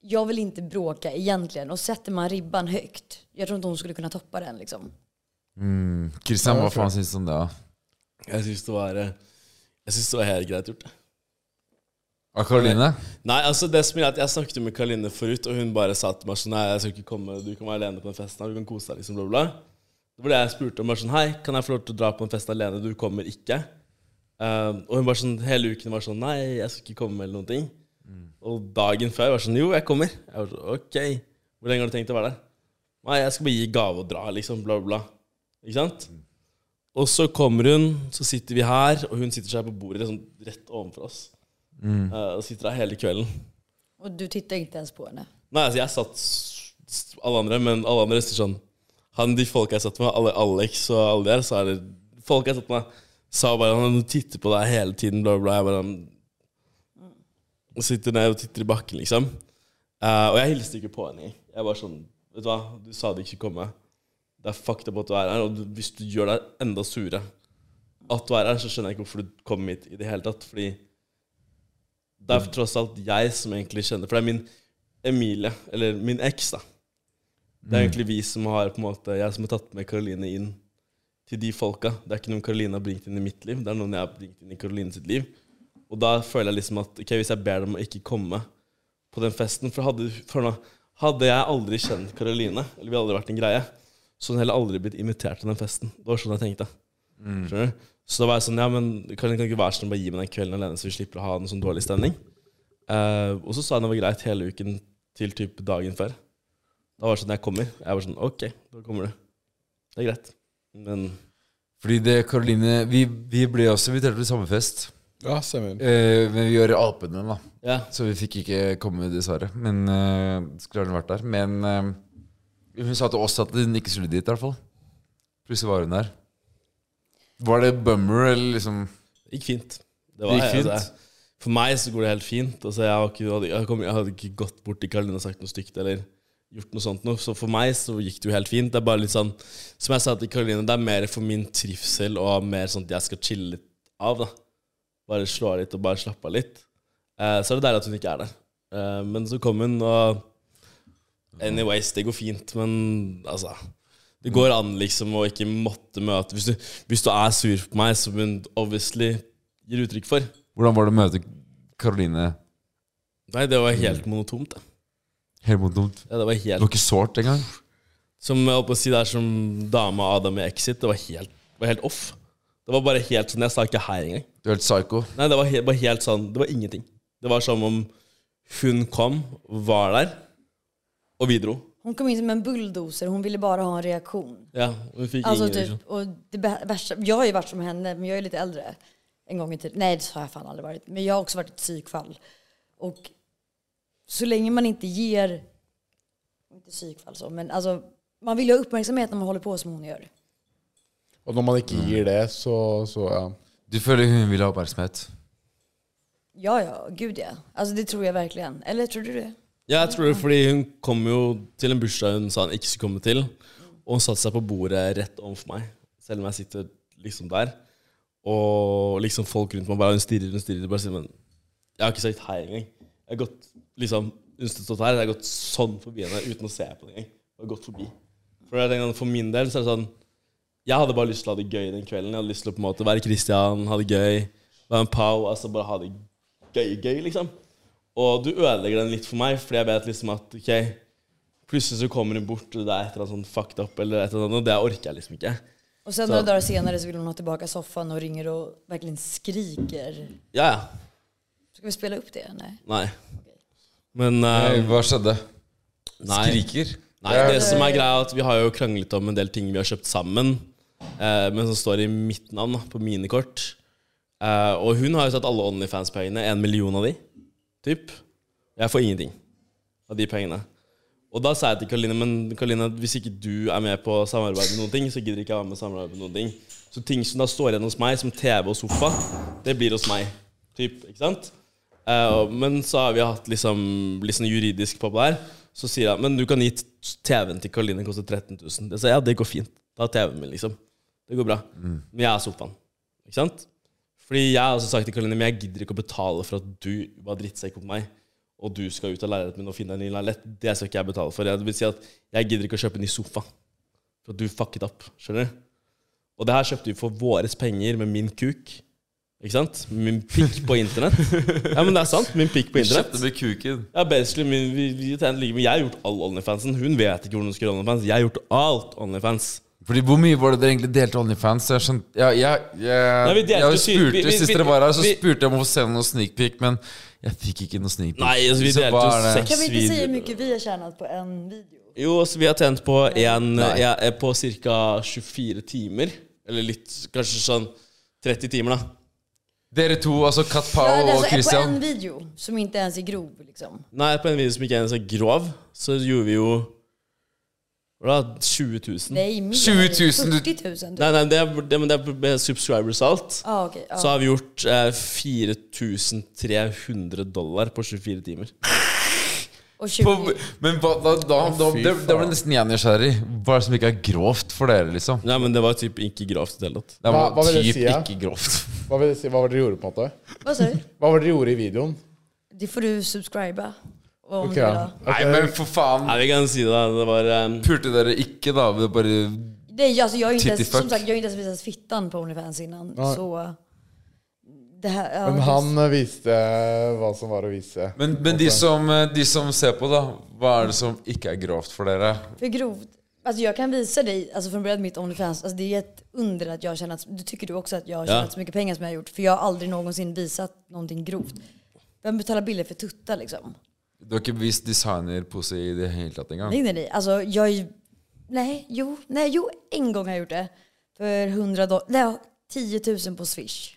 Speaker 8: jag vill inte bråka egentligen. Och sätter man ribban högt, jag tror inte hon skulle kunna toppa den liksom.
Speaker 5: Kristian, hva faen syns du om det? da?
Speaker 6: Jeg syns det var eh, Jeg synes det var helt greit gjort. det.
Speaker 5: Av Karoline?
Speaker 6: Nei, altså det som er at Jeg snakket jo med Karoline forut, og hun bare sa til meg sånn Nei, jeg skal ikke komme, du kan være alene på den festen, her, du kan kose deg, liksom, bla, bla. Det var det jeg spurte om. bare sånn, Hei, kan jeg få lov til å dra på en fest alene? Du kommer ikke. Eh, og hun bare sånn, hele uken var sånn Nei, jeg skal ikke komme, eller noen ting. Og dagen før var sånn Jo, jeg kommer. Jeg var sånn, Ok. Hvor lenge har du tenkt å være der? Nei, jeg skal bare gi gave og dra, liksom. Bla, bla. Ikke sant? Og så kommer hun, så sitter vi her, og hun sitter seg på bordet liksom, rett ovenfor oss. Eh, og sitter der hele kvelden.
Speaker 8: Och du tittar inte ens på henne.
Speaker 6: Nei, altså, jeg satt s- s- alle andre, men alle andre sier sånn han, De folka jeg satt med, alle Alex og alle der, så er det folk jeg satt med, sa bare han «Du titter på deg hele tiden, bla, bla. Jeg bare og sitter ned og titter i bakken, liksom. Eh, og jeg hilste ikke på henne. Jeg var sånn Vet du hva, du sa det ikke skulle komme. Det er fucked up at du er her, og du, hvis du gjør deg enda surere at du er her, så skjønner jeg ikke hvorfor du kom hit i det hele tatt. Fordi det er tross alt jeg som egentlig kjenner For det er min Emilie, eller min eks, da. Det er egentlig vi som har på en måte, jeg som har tatt med Karoline inn til de folka. Det er ikke noen Karoline har bringt inn i mitt liv, det er noen jeg har bringt inn i Karoline sitt liv. Og da føler jeg liksom at ok, hvis jeg ber dem å ikke komme på den festen For hadde, for nå, hadde jeg aldri kjent Karoline, eller vi hadde aldri vært en greie, så hadde hun heller aldri blitt invitert til den festen. Det var sånn jeg tenkte. Skjønner du? Så da var jeg sånn, ja, men Karoline kan ikke være sånn, bare gi meg den kvelden alene, så vi slipper å ha en sånn dårlig stemning. Eh, og så sa hun det var greit hele uken til typ dagen før. Da var det sånn jeg kommer. Jeg var sånn OK, da kommer du. Det er greit. Men
Speaker 5: Fordi det, Karoline Vi, vi ble også invitert til samme fest,
Speaker 3: Ja, stemmer.
Speaker 5: eh, men vi var i Alpene, da.
Speaker 6: ja,
Speaker 5: Så vi fikk ikke komme, dessverre. Men eh, Skulle gjerne vært der. Men eh, hun sa til oss at hun ikke skulle dit, i hvert fall. Plutselig var hun der. Var det bummer, eller liksom
Speaker 6: det gikk fint. Det
Speaker 5: Det gikk
Speaker 6: altså, jeg- for meg så går det helt fint. Altså, jeg, har ikke, jeg, hadde, jeg, kom, jeg hadde ikke gått bort til Karoline og sagt noe stygt eller gjort noe sånt noe. Så for meg så gikk det jo helt fint. Det er bare litt sånn Som jeg sa til Karoline, det er mer for min trivsel og mer sånn at jeg skal chille litt av, da. Bare slå av litt og bare slappe av litt. Eh, så er det deilig at hun ikke er der. Eh, men så kom hun, og Anyways, det går fint, men altså Det går an liksom å ikke måtte møte Hvis du, hvis du er sur på meg, som hun obviously gir uttrykk for
Speaker 5: Hvordan var det å møte Karoline
Speaker 6: Nei, det var helt monotont. da.
Speaker 5: helt mot dumt?
Speaker 6: Ja, det
Speaker 5: Det
Speaker 6: var
Speaker 5: var
Speaker 6: helt
Speaker 5: ikke sårt engang.
Speaker 6: Som jeg holdt på å si, det er som dama Adam i Exit. Det var helt, det var helt off. Det var bare helt sånn Jeg sa ikke hei engang.
Speaker 5: Du er helt psycho.
Speaker 6: Nei, det var helt, bare helt sånn Det var ingenting. Det var som om hun kom, var der, og vi dro.
Speaker 8: Hon kom in som en bulldozer, hon ville bara ha en reaktion.
Speaker 6: Ja, og vi fikk
Speaker 8: Alltså
Speaker 6: ingen reaksjon.
Speaker 8: typ, och det bä- värsta, jag har ju varit som henne, men jag är lite äldre. En gång i tiden. Nej, det har jag fan aldrig varit. Men jag har också varit ett psykfall. Och så länge man inte ger, inte psykfall så, men alltså, man vill ju ha uppmärksamhet när man håller på som hon gör.
Speaker 3: Og når man ikke gir det, så, så ja.
Speaker 5: Du føler hun vil ha oppmerksomhet.
Speaker 8: Ja, ja, gud ja. Alltså det tror jag verkligen. Eller tror du det?
Speaker 6: Ja, jeg tror det fordi hun kom jo til en bursdag hun sa hun ikke skulle komme til. Og hun satte seg på bordet rett overfor meg, selv om jeg sitter liksom der. Og liksom folk rundt meg bare hun stirrer hun stirrer. Bare sier, men jeg har ikke sagt hei engang. Jeg har gått liksom, hun stått her, jeg har gått sånn forbi henne uten å se på henne engang. Jeg har gått forbi. For, jeg tenker, for min del så er det sånn Jeg hadde bare lyst til å ha det gøy den kvelden. Jeg hadde lyst til å på en måte være Christian, ha det gøy, være en pow, altså bare ha det gøy, gøy, liksom. Og du ødelegger den litt for meg, fordi jeg vet liksom at ok, plutselig så kommer hun bort, og det er et eller annet sånn fucked up, eller et eller annet, og det orker jeg liksom ikke.
Speaker 8: Och sen
Speaker 6: Så-
Speaker 8: några dagar senare så vill hon ha tillbaka soffan og ringer och verkligen skriker.
Speaker 6: Ja, ja.
Speaker 8: Ska vi spela upp det? Nej.
Speaker 6: Nei. Men
Speaker 5: Nei,
Speaker 6: eh,
Speaker 5: hva skjedde?
Speaker 6: nei.
Speaker 5: Skriker?
Speaker 6: Nei, det som er greia, er at vi har jo kranglet om en del ting vi har kjøpt sammen, eh, men som står i mitt navn, da, på mine kort. Eh, og hun har jo tatt alle OnlyFans-pengene, en million av de, typ. Jeg får ingenting av de pengene. Og da sa jeg til Karoline, men Karoline, hvis ikke du er med på samarbeid med noen ting, så gidder ikke jeg være med på samarbeid med noen ting. Så ting som da står igjen hos meg, som TV og sofa, det blir hos meg, typ, ikke sant? Eh, og- men så har vi hatt liksom, litt sånn juridisk på det her. Så sier jeg men du kan gi t- TV-en til Karoline koster 13 000. Jeg sier ja, det går fint. Da er TV-en min, liksom. Det går bra. Men jeg er sofaen. Ikke sant? Fordi jeg har også sagt til Karoline men jeg gidder ikke å betale for at du var drittsekk på meg, og du skal ut av leiligheten min og finne deg en ny leilighet. Det skal ikke jeg betale for. Det vil si at jeg gidder ikke å kjøpe en ny sofa. For at du fucket opp. Skjønner du? Og det her kjøpte vi for våres penger med min kuk. Ikke sant? Min pikk på internett. Ja, men det er sant. Min pikk på internett.
Speaker 5: med kuken.
Speaker 6: Ja, basically min, vi, vi tjener like mye. Jeg har gjort all OnlyFansen. Hun vet ikke hvordan hun skal gjøre OnlyFans. Jeg har gjort alt OnlyFans.
Speaker 5: Fordi Hvor mye var det dere egentlig delte OnlyFans? Jeg skjønte ja, jeg, jeg,
Speaker 6: Nei, vi delte
Speaker 5: jeg
Speaker 6: jo
Speaker 5: spurte,
Speaker 6: tydelig- vi- vi-
Speaker 5: Sist dere var her, så
Speaker 6: vi-
Speaker 5: spurte jeg om å få se noen sneak peek, men jeg fikk ikke noen sneak peek.
Speaker 6: Nei, altså, vi
Speaker 5: Så
Speaker 6: delte
Speaker 5: hva
Speaker 6: jo
Speaker 5: er det?
Speaker 6: seks-
Speaker 8: Kan vi
Speaker 6: Svid-
Speaker 8: inte säga hur mycket vi har tjänat på en video?
Speaker 6: Jo, så vi har tjent på en jeg er På ca. 24 timer. Eller litt Kanskje sånn 30 timer, da.
Speaker 5: Dere to, altså Kat
Speaker 8: Ja,
Speaker 5: Pao
Speaker 8: det är
Speaker 5: og
Speaker 8: alltså på
Speaker 5: Christian. Mm.
Speaker 8: en video som inte ens är grov liksom.
Speaker 6: Nei, på en video som ikke er så grov, så gjorde vi jo Hva da? 20 000? Nei,
Speaker 8: Nej, mer.
Speaker 5: 20 000, du-
Speaker 8: 40 000 typ.
Speaker 6: nei, det er, det, men det er med subscribers og alt.
Speaker 8: Ja, okej. ja.
Speaker 6: Så har vi gjort eh, 4300 dollar på 24 timer.
Speaker 8: Och 20...
Speaker 5: På- Men hva, da, da, da, det, det ble nesten jeg nysgjerrig. Hva er det som ikke er grovt for dere, liksom?
Speaker 6: Nei, men det var typ ikke grovt i det hele tatt.
Speaker 5: Det var
Speaker 3: Hva- hva vil det
Speaker 5: typ
Speaker 3: si, ja?
Speaker 5: ikke grovt.
Speaker 3: Hva vil det si, hva var det dere gjorde, på en måte?
Speaker 8: Vad sa du?
Speaker 3: Hva var det dere gjorde i videoen?
Speaker 8: Det får du subscriba. Och Om
Speaker 3: Ok,
Speaker 8: det
Speaker 3: ja.
Speaker 8: da.
Speaker 5: Nei, men for faen!
Speaker 6: Nei, vi kan si det. Det var um,
Speaker 5: Pulte dere ikke, da? Vi Bare
Speaker 8: Det är, ju- alltså, jag har ju inte ens,
Speaker 5: Titty fuck.
Speaker 8: som sagt, jag har ju inte ens visat fittan på Onlyfans innan. Så... eh, Det här, ja,
Speaker 3: Men
Speaker 8: det-
Speaker 3: han eh, viste hva som var å vise.
Speaker 5: men, men de, som, eh, de som ser på, da. Hva er det som ikke er grovt for dere?
Speaker 8: För grovt. Alltså jag kan visa dig, alltså från början mitt Onlyfans, alltså det är ett under att jag har tjänat, du tycker du också att jag har tjänat så mycket pengar som jag har gjort, för jag har aldrig någonsin visat någonting grovt. Vem betalar bilder för tuttar liksom?
Speaker 5: Du har ikke vist designerpose i det hele tatt engang?
Speaker 8: Nej nej nej, alltså jag är ju- nej, jo, nej, jo, en gång har jag gjort det. För 100 dollar, nej, 10 000 på swish.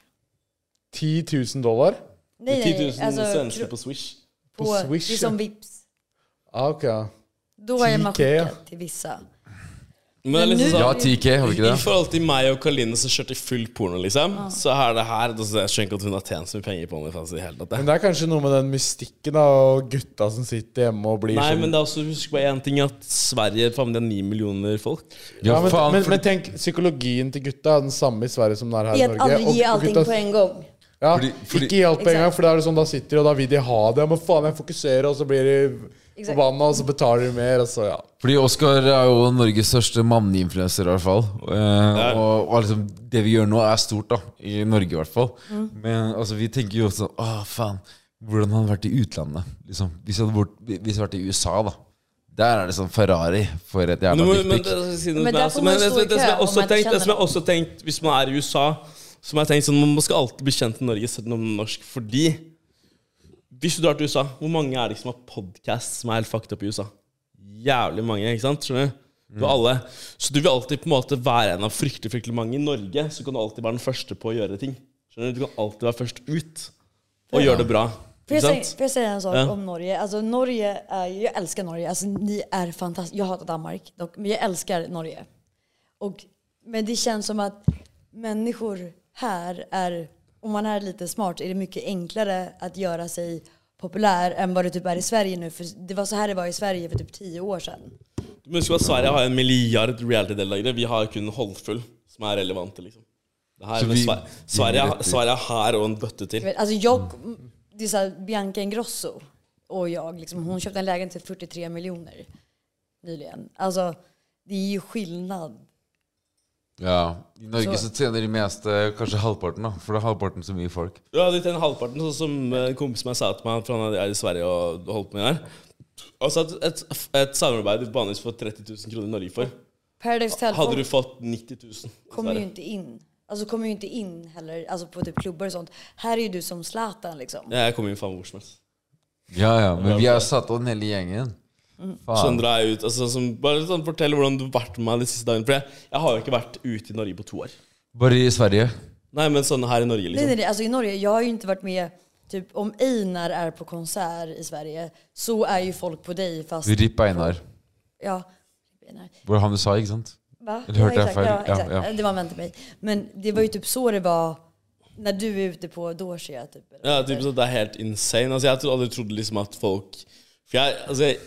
Speaker 3: 10 000 dollar?
Speaker 8: Nej,
Speaker 6: 10 000
Speaker 8: alltså,
Speaker 6: svensker
Speaker 8: kro-
Speaker 6: på Swish.
Speaker 8: på,
Speaker 3: på Swish,
Speaker 8: Det är som
Speaker 3: ja.
Speaker 8: vips.
Speaker 3: Ah, ok, ja.
Speaker 8: Då har man
Speaker 3: 10K, ja.
Speaker 8: skickat till vissa.
Speaker 6: Men det er
Speaker 8: Men
Speaker 6: liksom
Speaker 8: nu-
Speaker 5: Ja,
Speaker 6: sånn
Speaker 5: 10K, har vi ikke
Speaker 6: I
Speaker 5: det?
Speaker 6: forhold til meg og Karoline som kjørte full porno, liksom, så er det her altså, Jeg skjønner ikke at hun har tjent så mye penger på OnlyFans i det hele tatt.
Speaker 3: Men
Speaker 6: jeg.
Speaker 3: det er kanskje noe med den mystikken da, og gutta som sitter hjemme og blir
Speaker 6: Nei,
Speaker 3: sånn
Speaker 6: men det er også, husk bare én ting, at Sverige faen, det er ni millioner folk.
Speaker 3: ja, men,
Speaker 5: faen,
Speaker 3: men,
Speaker 5: fordi-
Speaker 3: men tenk, psykologien til gutta er den samme i Sverige som den er her i
Speaker 8: Det är att
Speaker 3: Norge.
Speaker 8: aldrig ge allting
Speaker 3: gutta-
Speaker 8: på en gång.
Speaker 3: ja,
Speaker 5: Fordi- fordi-
Speaker 3: Ikke gi alt på en gang,
Speaker 8: Exakt.
Speaker 3: for da er det sånn, da sitter de, og da vil de ha det. Men faen, jeg fokuserer, og så blir de
Speaker 8: Exakt.
Speaker 3: forbanna, og så betaler de mer, og så ja.
Speaker 5: Fordi Oskar er jo Norges største manneinfluenser, i hvert fall. Eh, og, og liksom, det vi gjør nå, er stort, da. I Norge, i hvert fall. Men altså, vi tenker jo også Å, faen. Hvordan hadde det vært i utlandet? Liksom, hvis det hadde vært, hvis det hadde vært i USA, da. Der er det sånn Ferrari for et
Speaker 6: Men,
Speaker 5: jævla
Speaker 6: men, men,
Speaker 5: dickpic.
Speaker 6: det, si noe
Speaker 8: Men
Speaker 6: som er-
Speaker 8: der
Speaker 6: altså,
Speaker 8: får man
Speaker 6: men det,
Speaker 8: stå i
Speaker 6: det, det, som jeg
Speaker 8: kø
Speaker 6: også
Speaker 8: om man
Speaker 6: tenkt, det
Speaker 8: kjenner
Speaker 6: som jeg også tenkt Hvis man er i USA, som jeg tenkt sånn Man skal alltid bli kjent i Norge selv om man er norsk, fordi Hvis du drar til USA, hvor mange er det som har podkast som er helt fucked up i USA? Jævlig mange, ikke sant? Skjønner du? Du har alle. Så du vil alltid på en måte være en av fryktelig fryktelig mange. I Norge så kan du alltid være den første på å gjøre ting. Skjønner Du Du kan alltid være først ut og gjøre det bra.
Speaker 8: Får
Speaker 6: Ikke
Speaker 8: jag, säga,
Speaker 6: sant?
Speaker 8: får jag säga en sak
Speaker 6: Ja.
Speaker 8: om Norge? Alltså, Norge är, jag älskar Norge. Alltså, ni är fantastiska. Jag hatar Danmark, dock, men jag älskar Norge. Och, men det känns som att människor här är, om man är lite smart, är det mycket enklare att göra sig populär än vad det typ är i Sverige nu. För det var så här det var i Sverige for typ tio år sedan.
Speaker 6: Du må huske på at Sverige har en milliard reality-deltakere. Vi har kun håndfull som er relevante, liksom. Det her,
Speaker 5: Så
Speaker 6: men
Speaker 5: vi-
Speaker 6: Sverige,
Speaker 5: vi
Speaker 6: Sverige,
Speaker 5: vet det.
Speaker 6: Sverige har og en bøtte
Speaker 8: Jag
Speaker 6: til.
Speaker 8: vet, Alltså, jag,
Speaker 6: Mm.
Speaker 8: det är så här, Bianca Ingrosso och jag, liksom, hon köpte en lägenhet för 43 miljoner nyligen. Alltså, det är ju skillnad.
Speaker 5: Ja. I Norge så
Speaker 8: Så-
Speaker 5: tjener de meste kanskje halvparten, da. For det er halvparten så mye folk.
Speaker 6: Ja, det er den halvparten, sånn som eh, en kompis som jeg sa til meg, for han er i Sverige og holdt på med det her. Altså et, et, et samarbeid du vanligvis får 30 000 kroner i Norge for.
Speaker 8: Paradise Hotel
Speaker 6: Hadde
Speaker 8: kom-
Speaker 6: du fått 90 000 i
Speaker 8: kommer ju
Speaker 6: Sverige.
Speaker 8: inte in. Alltså kommer ju inte in heller, alltså på typ klubbar och sånt. Här är ju du som Zlatan liksom.
Speaker 6: Ja, jeg kommer inn faen hvor som helst.
Speaker 5: Ja, ja. Men vi har satt av den hele gjengen. Faen.
Speaker 6: Sondre er ut, altså, sånn som, bare sånn, Fortell hvordan du har vært med meg de siste dagene. For jeg, jeg har jo ikke vært ute i Norge på to år.
Speaker 5: Bare i Sverige.
Speaker 6: Nei, men sånn her i Norge,
Speaker 8: Nej,
Speaker 6: liksom.
Speaker 8: nej, nej, alltså i Norge, jag har ju inte varit med, typ om Einar är på konsert i Sverige så är ju folk på dig fast...
Speaker 5: Ripp Einar.
Speaker 8: Ja.
Speaker 5: Hvor han du sa, ikke sant?
Speaker 8: Va?
Speaker 5: Eller hörde
Speaker 8: ja,
Speaker 5: jag
Speaker 8: exakt,
Speaker 5: fel?
Speaker 8: ja,
Speaker 5: Ja,
Speaker 8: exakt.
Speaker 5: ja.
Speaker 8: Det var en vän till mig. Men det var ju typ så det var när du är ute på Dorsia typ. eller
Speaker 6: Ja,
Speaker 8: vad det
Speaker 6: typ
Speaker 8: heter.
Speaker 6: sånn, det er helt insane. Altså, jeg trodde aldri trodde liksom at folk For jeg, altså, jeg,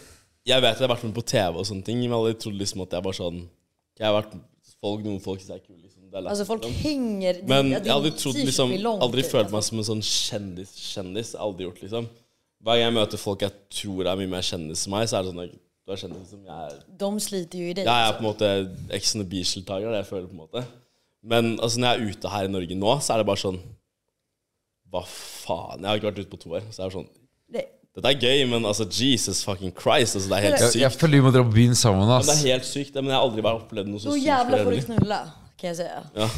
Speaker 6: jeg vet at jeg har vært med på TV og sånne ting, men jeg aldri trodde liksom at jeg var sånn Jeg har vært folk, Noen folk syns jeg er kul, liksom. Det er lett,
Speaker 8: Alltså Altså, folk
Speaker 6: liksom.
Speaker 8: hänger... det-
Speaker 6: Men
Speaker 8: ja,
Speaker 6: jeg
Speaker 8: din
Speaker 6: har aldri trodd
Speaker 8: t-shirt
Speaker 6: liksom
Speaker 8: blir lång,
Speaker 6: Aldri
Speaker 8: typ,
Speaker 6: følt
Speaker 8: alltså.
Speaker 6: meg som en sånn kjendis-kjendis. Aldri gjort, liksom. Hver gang jeg møter folk jeg tror er mye mer kjendis enn meg, så er det sånn at du er kjendis som jeg er
Speaker 8: De sliter ju i dig.
Speaker 6: jeg er
Speaker 8: alltså.
Speaker 6: på en måte Ex on the Beach-deltaker, det jeg føler på en måte. Men altså, når jeg er ute her i Norge nå, så er det bare sånn Hva faen? Jeg har ikke vært ute på to år. Så jeg er sånn
Speaker 8: Det-
Speaker 6: Dette er gøy, men altså, Jesus fucking Christ. Altså, det er helt
Speaker 5: Jeg, jeg
Speaker 6: sykt.
Speaker 5: føler vi må dra på byen sammen,
Speaker 6: Men det er
Speaker 5: ass.
Speaker 6: helt sykt, men jeg har aldri bare opplevd noe så
Speaker 8: Då
Speaker 6: sykt.
Speaker 8: jävlar får
Speaker 6: for
Speaker 8: du
Speaker 6: det.
Speaker 8: knulla kan jag säga.
Speaker 6: Ja.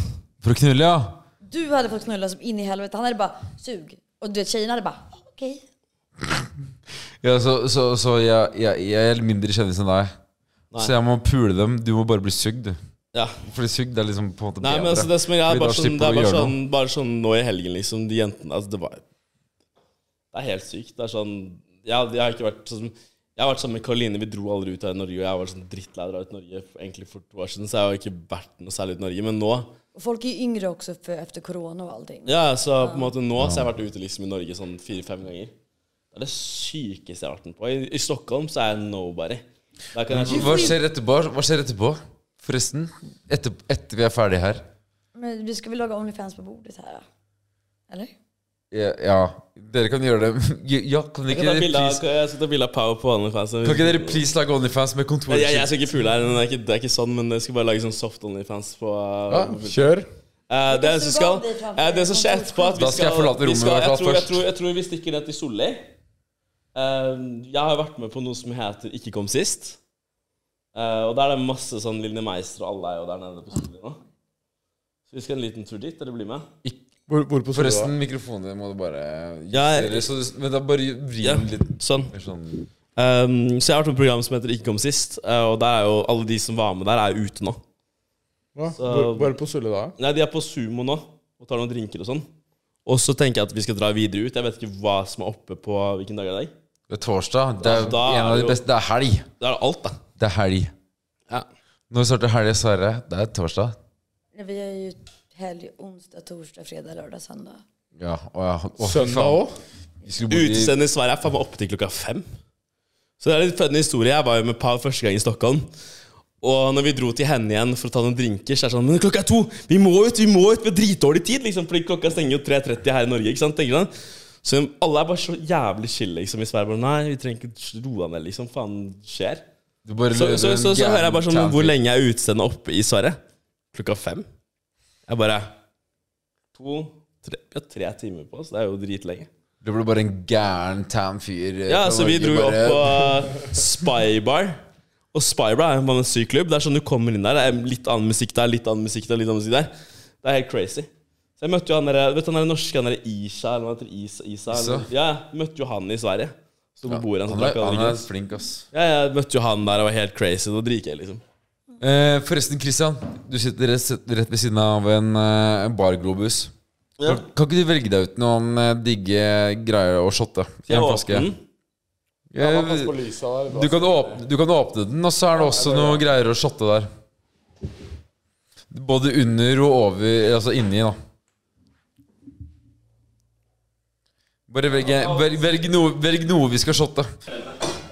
Speaker 5: For å knulle, ja.
Speaker 8: Du hade fått knulla som in i helvete. Han hade bara sug. Och du vet tjejerna hade bara okej.
Speaker 5: Ja, så, så, så jeg, jeg, jeg er mindre kjendis enn deg. Så jeg må pule dem. Du må bare bli sugd.
Speaker 6: Ja.
Speaker 5: Fordi sugd er liksom på en måte
Speaker 6: Nei, men
Speaker 5: bedre.
Speaker 6: altså, det som er, greia
Speaker 5: Fordi
Speaker 6: er
Speaker 5: da
Speaker 6: bare sånn,
Speaker 5: slipper
Speaker 6: det er
Speaker 5: du å
Speaker 6: bare
Speaker 5: gjøre
Speaker 6: sånn, bare sånn nå i helgen, liksom, de jentene Altså, det var Det er helt sykt. Det er sånn Jeg, hadde- jeg har ikke vært sånn Jeg har vært sammen med Karoline, vi dro aldri ut av Norge, og jeg var sånn drittlei av å dra ut av Norge for- egentlig for to år siden, så jeg har ikke vært noe særlig ut i Norge. Men nå
Speaker 8: Och folk är ju yngre också för, efter corona och allting.
Speaker 6: Ja, så på en måte nå så har jeg vært ute liksom i Norge sånn fire-fem ganger. Det er det sykeste jeg har vært med på. I, I Stockholm så er jeg nobody. Der kan jeg
Speaker 5: noe. Hva skjer etterpå? Hva skjer etterpå? Forresten. Etter, etter vi er ferdige her.
Speaker 8: Men vi ska väl laga Onlyfans på bordet här? Eller?
Speaker 5: Ja, ja. Dere kan gjøre det. Ja, kan dere ikke
Speaker 6: Jeg skal ta
Speaker 5: dere
Speaker 6: bilde av-
Speaker 5: please
Speaker 6: jeg skal ta bilde av Power på OnlyFans.
Speaker 5: Kan ikke dere please lage OnlyFans med
Speaker 6: Jeg, jeg, jeg
Speaker 5: kontorskilt?
Speaker 6: skal ikke pule her, men det er ikke, det er ikke sånn, men jeg skal bare lage sånn soft Onlyfans på uh,
Speaker 9: Ja, kjør.
Speaker 6: Eh, det som skal eh, Det som skjer etterpå at vi
Speaker 5: Da skal jeg forlate
Speaker 6: vi
Speaker 5: rommet i
Speaker 6: skal-
Speaker 5: hvert fall
Speaker 6: jeg tror- jeg
Speaker 5: først.
Speaker 6: tror- Jeg tror vi stikker ned til Solli. Eh, jeg har vært med på noe som heter Ikke kom sist. Eh, og der er det masse sånn Linni Meister og alle er jo der nede på Solli nå. Så vi skal en liten tur dit. Dere blir med?
Speaker 9: Hvor, hvor på Solva?
Speaker 5: Forresten, mikrofonen din må du bare
Speaker 6: Ja, jeg-
Speaker 5: justere, så du- Men da bare vri den litt
Speaker 6: sånn.
Speaker 5: mer sånn
Speaker 6: Eh, så jeg har vært med på et program som heter Ikke kom sist, eh, og der er jo alle de som var med der, er ute nå.
Speaker 9: Hva?
Speaker 6: så-
Speaker 9: Hvor, hvor er det på Sulle da?
Speaker 6: Nei, de er på sumo nå og tar noen drinker og sånn. Og så tenker jeg at vi skal dra videre ut. Jeg vet ikke hva som er oppe på hvilken dag er det i dag.
Speaker 5: Det er torsdag. Det er,
Speaker 6: Da er
Speaker 5: en av
Speaker 6: jo-
Speaker 5: de beste Det er helg.
Speaker 6: Det er alt, da.
Speaker 5: Det er helg.
Speaker 6: Ja.
Speaker 5: Når starter helg, Sverre? Det er torsdag.
Speaker 8: Nej, Vi har ju helg, onsdag, torsdag, fredag, lördag, söndag.
Speaker 5: Ja, å, ja. Å, fy
Speaker 9: Søndag
Speaker 5: faen.
Speaker 9: òg?
Speaker 5: Vi skulle bodd i
Speaker 6: Utestedet i Sverige er faen meg oppe til klokka fem. Så det er litt funny historie. Jeg var jo med Pau første gang i Stockholm. Og når vi dro til henne igjen for å ta noen drinker, så er det sånn Men klokka er to! Vi må ut! Vi må ut! Vi har dritdårlig tid, liksom, fordi klokka stenger jo 3.30 her i Norge, ikke sant? Tenker han. Så alle er bare så jævlig chill, liksom, i Sverige. Bare, Nei, vi trenger ikke roe deg ned, liksom. Faen skjer?
Speaker 5: du bare
Speaker 6: Så,
Speaker 5: løper
Speaker 6: så,
Speaker 5: en
Speaker 6: så, så
Speaker 5: gæren
Speaker 6: hører jeg bare sånn
Speaker 5: tan
Speaker 6: Hvor
Speaker 5: til.
Speaker 6: lenge er utestedet oppe i Sverige? Klokka fem? Jeg bare To tre, Vi har tre timer på oss. Det er jo dritlenge.
Speaker 5: Det ble bare en gæren tan fyr. eh,
Speaker 6: Ja,
Speaker 5: fra
Speaker 6: så vi
Speaker 5: Norge,
Speaker 6: dro jo
Speaker 5: bare-
Speaker 6: opp på Spybar. Og Spybar er jo bare en syk klubb. Det er sånn du kommer inn der, det er litt annen musikk der, litt annen musikk der, litt annen musikk der. Det er helt crazy. Så jeg møtte jo han der, vet du han der norske, han der Isha, eller hva heter det? Isa? Isa, eller,
Speaker 5: Isa?
Speaker 6: ja, jeg møtte jo han i Sverige. Sto på bordet,
Speaker 5: Han
Speaker 6: han som
Speaker 5: er,
Speaker 6: drakk alle
Speaker 5: han er
Speaker 6: grus.
Speaker 5: flink, ass.
Speaker 6: Ja, jeg møtte jo han der, det var helt crazy. Da driker jeg, liksom.
Speaker 5: Eh, forresten, Christian. Du sitter rett, rett ved siden av en, eh, en barglobus.
Speaker 6: Ja.
Speaker 5: Kan, kan ikke du velge deg ut noen eh, digge greier å shotte? i
Speaker 6: Jeg
Speaker 5: en
Speaker 6: åpner
Speaker 5: flaske?
Speaker 6: den.
Speaker 5: Eh,
Speaker 9: Pass på Lisa der.
Speaker 5: du, kan åpne, du kan åpne den, og så er det også noe greier å shotte der. Både under og over Altså inni, da. Bare velg, velg, velg, noe, velg noe vi skal shotte.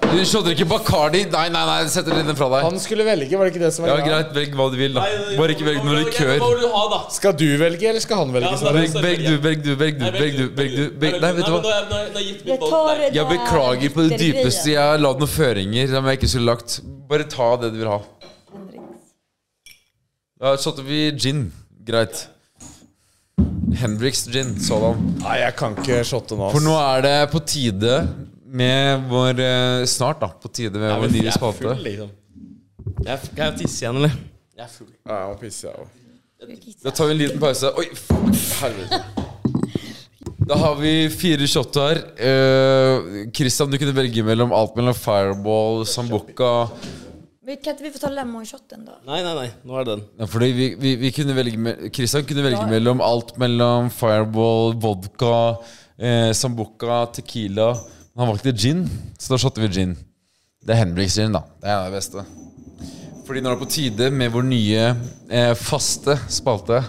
Speaker 5: Du shotter ikke Bacardi. Nei, nei, nei, setter den fra deg.
Speaker 9: Han skulle velge, var det ikke det som var
Speaker 5: Ja,
Speaker 9: greia?
Speaker 5: greit, velg hva du vil, da. Bare ikke velg noe
Speaker 6: Hva
Speaker 5: likør.
Speaker 6: vil du ha, da?
Speaker 9: Skal du velge, eller skal han velge?
Speaker 6: Ja,
Speaker 9: Sverre?
Speaker 5: Velg,
Speaker 6: men-
Speaker 5: velg du, velg du, velg du,
Speaker 6: Nei,
Speaker 5: velg du. Velg du, velg, nei, vet du
Speaker 6: men
Speaker 5: hva?
Speaker 6: da- da- da- da gitt mitt
Speaker 8: Jag
Speaker 6: valg
Speaker 8: tar
Speaker 6: til deg.
Speaker 8: det
Speaker 5: Jeg
Speaker 8: där
Speaker 5: beklager på det
Speaker 8: bittergrejen.
Speaker 5: dypeste. Jeg har lagd noen føringer som jeg ikke skulle lagt. Bare ta det du vil ha. Da satte vi gin. Greit. Henriks gin, sådan.
Speaker 9: Nei, jeg kan ikke shotte nå. ass.
Speaker 5: For nå er det på tide med vår eh, Snart, da. På tide med vår nye
Speaker 6: Jeg er
Speaker 5: spalte.
Speaker 6: full, liksom. Jeg er f- Kan jeg tisse igjen, eller? Jeg er full.
Speaker 9: Ja, jeg må pisse, jeg òg.
Speaker 5: Da tar vi en liten pause. Oi, faen, helvete. Da har vi fire shot her. Eh, Christian, du kunne velge mellom alt mellom fireball, sambuca
Speaker 8: Men kan inte vi få ta lemonshotten då?
Speaker 6: Nei, nei, nei. Nå er det den.
Speaker 5: ja, fordi vi, vi, vi kunne velge me Christian kunne velge mellom alt mellom fireball, vodka, eh, sambuca, tequila Men han valgte gin, så da shotter vi gin. Det er Henriks gin, da. Det er det beste. Fordi nå er det på tide med vår nye eh, faste spalte.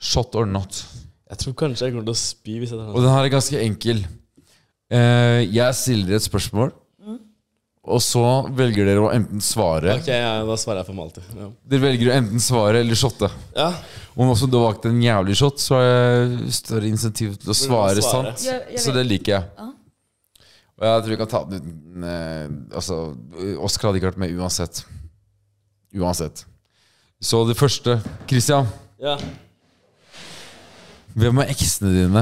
Speaker 5: Shot or not.
Speaker 6: Jeg tror kanskje jeg kommer til å spy hvis jeg tar
Speaker 5: Og den her er ganske enkel. Eh, jeg stiller et spørsmål, og så velger dere å enten svare
Speaker 6: Ok, ja, Da svarer jeg for Malte. Ja.
Speaker 5: Dere velger å enten svare eller shotte.
Speaker 6: ja.
Speaker 5: Om også du har valgt en jævlig shot, så er det større insentiv til å svare
Speaker 6: svare.
Speaker 5: sant.
Speaker 8: Jeg- jeg
Speaker 5: så
Speaker 8: vet.
Speaker 5: det liker jeg. Og jeg tror vi kan ta den uten eh, Altså, Oskar hadde ikke vært med uansett. Uansett. Så det første Christian,
Speaker 6: ja.
Speaker 5: hvem av eksene dine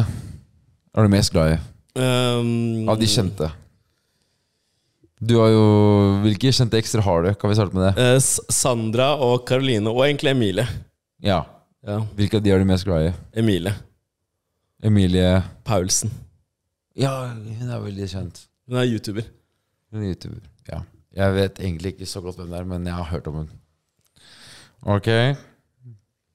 Speaker 5: er du mest glad i?
Speaker 6: Um,
Speaker 5: Av de kjente. Du har jo Hvilke kjente ekstra har du? Kan vi starte med det?
Speaker 6: eh, S- Sandra og Karoline, og egentlig Emilie.
Speaker 5: Ja.
Speaker 6: Ja.
Speaker 5: Hvilke av de er du mest glad i?
Speaker 6: Emilie
Speaker 5: Emilie
Speaker 6: Paulsen.
Speaker 5: Ja, hun er veldig kjent.
Speaker 6: Hun er YouTuber.
Speaker 5: Hun er YouTuber. Ja. Jeg vet egentlig ikke så godt hvem det er, men jeg har hørt om hun. Ok.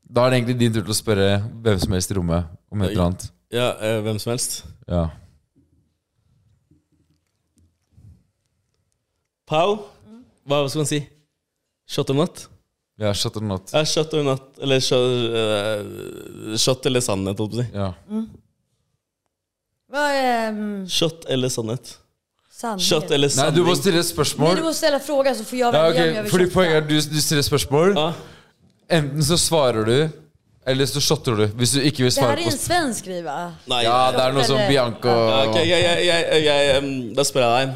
Speaker 5: Da er det egentlig din tur til å spørre hvem som helst i rommet om et eller annet.
Speaker 6: Ja, eh, hvem som helst.
Speaker 5: Ja.
Speaker 6: Pau, hva skal man si? Shot or not?
Speaker 5: Ja, shut or not.
Speaker 6: Ja, shot or not. Eller shot, eh, shot eller sannhet, holdt på å si.
Speaker 5: Ja.
Speaker 8: Mm. Vad är um,
Speaker 6: Shot eller sannhet?
Speaker 8: sanning?
Speaker 6: Shot eller
Speaker 5: Nei,
Speaker 6: sanning?
Speaker 5: du må stille et
Speaker 8: Nej, du
Speaker 5: spørsmål.
Speaker 8: måste ställa frågan så får jag
Speaker 5: Ja,
Speaker 8: välja om
Speaker 5: ok.
Speaker 8: jag vill
Speaker 5: Fordi
Speaker 8: shotta.
Speaker 5: poenget er at du, du stiller et spørsmål.
Speaker 6: Ja.
Speaker 5: Enten så svarer du Eller så shotter du. Hvis du ikke vil
Speaker 8: Det
Speaker 5: svare
Speaker 8: här är
Speaker 5: på
Speaker 8: en svensk riva.
Speaker 6: Nei,
Speaker 5: Ja, det er noe som
Speaker 8: Eller-
Speaker 5: Bianca
Speaker 6: Ja, ok, jeg, jeg, jeg, jeg, um, Da spør jeg deg.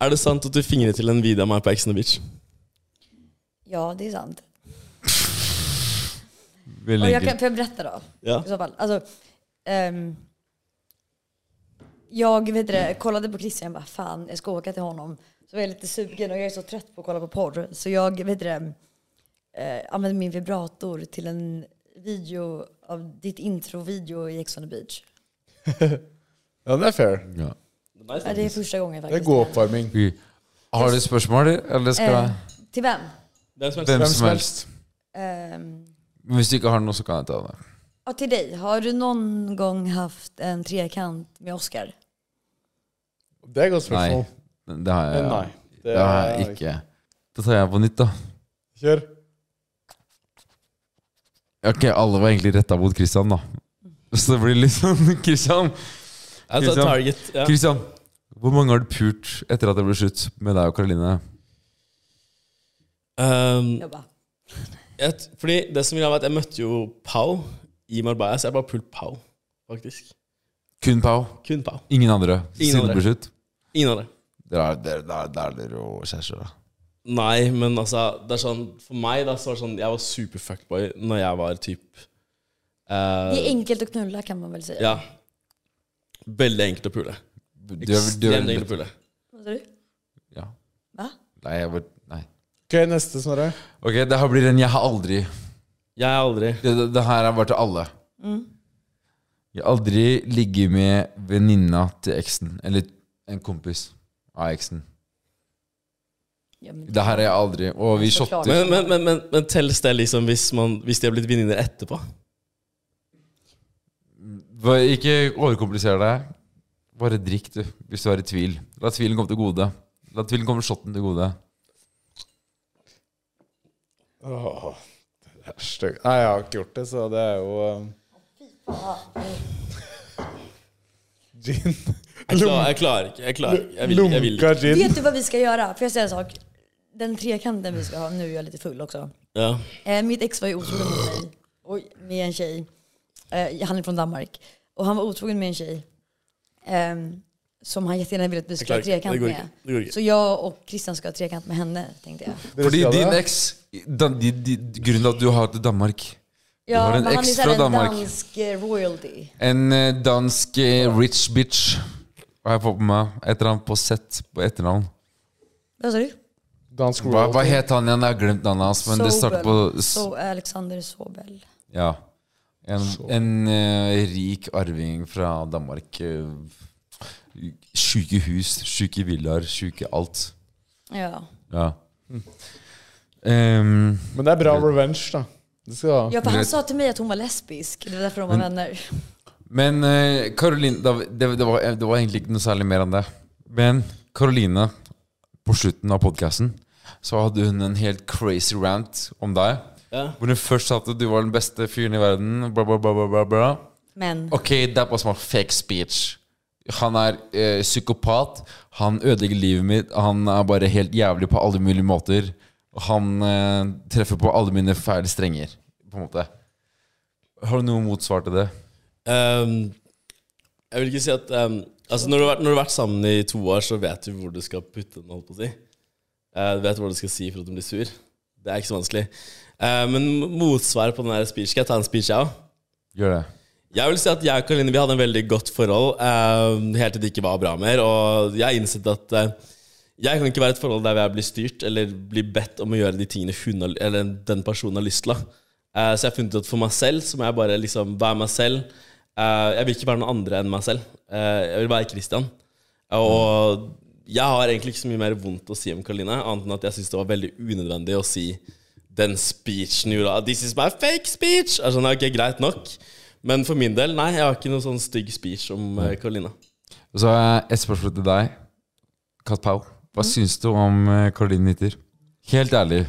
Speaker 6: Er det sant at du fingret til en video av meg på Ex on the Beach?
Speaker 8: Ja, det är sant. Och
Speaker 5: Veldig
Speaker 8: jag
Speaker 5: enkelt.
Speaker 8: kan, får jag berätta då?
Speaker 6: Ja.
Speaker 8: I så fall. Alltså, ehm, jag vet det, kollade på Christian och bara fan, jag ska åka till honom. Så var jag lite sugen och jag är så trött på att kolla på porr. Så jag vet det, eh, använde min vibrator till en video av ditt introvideo i Ex on the beach.
Speaker 3: Ja, den er fair.
Speaker 5: Ja.
Speaker 8: Ja, det är första gången
Speaker 3: Det er
Speaker 8: faktiskt.
Speaker 3: god oppvarming.
Speaker 5: Vi- Har du spørsmål, eller skal
Speaker 8: Eh, till vem?
Speaker 6: Hvem som helst.
Speaker 5: hvem som helst?
Speaker 8: Ehm,
Speaker 5: Men Hvis du ikke har noe, så kan jeg ta det.
Speaker 8: ja, till dig. Har du någon gång haft en trekant med Oscar?
Speaker 3: Det er et godt
Speaker 5: Nei.
Speaker 3: spørsmål.
Speaker 5: Det har jeg,
Speaker 3: Men nei. Det
Speaker 5: det har jeg ikke. Da tar jeg på nytt, da.
Speaker 3: Kjør.
Speaker 5: Ok, alle var egentlig retta mot Christian, da. Så det blir litt sånn Christian, Christian.
Speaker 6: Jeg tar Altså, target. Ja.
Speaker 5: Christian, hvor mange har du pult etter at det ble slutt med deg og Karoline?
Speaker 6: Um,
Speaker 8: Jag bara,
Speaker 6: jeg, fordi det som ville ha vært Jeg møtte jo Pau i Marbella, så jeg bare pult Pau, faktisk.
Speaker 5: Kun Pau.
Speaker 6: Kun Pau.
Speaker 5: Ingen andre.
Speaker 6: Ingen
Speaker 5: Siden
Speaker 6: andre.
Speaker 5: det ble slutt.
Speaker 6: Ingen andre.
Speaker 5: Det er det er- det er dere og kjærester, da.
Speaker 6: Nei, men altså det er sånn, For meg da, så var det sånn Jeg var super fuckboy når jeg var typ eh,
Speaker 8: det är enkelt att knulla kan man väl säga.
Speaker 6: Ja. Veldig enkelt å pule.
Speaker 5: Du er- du er-
Speaker 6: Ekstremt enkelt å pule.
Speaker 8: Vad sa du?
Speaker 5: Ja.
Speaker 8: Va?
Speaker 5: Nei, jeg var Nei.
Speaker 3: Ok, neste, Snorre.
Speaker 5: Ok, det her blir en jeg har aldri
Speaker 6: Jeg er aldri
Speaker 5: Det, det, det her er bare til alle. Jeg har aldri ligget med venninna til eksen. Eller en kompis av eksen.
Speaker 8: Ja, men
Speaker 5: Det her har jeg aldri. Og vi
Speaker 8: Så klart.
Speaker 5: shotter.
Speaker 6: Men, men, men, men, men telles det liksom hvis, man, hvis de har blitt venninner etterpå?
Speaker 5: Bare Ikke overkompliser deg. Bare drikk, du, hvis du er i tvil. La tvilen komme til gode. La tvilen komme shotten til gode.
Speaker 3: Åh, det er stygg. Nei, jeg har ikke gjort det, så det er jo um, Gin.
Speaker 6: Jeg, klar, jeg klarer ikke. Jeg klarer ikke. Jeg vil, jeg vil ikke.
Speaker 3: Lunka gin.
Speaker 8: Vet du vad vi ska göra? Får jag säga en sak? Den trekanten vi ska ha, nu är jag lite full också.
Speaker 6: Ja.
Speaker 8: Eh, mitt ex var ju otrogen mot mig. Oj, med en tjej. Eh, han är från Danmark. Och han var otrogen med en tjej. ehm, som han jättegärna ville att vi skulle ha
Speaker 6: klarar inte.
Speaker 8: trekant
Speaker 6: Det går
Speaker 8: med.
Speaker 6: inte. Det går inte.
Speaker 8: Så jag och Christian ska ha trekant med henne, tänkte jag.
Speaker 3: Dere
Speaker 5: Fordi
Speaker 3: skal
Speaker 5: din
Speaker 3: det?
Speaker 5: eks den, din, din, Grunnen til at du har til Danmark Du har en
Speaker 8: men han
Speaker 5: ex
Speaker 8: är så
Speaker 5: från
Speaker 8: här en
Speaker 5: Danmark.
Speaker 8: dansk eh, royalty.
Speaker 5: En eh, dansk eh, rich bitch har jeg fått på meg. Et eller annet på sett på etternavn.
Speaker 8: Vad sa du?
Speaker 3: Dansk
Speaker 5: Hva, hva
Speaker 3: royalty.
Speaker 5: het han igjen? Jeg har glemt navnet hans. Men det starter på s-
Speaker 8: So, Alexander Sobel.
Speaker 5: Ja. En, en eh, rik arving fra Danmark. Uh, sjuke hus, sjuke villaer, sjuke alt.
Speaker 8: Ja.
Speaker 5: Ja. Ehm,
Speaker 3: Men det er bra revenge, da. Det skal du ha.
Speaker 8: ja, för han
Speaker 5: Vet-
Speaker 8: sa till mig att hon var lesbisk. Det var därför de var vänner.
Speaker 5: men eh, Caroline da, det, det, var, det var egentlig ikke noe særlig mer enn det. Men Caroline, på slutten av podkasten, så hadde hun en helt crazy rant om deg.
Speaker 6: Ja.
Speaker 5: Hvor hun først sa at du var den beste fyren i verden. Bla, bla, bla, bla, bla, bla.
Speaker 8: Men.
Speaker 5: Ok, that was my fake speech. Han er eh, psykopat. Han ødelegger livet mitt. Han er bare helt jævlig på alle mulige måter. Han eh, treffer på alle mine feile strenger, på en måte. Har du noe motsvar til det?
Speaker 6: Ehm, jeg vil ikke si at ehm, altså når, du har, vært- når du har vært sammen i to år, så vet du hvor du skal putte den. holdt på å si Eh, Du vet hva du skal si for at hun blir sur. Det er ikke så vanskelig. Eh, men motsvar på den her speech Skal jeg ta en speech, jeg òg?
Speaker 5: Gjør det.
Speaker 6: Jeg vil si at jeg og Karoline vi hadde en veldig godt forhold eh, helt til det ikke var bra mer. Og jeg har innsett at eh, jeg kan ikke være i et forhold der jeg blir styrt eller blir bedt om å gjøre de tingene hun har, eller den personen har lyst til. da. Eh, så jeg har funnet ut at for meg selv så må jeg bare liksom være meg selv. Eh, jeg vil ikke være noen andre enn meg selv. Eh, jeg vil være Christian. Og jeg har egentlig ikke så mye mer vondt å si om Karoline, annet enn at jeg syns det var veldig unødvendig å si den speechen hun gjorde. This is my fake speech! Jeg skjønner, ok, Greit nok. Men for min del, nei, jeg har ikke noen sånn stygg speech om eh, Karoline.
Speaker 5: Og så har jeg et spørsmål til deg, Kat Pau. Hva syns du om eh, Caroline Nitter? Helt ærlig,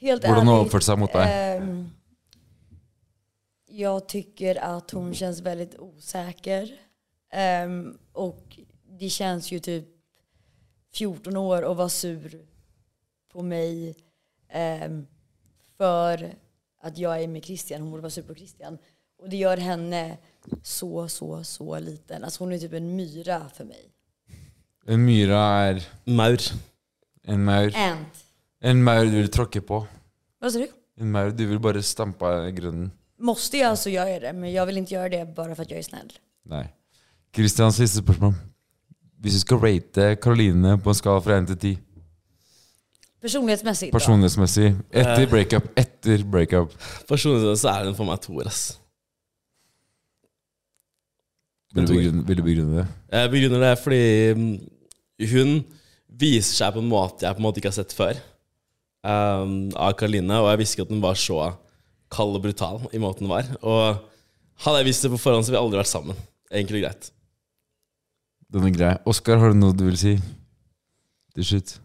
Speaker 8: Helt
Speaker 5: hvordan hun
Speaker 8: ärligt.
Speaker 5: oppførte seg mot deg.
Speaker 8: Ehm, jag tycker att hon känns väldigt osäker. Ehm, och det känns ju typ 14 år och vara sur på mig ehm, för att jag är med Christian, hon borde vara sur på Christian. Och det gör henne så, så, så liten. Alltså hon är typ en myra för mig.
Speaker 5: En myra er
Speaker 6: Maur.
Speaker 5: en maur.
Speaker 8: Ant.
Speaker 5: En maur du vil tråkke på.
Speaker 8: Vad sa du?
Speaker 5: En maur du vil bare stampe av grunnen.
Speaker 8: Måste jag så gör jag det, men jag vill inte göra det bara för att jag är snäll.
Speaker 5: Nei. Kristians siste spørsmål. Hvis du skal rate Karoline på en skala fra 1 til 10,
Speaker 8: Personlighetsmässigt då.
Speaker 5: personlighetsmessig, etter breakup, etter breakup
Speaker 6: Personlig så er den for meg toer, ass.
Speaker 5: Vil du begrunne, vil du begrunne det?
Speaker 6: Jeg begrunner det fordi mm, hun viser seg på en måte jeg på en måte ikke har sett før um, av Karoline, og jeg visste ikke at hun var så kald og brutal i måten hun var. Og hadde jeg visst det på forhånd, så ville vi aldri vært sammen. Enkelt og greit.
Speaker 5: Den er grei. Oskar, har du noe du vil si? Til slutt.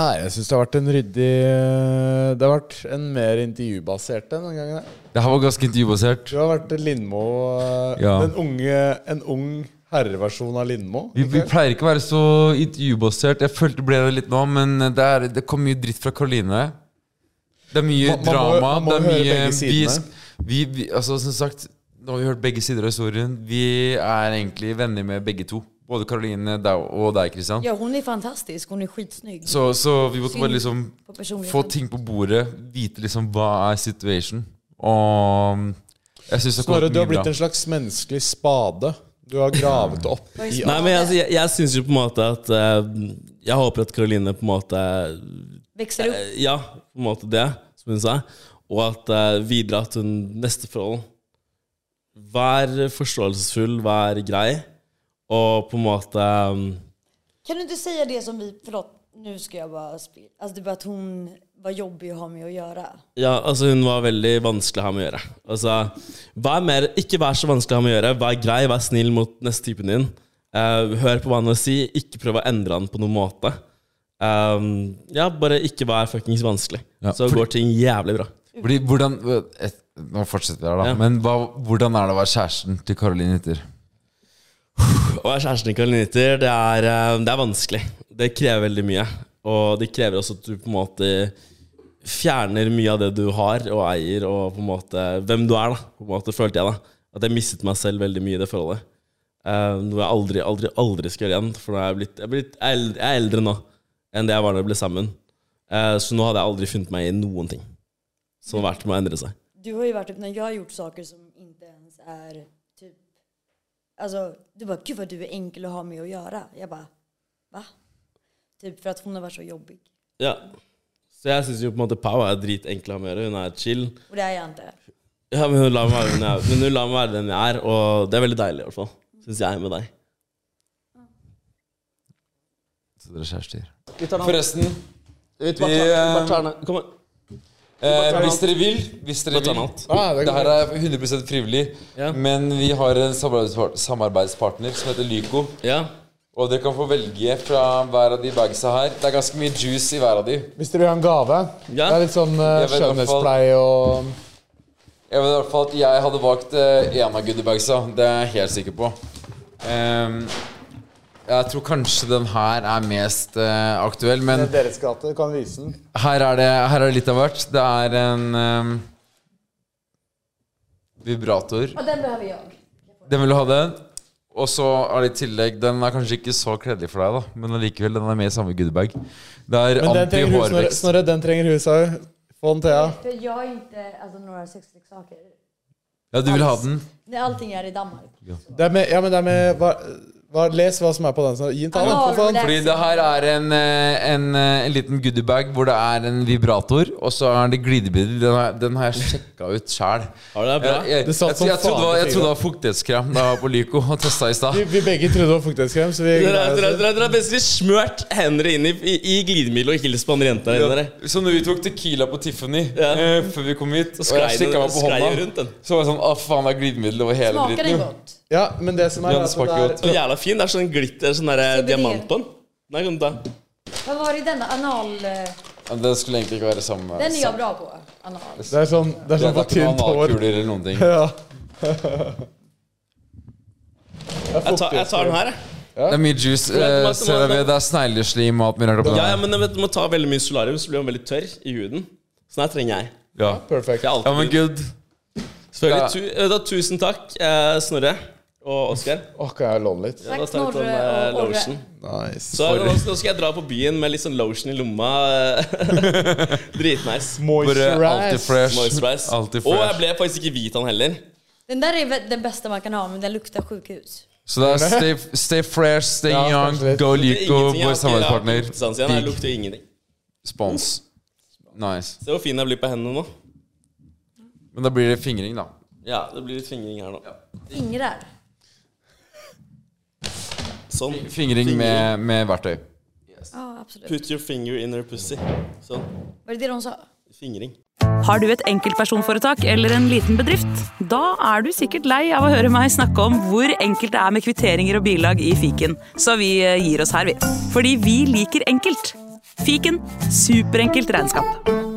Speaker 3: Nei, jeg syns det har vært en ryddig eh, Det har vært en mer intervjubasert en den gangen. her.
Speaker 5: Det her var ganske intervjubasert.
Speaker 3: Du har vært Lindmo eh,
Speaker 5: Ja.
Speaker 3: den unge, En ung herreversjon av Lindmo.
Speaker 5: Vi, vi
Speaker 3: ikke?
Speaker 5: pleier ikke å være så intervjubasert. Jeg følte det ble det litt nå, men det, er, det kom mye dritt fra Karoline. Det er mye
Speaker 3: Man- man må-
Speaker 5: drama.
Speaker 3: man må
Speaker 5: det
Speaker 3: høre
Speaker 5: er mye
Speaker 3: begge
Speaker 5: vi,
Speaker 3: sidene.
Speaker 5: vi, vi, altså, Som sagt, nå har vi hørt begge sider av historien. Vi er egentlig venner med begge to. Både Karoline deg og deg, Kristian.
Speaker 8: Ja, hon är fantastisk. Hon är skitsnygg.
Speaker 5: Så, så vi måtte bare liksom
Speaker 8: på personligheten.
Speaker 5: få ting på bordet. Vite liksom hva er situation. Og um, jeg syns det har
Speaker 3: Snorre,
Speaker 5: kommet
Speaker 3: du har
Speaker 5: mye
Speaker 3: blitt
Speaker 5: bra.
Speaker 3: en slags menneskelig spade. Du har gravet det opp.
Speaker 8: Vad är
Speaker 3: I,
Speaker 6: Nei, men altså, jeg, jeg, jeg syns jo på en måte at eh, Jeg håper at Karoline på en måte
Speaker 8: Växer upp.
Speaker 6: eh, Ja, på en måte det, som hun sa. Og at eh, videre at hun neste forhold Vær forståelsesfull, vær grei, og på en måte eh,
Speaker 8: Kan du inte säga det som vi, förlåt, nu ska jag bara spela. Alltså det är bara att hon var jobbig att ha med att göra.
Speaker 6: Ja, altså hun var veldig vanskelig å ha med å gjøre. Altså, vær mer, ikke vær så vanskelig å ha med å gjøre. Vær grei, vær snill mot neste typen din. Eh, hør på hva han har å si, ikke prøv å endre han på noen måte. Um, ja, bare ikke vær fuckings vanskelig.
Speaker 5: Ja,
Speaker 6: så
Speaker 5: fordi-
Speaker 6: går ting jævlig bra.
Speaker 5: Fordi, hvordan, et, nå fortsetter vi her, da.
Speaker 6: Ja.
Speaker 5: Men hva, hvordan er det å være kjæresten til Karoline Hitter?
Speaker 6: Å være kjæresten til Karoliniter, det er, eh, det er vanskelig. Det krever veldig mye. Og det krever også at du på en måte fjerner mye av det du har og eier, og på en måte hvem du er, da. På en måte følte jeg da. At jeg mistet meg selv veldig mye i det forholdet. Eh, noe jeg aldri, aldri, aldri skal gjøre igjen. For nå er jeg, blitt, jeg, er blitt, jeg er eld- jeg er eldre nå enn det jeg var da vi ble sammen. Eh, så nå hadde jeg aldri funnet meg i noen ting som har vært med å endre seg.
Speaker 8: Du har ju varit upp när jag har gjort saker som inte ens är typ... Alltså, du bara, gud vad du är enkel att ha med att göra. Jag bara, va? Typ för att hon har varit så jobbig.
Speaker 6: Ja. Så jeg syns jo på en måte Pau er dritenkel å ha med å gjøre. Hun er chill.
Speaker 8: Och det är jag inte.
Speaker 6: Ja, men hun lar meg være den jeg er. Men hun lar meg være den jeg er, og det er veldig deilig, i hvert fall. Syns jeg med deg.
Speaker 5: Så dere er kjærester.
Speaker 6: Forresten
Speaker 5: Vi, eh,
Speaker 6: Kom an.
Speaker 5: eh, hvis dere vil, hvis dere
Speaker 6: Bare ta
Speaker 5: vil
Speaker 6: den alt.
Speaker 3: Ah, det
Speaker 5: Det
Speaker 3: går
Speaker 5: her er 100 frivillig,
Speaker 6: Ja.
Speaker 5: men vi har en samarbeidspart- samarbeidspartner som heter Lyco.
Speaker 6: Ja.
Speaker 5: Og dere kan få velge fra hver av de bagsa her. Det er ganske mye juice i hver av de.
Speaker 3: Hvis dere vil ha en gave Det
Speaker 6: Ja.
Speaker 3: er litt sånn eh,
Speaker 5: Jeg vet i hvert fall-
Speaker 3: skjønnhetspleie og
Speaker 5: Jeg vet i hvert fall at jeg hadde valgt én av goodiebagsa. Det er jeg helt sikker på. Ehm, jeg tror kanskje den her er mest eh, aktuell, men
Speaker 3: Det er deres gate. Du kan vise den.
Speaker 5: Her er det, her er det litt av hvert. Det er en ehm, vibrator.
Speaker 8: Ja, den behöver jag.
Speaker 5: Den vil du ha, den. Og så er det i tillegg Den er kanskje ikke så kledelig for deg, da men allikevel, den er med i samme goodiebag. Det er
Speaker 3: Men den trenger hun, Snorre.
Speaker 5: anti-hårvekst.
Speaker 3: Snorre, den trenger hun, sa hun. Få den, Thea.
Speaker 8: För jag är inte, alltså några sexleksaker.
Speaker 5: Ja, du vil ha den?
Speaker 8: Nej, allting är i Danmark.
Speaker 3: Det er med, ja, men det er med hva, hva, Les hva som er på den. Snorre. Gi den til han, for
Speaker 8: Ja,
Speaker 3: faen.
Speaker 8: det-
Speaker 5: Fordi det her er en, eh, en, eh, en liten goodiebag hvor det er en vibrator, og så er det glidebilder. Den, har- den har jeg sjekka ut sjæl.
Speaker 6: Har du det bra?
Speaker 5: Jeg,
Speaker 3: Det
Speaker 5: jeg, jeg,
Speaker 3: satt som
Speaker 5: jeg trodde det var- jeg
Speaker 3: faen på
Speaker 5: trodde det var fuktighetskrem da jeg var på Lyco og testa i stad.
Speaker 3: Vi, vi begge trodde det altså. var fuktighetskrem, så vi
Speaker 6: Dere
Speaker 3: gleder
Speaker 6: dere-
Speaker 3: oss.
Speaker 6: dere- dere har plutselig smurt hendene inn i, i, i glidemiddel og ikke hilst på andre jenta der inne.
Speaker 5: Ja. Så når vi tok Tequila på Tiffany
Speaker 6: Ja.
Speaker 5: eh, før vi kom hit, og jeg
Speaker 6: sklei
Speaker 5: sjekka
Speaker 6: den-
Speaker 5: meg på
Speaker 6: sklei
Speaker 5: hånda,
Speaker 6: jo rundt den.
Speaker 5: så var jeg sånn Å, faen, det er glidemiddel over hele
Speaker 8: Smakar den
Speaker 5: dritten.
Speaker 8: gott?
Speaker 3: Ja, men det som er,
Speaker 5: Ja,
Speaker 3: er
Speaker 5: det
Speaker 3: at
Speaker 5: smaker
Speaker 3: det er-
Speaker 5: godt.
Speaker 6: Så jævla fin. Det er sånn glitter, sånn der
Speaker 8: CBD.
Speaker 6: diamant på den. Nei, kom da.
Speaker 8: Vad var det i den? Anal... eh,
Speaker 5: Ja, Den skulle egentlig ikke være sammen med
Speaker 8: Den är jag bra på. Anal.
Speaker 3: det er sånn Det er
Speaker 5: Det
Speaker 3: sånn
Speaker 5: er
Speaker 3: for
Speaker 5: ikke
Speaker 3: tynt
Speaker 5: noen
Speaker 3: hår.
Speaker 5: analkuler eller noen ting.
Speaker 3: Ja.
Speaker 6: Jeg tar, jeg tar den her, jeg.
Speaker 5: Det er mye juice. Eh,
Speaker 6: Vent,
Speaker 5: ser
Speaker 6: vent,
Speaker 5: dere,
Speaker 6: vent.
Speaker 5: det er snegleslim og alt mulig rart på
Speaker 6: Ja, ja,
Speaker 5: den.
Speaker 6: men du må ta veldig mye solarium, så blir den veldig tørr i huden. Sånn her trenger jeg.
Speaker 5: Ja,
Speaker 3: Perfekt.
Speaker 6: Jeg er
Speaker 5: ja
Speaker 6: alltid
Speaker 5: men good.
Speaker 6: Selvfølgelig. Tu, eh, da, tusen takk, eh, Snorre og Oskar.
Speaker 3: Åh, kan jeg låne litt?
Speaker 6: Ja, da
Speaker 8: Takk,
Speaker 6: tar vi på eh,
Speaker 8: Snorre
Speaker 6: med
Speaker 8: og Åre.
Speaker 6: lotion.
Speaker 3: Nice.
Speaker 6: Så nå skal nå skal jeg dra på byen med litt sånn lotion i lomma. Dritnice.
Speaker 5: Bare alltid fresh.
Speaker 6: Moisturize.
Speaker 5: Alltid
Speaker 6: Og jeg
Speaker 5: fresh.
Speaker 6: ble faktisk ikke hvit, han heller.
Speaker 8: Den där är väl den bästa man kan ha, men den luktar sjukhus.
Speaker 5: Så det er stay, stay fresh, stay
Speaker 3: Ja,
Speaker 5: young,
Speaker 3: kanskje litt.
Speaker 5: go
Speaker 6: Det er
Speaker 5: Lico,
Speaker 6: ingenting
Speaker 5: vår
Speaker 6: jeg har ikke- jeg har
Speaker 5: samarbeidspartner.
Speaker 6: ikke luktet sans igjen. Jeg
Speaker 5: Digg.
Speaker 6: lukter ingenting.
Speaker 5: Spons. Nice.
Speaker 6: Se hvor fin jeg blir på hendene nå.
Speaker 5: Men da blir det fingring, da.
Speaker 6: Ja, det blir litt fingring her nå.
Speaker 8: Fingrar.
Speaker 6: Sånn.
Speaker 5: Fingring med, med verktøy.
Speaker 8: Ja, absolut.
Speaker 6: Put your finger in her pussy. Sånn.
Speaker 8: Var det det de sa?
Speaker 6: Fingring.
Speaker 10: Har du et enkeltpersonforetak eller en liten bedrift? Da er du sikkert lei av å høre meg snakke om hvor enkelt det er med kvitteringer og bilag i fiken, så vi eh, gir oss her, vi. Fordi vi liker enkelt. Fiken superenkelt regnskap.